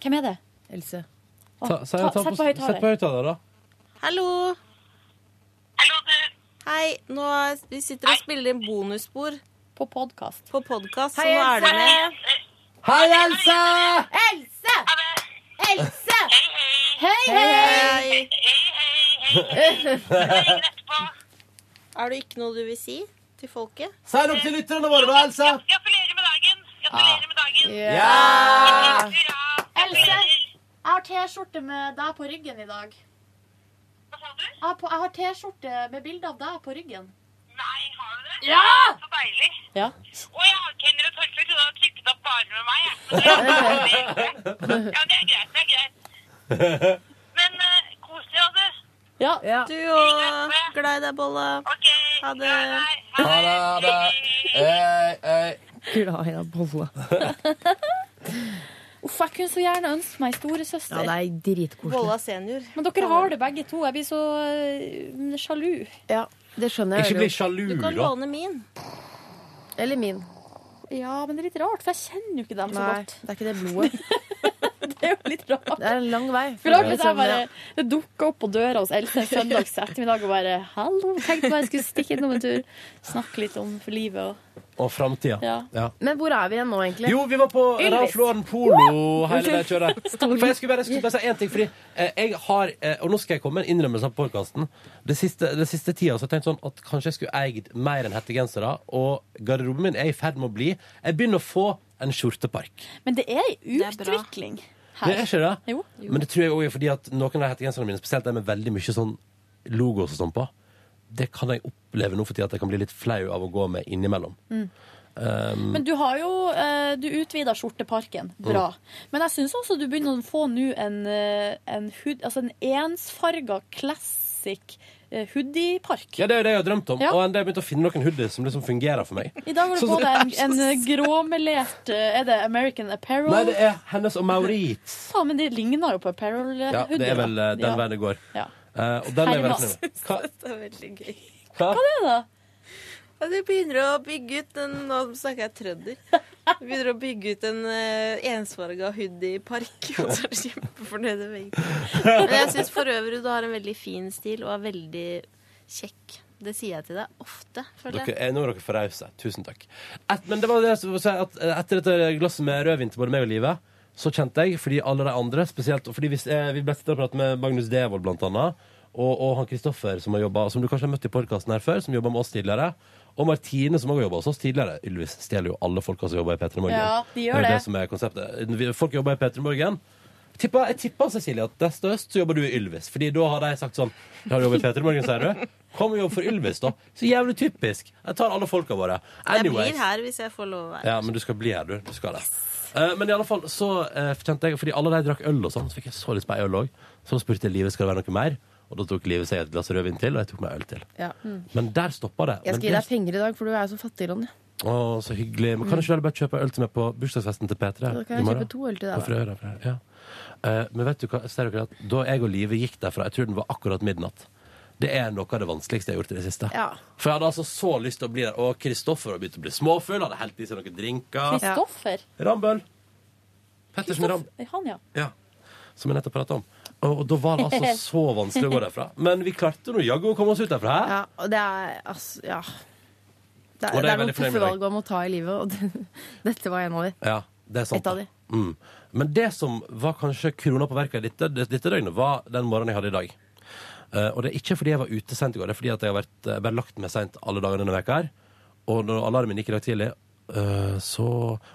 C: Hvem er det?
B: Else.
A: Ta, si- ta på- Sett på høyttaler, da.
Q: Hallo! Hei, nå er, vi sitter og spiller inn bonusspor.
C: På podkast.
Q: På podcast, så
B: Hei,
Q: nå er det
B: Else.
Q: med.
A: Hei, Else!
B: Else! Else!
Q: Hei, hei!
A: [LAUGHS]
Q: Er det ikke noe du vil si til folket?
I: Si noe til lytterne våre, da, Else.
Q: Ja!
C: Else, jeg har T-skjorte med deg på ryggen i dag. Jeg har på- jeg har T-skjorte med bilde av deg på ryggen.
I: Ja!
C: Ja.
I: Og jeg har ikke hender og tørkle, så du har trykket opp bare med meg. Jeg.
C: [LAUGHS]
I: Ja, det er greit. Det er greit. Men eh, kos deg, altså.
C: Ja.
Q: Du òg. Glad i deg, Bolle. Ha det.
I: Ha det.
B: Glad i deg,
A: [LAUGHS]
B: bolla.
C: Uff, jeg kunne så gjerne ønske meg storesøster.
B: Ja, det er dritkoselig.
Q: Bolla senior.
C: Men dere har det begge to. Jeg blir så øh, sjalu.
B: Ja, det skjønner jeg.
A: Ikke bli sjalu,
Q: Du kan
A: da.
Q: låne min.
B: Eller min.
C: Ja, men det er litt rart, for jeg kjenner jo ikke dem så
B: Nei,
C: godt.
B: det er ikke det [LAUGHS] blodet.
C: Det er jo litt rart.
B: Det er en lang vei.
C: For rart hvis jeg bare, Det dukka opp på døra hos Else en søndags ettermiddag og bare 'Hallo, tenkte bare jeg skulle stikke innom en tur.' Snakke litt om livet og
A: Og framtida.
C: Ja.
B: Men hvor er vi igjen nå, egentlig?
A: Jo, vi var på
B: Ylvis.
A: Ralph Lauren Polo
B: Wow!
A: hele det kjøret. For jeg skulle bare, jeg skulle bare si én ting, fordi eh, jeg har eh, Og nå skal jeg komme med en innrømmelse på podkasten. Det siste, det siste tida så har jeg tenkt sånn at kanskje jeg skulle eid mer enn hettegensere. Og garderoben min er i ferd med å bli Jeg begynner å få en skjortepark.
C: Men det er en utvikling her.
A: Det er ikke det?
C: Jo.
A: Men det tror jeg også er fordi at noen av de hettegenserne mine, spesielt de med veldig mye sånn logos og sånn på, det kan jeg oppleve nå for tida at jeg kan bli litt flau av å gå med innimellom.
C: Mm.
A: Um,
C: Men du har jo eh, Du utvida skjorteparken. Bra.
A: Mm.
C: Men jeg syns også du begynner å få nå en, eh, en hud... Altså en ensfarga classic eh, hoodiepark.
A: ja, det er jo det jeg har drømt om,
C: Ja.
A: og en del begynte å finne noen hoodies som liksom fungerer for meg.
C: I dag har du
A: Sånn
C: på
A: som
C: deg
A: det er
C: en,
A: så-
C: en gråmelert eh, Er det American Apparel?
A: Nei, det er hennes og Maurits.
C: Ja, men det ligner jo på apparel. eh,
A: Ja, det er
C: hoodie,
A: vel eh,
C: da.
A: den veien det går.
C: Ja.
A: Eh, og den er jeg veldig fornøyd med. Hva?
Q: [LAUGHS] Det er veldig gøy.
A: Hva?
C: Hva er det, da?
Q: Ja, de begynner å bygge ut en Nå snakker jeg trønder. De begynner å bygge ut en uh, ensfarga hoodie-park. Og så er de kjempefornøyde
A: [LAUGHS]
Q: med det. Men jeg syns for øvrig du har en veldig fin stil og er veldig kjekk. Det sier jeg til deg ofte, føler
A: Dere,
Q: jeg.
A: er- nå er dere for rause. Tusen takk. Et, men det var det jeg skulle si, at eh, etter dette glasset med rødvin til både meg og livet, så kjente jeg, fordi alle de andre spesielt, og fordi hvis, eh, Vi ble sittende og prate med Magnus Devold, blant annet, og, og han Kristoffer, som har jobbet, som du kanskje har møtt i podkasten her før, som jobba med oss tidligere. Og Martine, som også har jobba hos oss tidligere. Ylvis stjeler jo alle folka som jobber i P3 Morgen.
C: Ja, de
A: det er
C: gjør
A: jo
C: det.
A: det som er konseptet. Vi- Folk jobber i P3 Morgen. tipper, jeg tipper Cecilie, at neste høst så jobber du i Ylvis. Fordi da har de sagt sånn «Ja, Har du jobbet i P3 Morgen, sier du? Kom og jobb for Ylvis, da. Så jævlig typisk. Jeg tar alle folka våre.
Q: Jeg
A: Anyways.
Q: blir her hvis jeg får lov å være.
A: Ja, men du skal bli her, du. du skal det. Eh, men i alle fall så eh, kjente jeg Fordi alle de drakk øl og sånn, så fikk jeg så lyst på ei øl òg. Så da spurte jeg livet skal det være noe mer, og da tok livet seg et glass rødvin til, og jeg tok meg øl til.
B: Ja.
A: Men der stoppa det.
B: Jeg
A: Men
B: skal gi
A: det-
B: deg penger i dag, for du er jo så fattig, Ronny.
A: Å, så hyggelig. Men kan ikke dere bare kjøpe øl til meg på bursdagsfesten til P3?
B: Da kan jeg
A: i morgen?
B: kjøpe to øl til deg,
A: På
B: da.
A: fredag, fredag, ja. Eh, men vet du hva, ser dere at da jeg og Live gikk derfra, jeg tror den var akkurat midnatt, det er noe av det vanskeligste jeg har gjort i det siste.
B: Ja.
A: For jeg hadde altså så lyst til å bli der. Og Kristoffer hadde begynt å bli småfull, hadde helt i seg noen drinker.
S: Kristoffer?
A: Rambøll. Pettersen Ram,
S: Han, ja.
A: ja. Som jeg nettopp prata om. Og, og da var det
B: [LAUGHS]
A: altså så vanskelig å gå derfra. Men vi klarte nå jaggu å komme oss ut derfra. Hæ?
B: Ja, og det er altså Ja. Det er,
A: Og det er
B: det er
A: veldig
B: noen
A: fornøyd
B: tøffe
A: med deg.
B: valg man må ta i livet, og [LAUGHS] det, dette var en av de.
A: Ja, det er sant.
B: Et av de.
A: Mm. Men det som var kanskje krona på verket i dette, dette døgnet, var den morgenen jeg hadde i dag. Eh, og det er ikke fordi jeg var ute sent i går, det er fordi at jeg har vært, eh, bare lagt meg sent alle dagene denne veka her. Og når alarmen gikk i dag tidlig, eh, så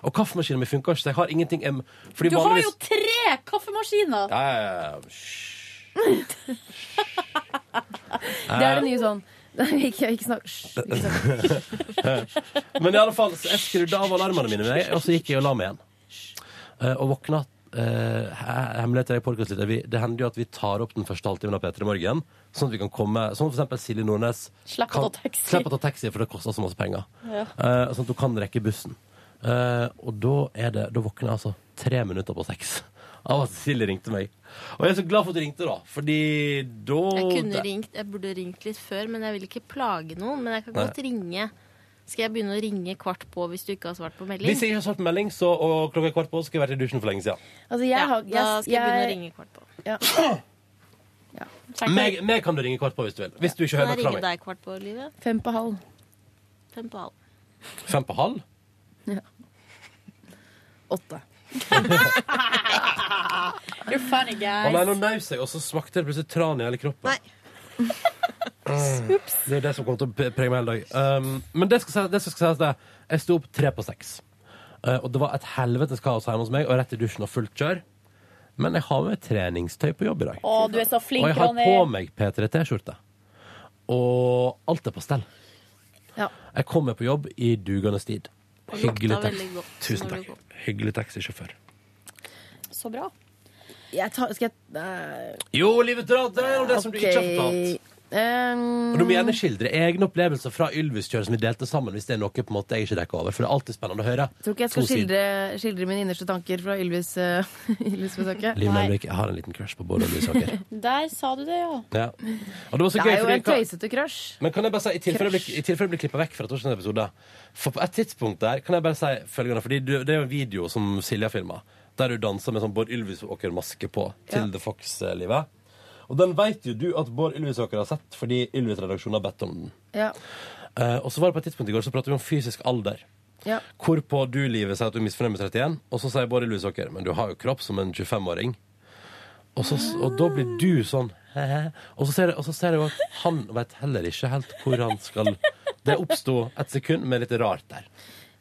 A: Og kaffemaskinen min funker ikke, så jeg har ingenting jeg,
S: Du
A: fordi
S: har
A: vanligvis-
S: jo tre kaffemaskiner!
A: Ja, ja, ja.
B: Det er det nye sånn [LAUGHS] Ikke, ikke snakk Hysj. ikke snakk.
A: Liksom. Men i alle fall, så jeg skrudde av alarmene mine, men jeg- og så gikk jeg og la meg igjen. Eh, og våkna eh, he- Hemmeligheten i podcast litt er vi- Det hender jo at vi tar opp den første halvtimen av P3 Morgen, sånn at vi kan komme Sånn for eksempel Silje Nordnes.
S: Slipp å
A: kan-
S: ta taxi.
A: Slipp å ta taxi, for det koster så masse penger.
S: Ja.
A: Eh, sånn at hun kan rekke bussen. Eh, og da er det Da våkner jeg altså tre minutter på seks av at Silje ringte meg. Og jeg er så glad for at du ringte, da, fordi da
Q: Jeg kunne ringt, jeg burde ringt litt før, men jeg vil ikke plage noen. Men jeg kan
A: Nei.
Q: godt ringe. Skal jeg begynne å ringe kvart på hvis du ikke har svart på melding?
A: Hvis jeg ikke har svart melding, så og klokka er kvart på, så skal jeg være i dusjen for lenge siden.
B: Altså, jeg
Q: ja,
B: har
Q: da skal jeg begynne å ringe kvart på. [CLEARS THROAT]
B: Ja.
A: Meg, meg kan du ringe kvart på hvis du vil. Hvis du ikke
Q: Kan
A: hører
Q: jeg
A: noe fra meg.
Q: ringe deg kvart på, Livet?
B: Fem på halv.
Q: Fem på halv.
A: Fem på halv?
B: Åtte.
C: Ah,
S: You're funny,
A: Å nei, nå
S: guys.
A: naus jeg, og så smakte det plutselig tran i hele kroppen. Mm. Det er det som kommer til å pre- prege meg hele dag. Um, men det skal, si- det som skal sies, det er jeg sto opp tre på seks. Uh, og det var et helvetes kaos hjemme hos meg, og rett i dusjen og fullt kjør. Men jeg har med meg treningstøy på jobb i dag.
S: Å, du er så flink,
A: og jeg har
S: Ronny.
A: på meg P3T-skjorte. Og alt er på stell.
B: Ja.
A: Jeg kommer på jobb i dugende tid.
S: Og lukta
A: Hyggelig taxi.
S: veldig godt
A: Tusen
S: når du
A: takk. Hyggelig taxisjåfør.
S: Så bra.
B: Jeg tar Skal jeg Nei.
A: Jo, livet drar, det er jo det som du ikke har fortalt. Og du må gjerne skildre egne opplevelser fra Ylvis-kjøret som vi delte sammen, hvis det er noe på en måte jeg ikke rekker over. For det er alltid spennende å høre.
B: Jeg tror ikke jeg
A: To
B: skal
A: sider.
B: skildre, skildre mine innerste tanker fra Ylvis, eh, [LAUGHS] Ylvis-besøket.
A: Liv Nelvik, jeg har en liten crush på Bård Ylvisaker.
S: Der sa du det, ja.
A: ja. Og det var så
B: Det
A: gøy,
B: er jo
A: fordi
B: en
A: kan-
B: tøysete crush.
A: Men kan jeg bare si, i tilfelle det blir- i tilfelle det blir klippet vekk fra torsdagens episode For på et tidspunkt der kan jeg bare si følgende, fordi du, det er jo en video som Silja filma, der du danser med sånn Bård Ylvisåker-maske på til The Fox-livet. Og den veit jo du at Bård Ylvisåker har sett, fordi Ylvis-redaksjonen har bedt om den.
B: Ja.
A: Eh, og så var det på et tidspunkt i går så pratet vi om fysisk alder.
B: Ja.
A: Hvorpå du, Livet, sier at du er misfornøyd med 31, og så sier Bård Ylvisåker men du har jo kropp som en 25-åring. Og, så- og da blir du sånn «Hæ?» Og så ser jeg, og så ser jeg jo at han vet heller ikke helt hvor han skal Det oppsto et sekund med litt rart der.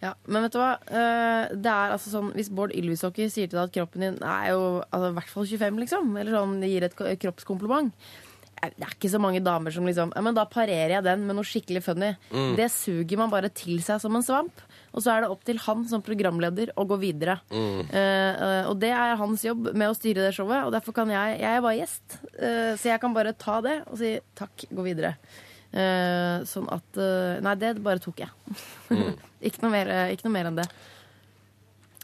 B: Ja, men vet du hva? Eh, Det er altså sånn, Hvis Bård Ylvisåker sier til deg at kroppen din er jo altså, i hvert fall 25, liksom, eller sånn det gir et k- kroppskompliment eh, Det er ikke så mange damer som liksom ja, men Da parerer jeg den med noe skikkelig funny.
S: Mm.
B: Det suger man bare til seg som en svamp. Og så er det opp til han som programleder å gå videre. Eh, eh, og det er hans jobb med å styre det showet, og derfor kan jeg Jeg er bare gjest, eh, så jeg kan bare ta det og si takk, gå videre. Eh, sånn at eh, Nei, det bare tok jeg. [LAUGHS] ikke, noe mer, eh, ikke noe mer enn det.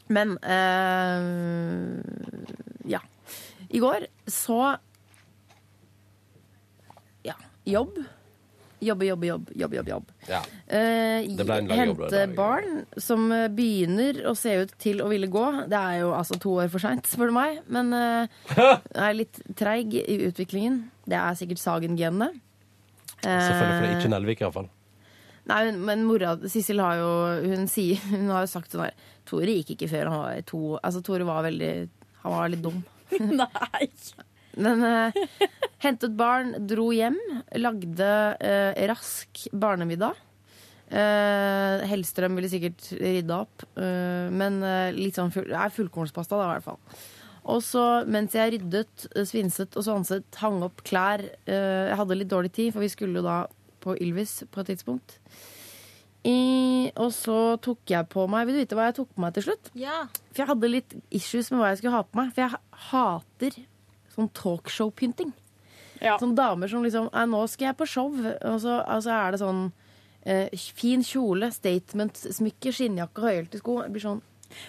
B: Men eh, Ja. I går så Ja. Jobb. Jobbe, jobbe, jobb, jobb, jobb. jobb.
A: Ja.
B: Eh,
A: Det ble en lang jobb, det
B: hente
A: der.
B: barn som eh, begynner å se ut til å ville gå. Det er jo altså to år for seint, spør du meg. Men
A: [LAUGHS]
B: eh, er litt treig i utviklingen. Det er sikkert Sagen-genene.
A: Selvfølgelig, for det er ikke
B: Eh,
A: Nelvik, iallfall.
B: Nei, men- men mora Sissel har jo Hun, sier, [LAUGHS] hun har jo sagt sånn her Tore gikk ikke før han var to Altså Tore var veldig Han var litt dum
S: Nei
B: Men eh, hentet barn, dro hjem Lagde eh, rask barnemiddag Eh, Hellstrøm ville sikkert rydde opp eh, Men eh, litt sånn full, det er fullkornspasta da i hvert fall Og så mens jeg ryddet, eh, svinset og svanset, hang opp klær eh, Jeg hadde litt dårlig tid, for vi skulle jo da på Ylvis på et tidspunkt. I, og så tok jeg på meg Vil du vite hva jeg tok på meg til slutt?
K: Ja.
B: For jeg hadde litt issues med hva jeg skulle ha på meg. For jeg ha- hater sånn talkshow-pynting. Sånn damer som liksom «Nei, Nå skal jeg på show. Og så altså er det sånn eh, fin kjole, statement-smykke, skinnjakke, høyhælte sko. Det blir sånn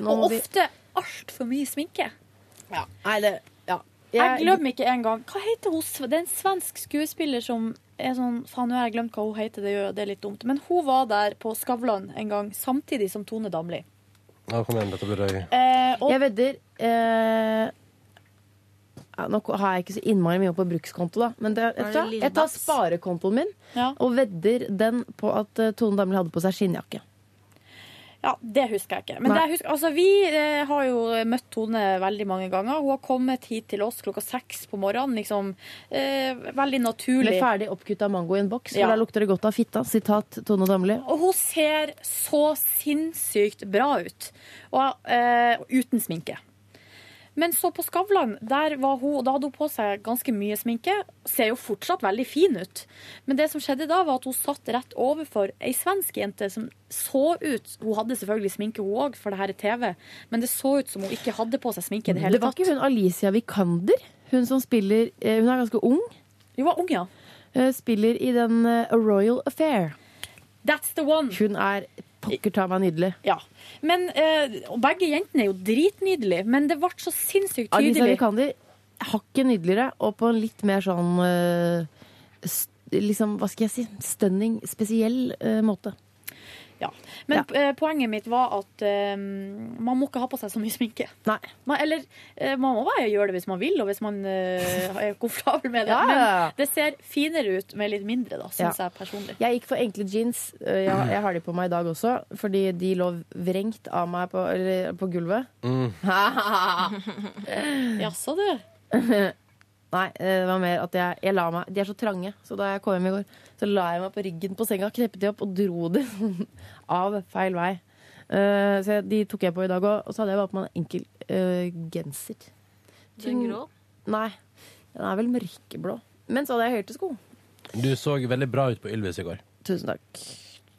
B: nå
C: Og
B: må vi-
C: ofte altfor mye sminke.
B: Nei, det Ja.
C: Jeg glemmer ikke engang Hva heter hun? sve- Det er en svensk skuespiller som er sånn Faen, nå har jeg glemt hva hun heter, det gjør det er litt dumt. Men hun var der på Skavlan en gang, samtidig som Tone Damli.
A: Ja, kom igjen, dette burde jeg
B: Jeg vedder eh, ja, Nå har jeg ikke så innmari mye på brukskonto, da. Men det,
T: Er
B: jeg,
T: det
B: tar, jeg tar sparekontoen min og vedder den på at eh, Tone Damli hadde på seg skinnjakke.
C: Ja, det husker jeg ikke. Men
B: Nei.
C: det jeg husker, altså, vi eh, har jo møtt Tone veldig mange ganger. Hun har kommet hit til oss klokka seks på morgenen. Liksom, eh, veldig naturlig.
B: Med ferdig oppkutta mango i en boks,
C: Ja.
B: for da lukter det godt av fitta. Sitat Tone Damli.
C: Og hun ser så sinnssykt bra ut. Og eh, uten sminke. Men så på Skavlan, der var hun, da hadde hun på seg ganske mye sminke. Ser jo fortsatt veldig fin ut. Men det som skjedde da, var at hun satt rett overfor ei svensk jente som så ut Hun hadde selvfølgelig sminke, hun òg, for det her er TV, men det så ut som hun ikke hadde på seg sminke i det hele
B: var
C: tatt.
B: ikke hun Alicia Vikander? Hun som spiller eh, Hun er ganske ung.
C: Hun var ung, ja.
B: Spiller i den eh, A Royal Affair.
C: That's the one.
B: Hun er pokker ta meg nydelig.
C: Ja. Men, eh, og begge jentene er jo dritnydelige, men det ble så sinnssykt
B: Alicia
C: tydelig.
B: Vikander hakket nydeligere og på en litt mer sånn eh, st liksom, Hva skal jeg si? Stunning, spesiell eh, måte.
C: Ja. Men eh, poenget mitt var at eh, man må ikke ha på seg så mye sminke. Man, eller eh, man må bare gjøre det hvis man vil, og hvis man eh, er komfortabel med
B: [LAUGHS]
C: det.
B: Ja, ja, ja.
C: Men det ser finere ut med litt mindre, da, syns
B: Ja.
C: jeg personlig.
B: Jeg gikk for enkle jeans. Eh, Jeg, jeg har de på meg i dag også, fordi de lå vrengt av meg på, eller, på gulvet.
A: [LAUGHS]
Q: [LAUGHS]
A: Mm.
C: [LAUGHS] Jaså, du.
B: [LAUGHS] Nei, eh, det var mer at jeg, jeg la meg De er så trange, så da jeg kom hjem i går, så la jeg meg på ryggen på senga, kneppet de opp og dro de [LAUGHS] sånn av feil vei. Eh, så jeg, de tok jeg på i dag òg, og så hadde jeg bare på meg en enkel eh, genser. Mm,
K: Den grå?
B: Nei. Den er vel mørkeblå. Men så hadde jeg høyte sko.
A: Du så veldig bra ut på Ylvis i går.
B: Tusen takk.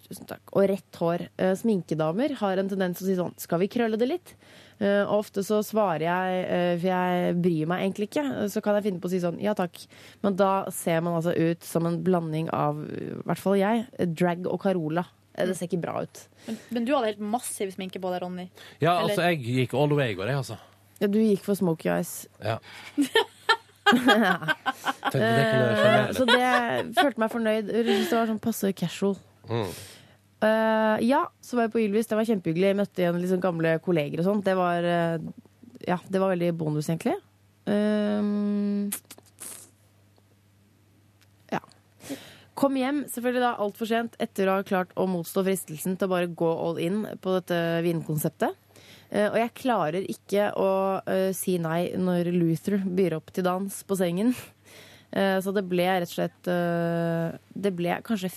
B: Tusen takk. Og rett hår. Eh, Sminkedamer har en tendens til å si sånn Skal vi krølle det litt? Eh, Og ofte så svarer jeg, eh, for jeg bryr meg egentlig ikke, eh, så kan jeg finne på å si sånn ja takk. Men da ser man altså ut som en blanding av, eh, i hvert fall jeg, eh, drag og Carola. Eh, Det ser ikke bra ut.
C: Men, men du hadde helt massiv sminke på deg, Ronny.
A: Ja,
C: Eller-
A: altså, jeg gikk all the way i går, jeg, altså.
B: Ja, du gikk for smoky eyes.
A: Ja.
B: Eh,
A: Tenkte det kunne sjarmere
B: Så det følte meg fornøyd. Jeg synes det var sånn passe casual.
A: Mm.
B: Eh, ja, så var jeg på Ylvis. Det var kjempehyggelig. Jeg møtte igjen liksom gamle kolleger og sånt. Det var eh, Ja, det var veldig bonus, egentlig. Ehm, ja. Kom hjem selvfølgelig da altfor sent etter å ha klart å motstå fristelsen til å bare gå all in på dette vinkonseptet. Eh, og jeg klarer ikke å eh, si nei når Luther byr opp til dans på sengen. [LAUGHS] Eh, så det ble rett og slett eh, Det ble kanskje f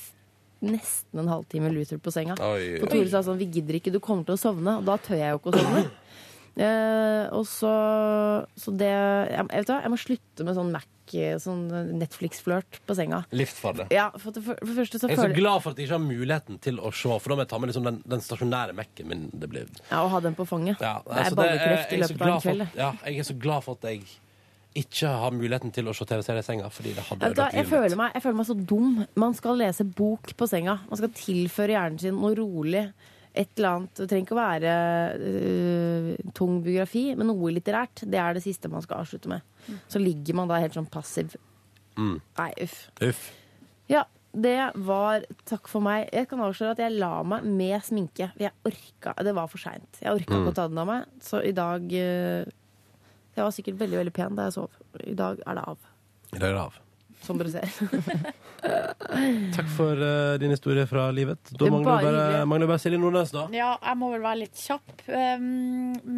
B: nesten en halvtime Luther på senga.
A: Oi, oi,
B: For Tore
A: oi.
B: sa sånn 'Vi gidder ikke, du kommer til å sovne'. Og da tør jeg jo ikke å sovne. [CLEARS THROAT] Eh, og så Så det jeg, jeg vet hva, jeg må slutte med sånn Mac, eh, sånn Netflix-flørt på senga.
A: Livsfarlig.
B: Ja, for, at det- for, for det første så
A: Jeg er så
B: føler
A: glad for at jeg ikke har muligheten til å se, for da må jeg ta med liksom den, den stasjonære Mac-en min. Det blir
B: ja, Å ha den på fanget. det er
A: Altså, det-
B: ballekreft
A: jeg
B: i
A: er så
B: løpet av
A: glad
B: en
A: for
B: kveld. det.
A: at- Ja, jeg er så glad for at jeg ikke har muligheten til å se TV-serie i senga, fordi det hadde
B: Vet du hva,
A: ødelagt
B: jeg,
A: livet mitt.
B: føler meg, jeg føler meg så dum. Man skal lese bok på senga. Man skal tilføre hjernen sin noe rolig. Et eller annet. Det trenger ikke å være øh, tung biografi, men noe litterært. Det er det siste man skal avslutte med. Så ligger man da helt sånn passiv.
A: Mm.
B: Nei, uff.
A: Uff.
B: Ja, det var Takk for meg. Jeg kan avsløre at jeg la meg med sminke. for Jeg orka, Det var for seint. Jeg orka
A: Mm.
B: ikke å ta den av meg. Så i dag øh, Jeg var sikkert veldig, veldig pen da jeg sov. I dag er det av,
A: I dag er det av.
B: som dere ser.
A: Takk for eh, din historie fra livet. Da
B: Det er
A: mangler
B: bare
A: vi bare,
B: hyggelig.
A: mangler bare Silje Nordnes, da.
C: Ja, jeg må vel være litt kjapp. Um,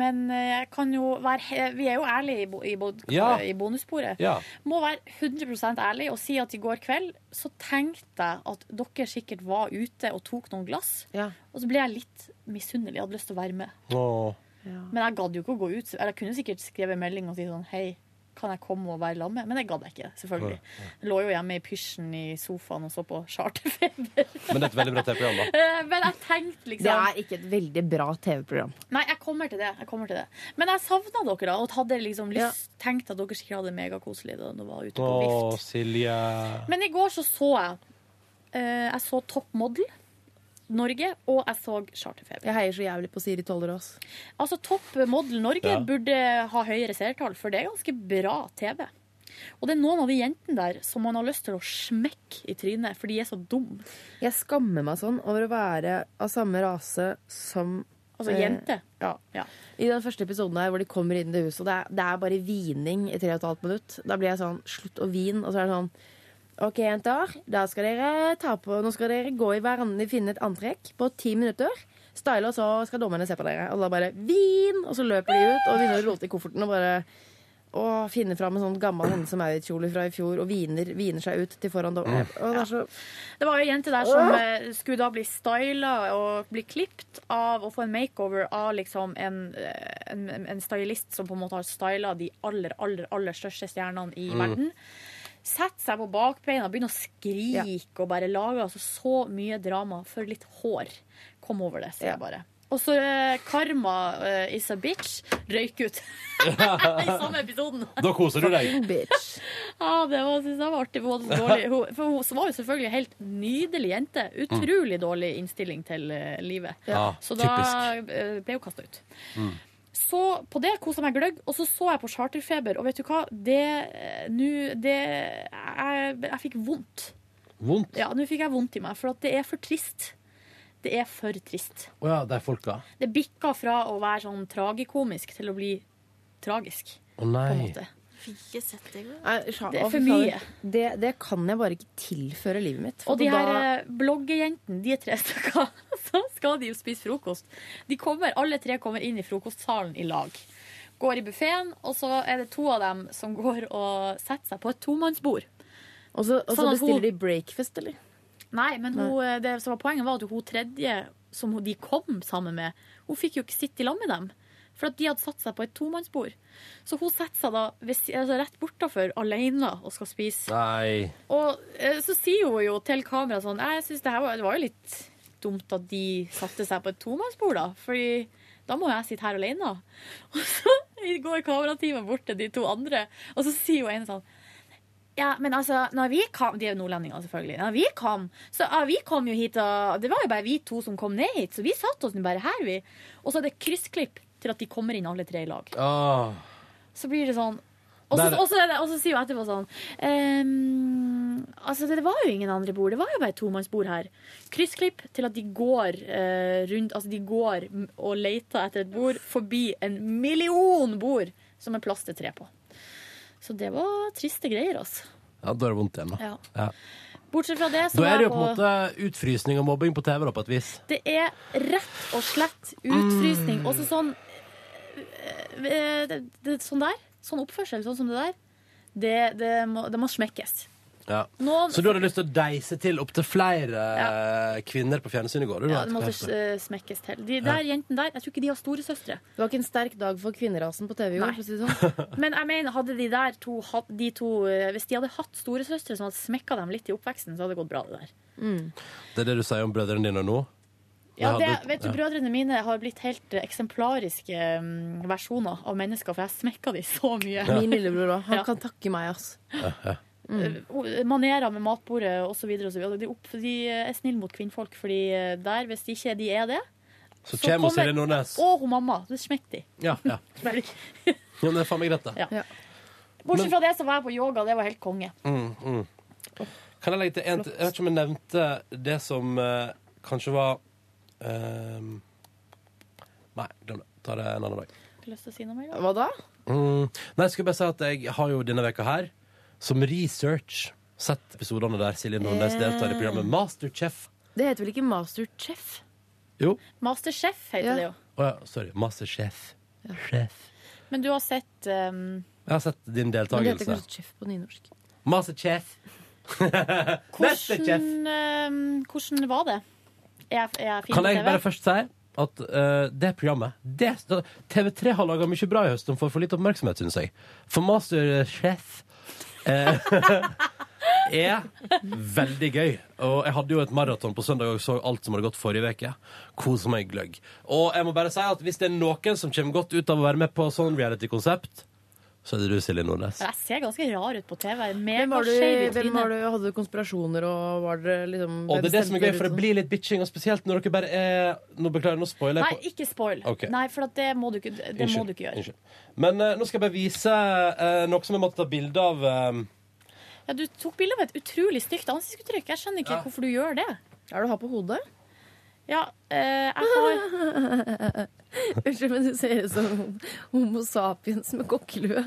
C: men jeg kan jo være he- Vi er jo ærlige i, bo, i, bod,
A: Ja.
C: i bonussporet.
A: [LAUGHS] Ja.
C: Må være 100 ærlig og si at i går kveld så tenkte jeg at dere sikkert var ute og tok noen glass.
B: Ja.
C: Og så ble jeg litt misunnelig. Jeg hadde lyst til å være med.
A: Åh.
C: Men jeg gadd jo ikke å gå ut. Eller jeg kunne sikkert skrevet melding og si sånn Hei, kan jeg komme og være sammen med? Men det gadd jeg ikke, selvfølgelig. Jeg lå jo hjemme i pysjen i sofaen og så på charterfeber.
A: Men det er et veldig bra TV-program,
B: [LAUGHS]
A: da.
C: Eh, Men jeg tenkte liksom
U: Det er ikke et veldig bra TV-program.
C: Nei, jeg kommer til det. jeg kommer til det Men jeg savna dere, da, og hadde liksom lyst, tenkt at dere sikkert hadde [LAUGHS] det megakoselig da dere var ute på
A: Å,
C: vift.
A: Silje.
C: Men i går så så jeg eh, Jeg så Top Model Norge, og jeg så Charterfeber.
B: Jeg heier så jævlig på Siri Tollerås.
C: Altså Top Model Norge
B: Ja.
C: burde ha høyere seertall, for det er ganske bra TV. Og det er noen av de jentene der som man har lyst til å smekke i trynet, for de er så dumme.
B: Jeg skammer meg sånn over å være av samme rase som
C: Altså,
B: eh,
C: jente.
B: Ja. I den første episoden her, hvor de kommer inn i det huset, og det er, det er bare vining i tre og et halvt minutt. Da blir jeg sånn Slutt å vin. Og så er det sånn OK, jenter. Da skal dere ta på Nå skal dere gå i hverandre, finne et antrekk på ti minutter. Style, og så skal dommerne se på dere. Og da bare Vin! Og så løper de ut og begynner å rote i kofferten og bare og finner fram en sånn gammel Hanne som Maurits-kjole fra i fjor og viner, viner seg ut til foran dommerne. Og det er så
C: Det var ei jente der som eh, skulle da bli styla og bli klippet av å få en makeover av liksom en, eh, en, en stylist som på en måte har styla de aller, aller, aller største stjernene i
B: Mm.
C: verden. Setter seg på bakbeina, begynner å skrike og bare lager altså så mye drama for litt hår. Kom over det, sier jeg bare. Og så eh, Karma eh, is a bitch røyk
A: [LAUGHS]
C: ut i samme episoden.
A: Da koser du deg.
C: Fucking [LAUGHS] Ja, det var, synes jeg var artig. for Hun, var så dårlig. hun, for hun var jo selvfølgelig en helt nydelig jente.
A: Mm.
C: Utrolig dårlig innstilling til eh, livet.
Q: Ja,
C: så da eh, ble hun kasta ut.
A: Mm.
C: Så på det kosa jeg meg gløgg, og så så jeg på Charterfeber, og vet du hva? Det eh, nå Det Jeg, jeg fikk vondt.
A: Vondt?
C: Ja, nå fikk jeg vondt i meg, for at det er for trist. Det er for trist.
A: Å ja, de folka.
C: Det bikka fra å være sånn tragikomisk til å bli tragisk.
A: Å nei.
C: Fikk ikke sett det
B: Det
C: Det
B: altså,
C: er for mye.
B: Det, det kan jeg bare ikke tilføre livet mitt. for
C: Og de
B: da-
C: her eh, bloggejentene, de er tre stykker, [LAUGHS] så skal de jo spise frokost. De kommer, alle tre kommer inn i frokostsalen i lag. Går i buffeen, og så er det to av dem som går og setter seg på et tomannsbord.
B: Og så, og så
C: Sånn at
B: bestiller
C: hun-
B: de breakfast, eller?
C: Nei, men hun, eh, det som var poenget var at hun tredje som hun, de kom sammen med, hun fikk jo ikke sitte i lag med dem. For at de hadde satt seg på et tomannsbord. Så hun setter seg da ved, si- altså rett bortafor alene og skal spise.
A: Nei.
C: Og eh, så sier hun jo til kameraet sånn «Nei, Jeg synes det, her var, det var jo litt dumt at de satte seg på et tomannsbord, da. Fordi da må jeg sitte her alene. [LAUGHS] Og så går kamerateamet bort til de to andre, og så sier hun ene sånn ja, men altså, når vi kom De er jo nordlendinger, selvfølgelig. Når vi kom, så ja, vi kom jo hit, og det var jo bare vi to som kom ned hit, så vi satt oss nå bare her, vi. Og så er det kryssklipp til at de kommer inn alle tre i lag.
A: Ah.
C: Så blir det sånn og så,
A: Der- [LAUGHS]
C: og, så, er det- og så sier hun etterpå sånn ehm, Altså, det var jo ingen andre bord. Det var jo bare et tomannsbord her. Kryssklipp til at de går eh, rundt Altså, de går m- og leter etter et bord forbi en million bord som er plass til tre på. Så det var triste greier, altså.
A: Ja, da er det vondt igjen, da.
C: Ja.
A: Ja.
C: Bortsett fra det, så
A: Da er det jo på
C: var
A: en måte utfrysning og mobbing på TV, da, på et vis.
C: Det er rett og slett
A: Mm.
C: utfrysning. Også sånn eh, det, det, Sånn der. Sånn oppførsel, sånn som det der. Det, det, må, det må smekkes.
A: Ja.
C: Nå-
A: Så du hadde lyst til å deise til opptil flere eh, kvinner på fjernsynet i går? du, da,
C: Ja, det måtte
A: etter hvert.
C: eh, smekkes til. De der jentene der, jeg tror ikke de har storesøstre.
B: Det var ikke en sterk dag for kvinnerasen på TV i
C: Nei. [LAUGHS]
B: går. for å si det sånn.
C: Men jeg mener, hadde de der to, hatt- de to eh, Hvis de hadde hatt storesøstre som hadde smekka dem litt i oppveksten, så hadde det gått bra, det der.
A: Det er det du sier om brødrene dine nå?
C: Ja,
A: Jeg
C: det,
A: hadde-
C: vet du,
A: ja.
C: Brødrene mine har blitt helt eh, eksemplariske mm, versjoner av mennesker, for jeg smekka dem så mye.
B: Min lillebror òg. Han
C: Ja.
B: kan takke meg, ass.
A: Ja, ja.
C: Eh, Manerer med matbordet osv. De, opp- de er snille mot kvinnfolk, fordi eh, der, hvis ikke de er det
A: Så kommer Silje Nordnes.
C: Og hun mamma. Det smekker de.
A: Ja, ja.
C: Smekker de.
A: Ja, men det er faen meg greit, det.
C: Ja. Bortsett
A: Men-
C: fra det, så var jeg på yoga. Det var helt konge.
A: Mm, mm. Kan jeg legge til en til? Jeg vet ikke om jeg nevnte det som eh, kanskje var ehm, Nei, glem det. Ta det en annen dag.
C: Har du lyst til å si noe mer?
B: Hva da?
A: Mm. Nei, jeg skulle bare si at jeg har jo denne veka her, som research, sett episodene der Silje Nordnes
B: Ja.
A: deltar i programmet Masterchef.
B: Det heter vel ikke Masterchef?
A: Jo.
C: Masterchef heter det jo.
A: Å ja, sorry. Masterchef. Sjef.
C: Men du har sett um,
A: Jeg har sett din deltakelse.
B: chef på nynorsk.
A: Masterchef. [LAUGHS] Masterchef.
C: ehm, Hvordan, um, hvordan var det? Er jeg, er jeg fin
A: Kan
C: på
A: jeg
C: TV?
A: bare først si at eh, det programmet det, TV3 har laga mye bra i høst. De får for litt oppmerksomhet, syns jeg. For Masterchef eh, [LAUGHS] er veldig gøy. Og jeg hadde jo et maraton på søndag og så alt som hadde gått forrige uke. Kosa meg gløgg. Og jeg må bare si at hvis det er noen som kommer godt ut av å være med på sånn reality-konsept, så er det du, Silje Nordnes.
C: Jeg ser ganske rar ut på TV.
B: Hvem
C: Mega
B: var du,
C: skeiv i
B: hvem var
C: trynet.
B: du, hadde du konspirasjoner og var dere liksom
A: Og det er det som er gøy, for det
B: bestemte
A: blir litt bitching, og spesielt når dere bare er Nå beklager, nå spoiler
C: Nei,
A: jeg. på-
C: ikke spoil.
A: Ok.
C: Nei, for at det må du ikke, det må
A: Unnskyld,
C: du ikke gjøre.
A: unnskyld. Men eh, nå skal jeg bare vise eh, noe som jeg måtte ta bilde av. eh, [LAUGHS]
C: Ja, du tok bilde av et utrolig stygt ansiktsuttrykk. Jeg skjønner ikke hvorfor du gjør det.
B: Hva er det du har på hodet?
C: Ja, eh, jeg har
B: [LAUGHS] Unnskyld, men du ser ut som Homo sapiens med kokkelue.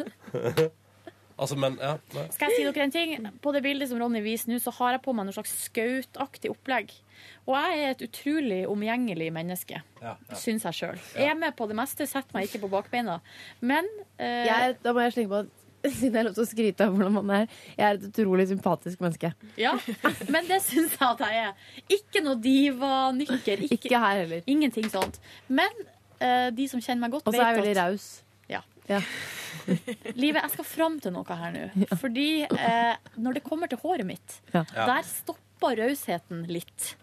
A: altså, men ja. nei.
C: Skal jeg si dere en ting? På det bildet som Ronny viser nå, så har jeg på meg noe slags skautaktig opplegg. Og jeg er et utrolig omgjengelig menneske,
A: ja,
C: syns jeg sjøl. Er med på det meste, setter meg ikke på bakbeina. Men eh,
B: Jeg, da må jeg slenge på at [LAUGHS] siden jeg er lov til å skryte av hvordan man er, jeg er et utrolig sympatisk menneske.
C: Ja, men det syns jeg at jeg er. Ikke noe diva, nykker. Ikke,
B: her heller.
C: Ingenting sånt. Men eh, de som kjenner meg
B: Og
C: godt,
B: så er jeg
C: vet
B: veldig
C: at
B: raus.
C: Ja.
B: Ja.
C: Livet, jeg skal fram til noe her nå. Fordi eh, når det kommer til håret mitt,
B: Ja.
C: der stopper rausheten litt.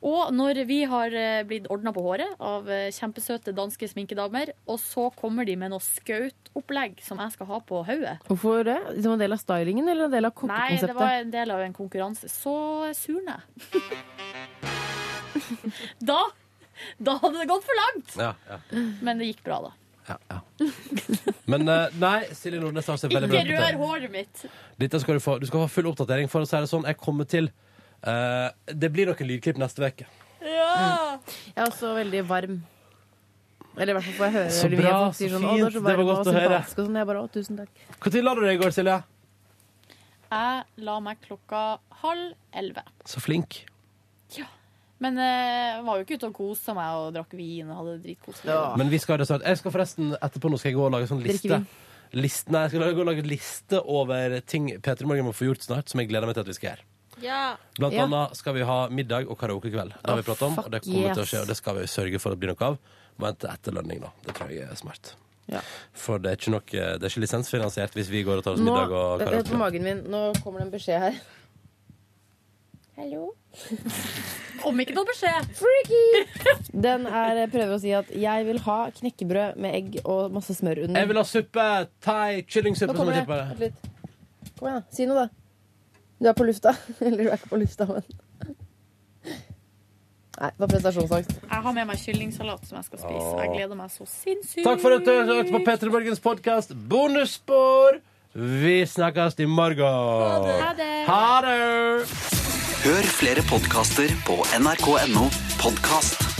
C: Og når vi har eh, blitt ordna på håret av eh, kjempesøte danske sminkedamer, og så kommer de med noe skautopplegg som jeg skal ha på hodet
B: Hvorfor det? Som en del av stylingen eller en del av
C: Nei, det
B: kokkekonseptet?
C: var en del av en konkurranse. Så surna jeg. [LAUGHS] da, da hadde det gått for langt!
A: Ja, ja.
C: Men det gikk bra, da.
A: Men eh, nei, Silje Nordnes har seg veldig bra
C: Ikke
A: ut.
C: rør håret mitt.
A: Dette skal du få. Du skal få full oppdatering for å si det sånn. Jeg kommer til eh, Det blir noen lydklipp neste uke.
B: Ja! Mm. Jeg er også veldig varm. Eller i hvert fall får jeg høre
A: Så
B: veldig mye.
A: bra,
B: Folk sier
A: så
B: sånn, «Å, du er
A: fint. Det
B: varm
A: var godt
B: og
A: å høre.»
B: sympatisk Og sånn. Jeg bare, å, tusen takk.
A: Når la du deg i går, Silje?
C: Jeg la meg klokka halv elleve.
A: Så flink.
C: Men eh, jeg var jo ikke ute og kosa meg og drakk vin og hadde det dritkoselig.
A: Men vi skal ha det snart. Jeg skal forresten etterpå nå skal jeg gå og lage sånn
C: Drikke
A: liste.
C: vin.
A: List, nei, jeg skal lage- gå og lage liste over ting P3 Morgen må få gjort snart, som jeg gleder meg til at vi skal gjøre.
Q: Ja.
A: Blant annet skal vi ha middag og karaokekveld. Det har vi pratet om, og det kommer til å skje,
Q: yes.
A: og det skal vi sørge for at det blir noe av. Må vente etter lønning, da. Det tror jeg er smart.
B: Ja.
A: For det er ikke, nok, eh, det er ikke lisensfinansiert hvis vi går og tar oss
B: Nå,
A: middag og
B: det er på
A: karaoke.
B: magen min, nå kommer det en beskjed her. Hallo?
C: Kom ikke noe beskjed!
B: Freaky! Den er, eh, prøver å si at jeg vil ha knekkebrød med egg og masse smør under.
A: Jeg vil ha suppe! Thai
B: Nå
A: kyllingsuppe, som
B: kommer
A: jeg
B: det.
A: tipper.
B: Vent litt. Kom igjen, da. si noe, da. Du er på lufta. [LAUGHS] Eller du er ikke på lufta, men Nei, det var prestasjonsangst.
C: Jeg har med meg kyllingsalat som jeg skal spise. Jeg gleder meg så sinnssykt.
A: Takk for at du hørte på P3 Morgens podkast Bonusspor! Vi snakkes i morgen.
C: Ha det.
A: Ha det.
D: Hør flere podkaster på nrk.no podkast.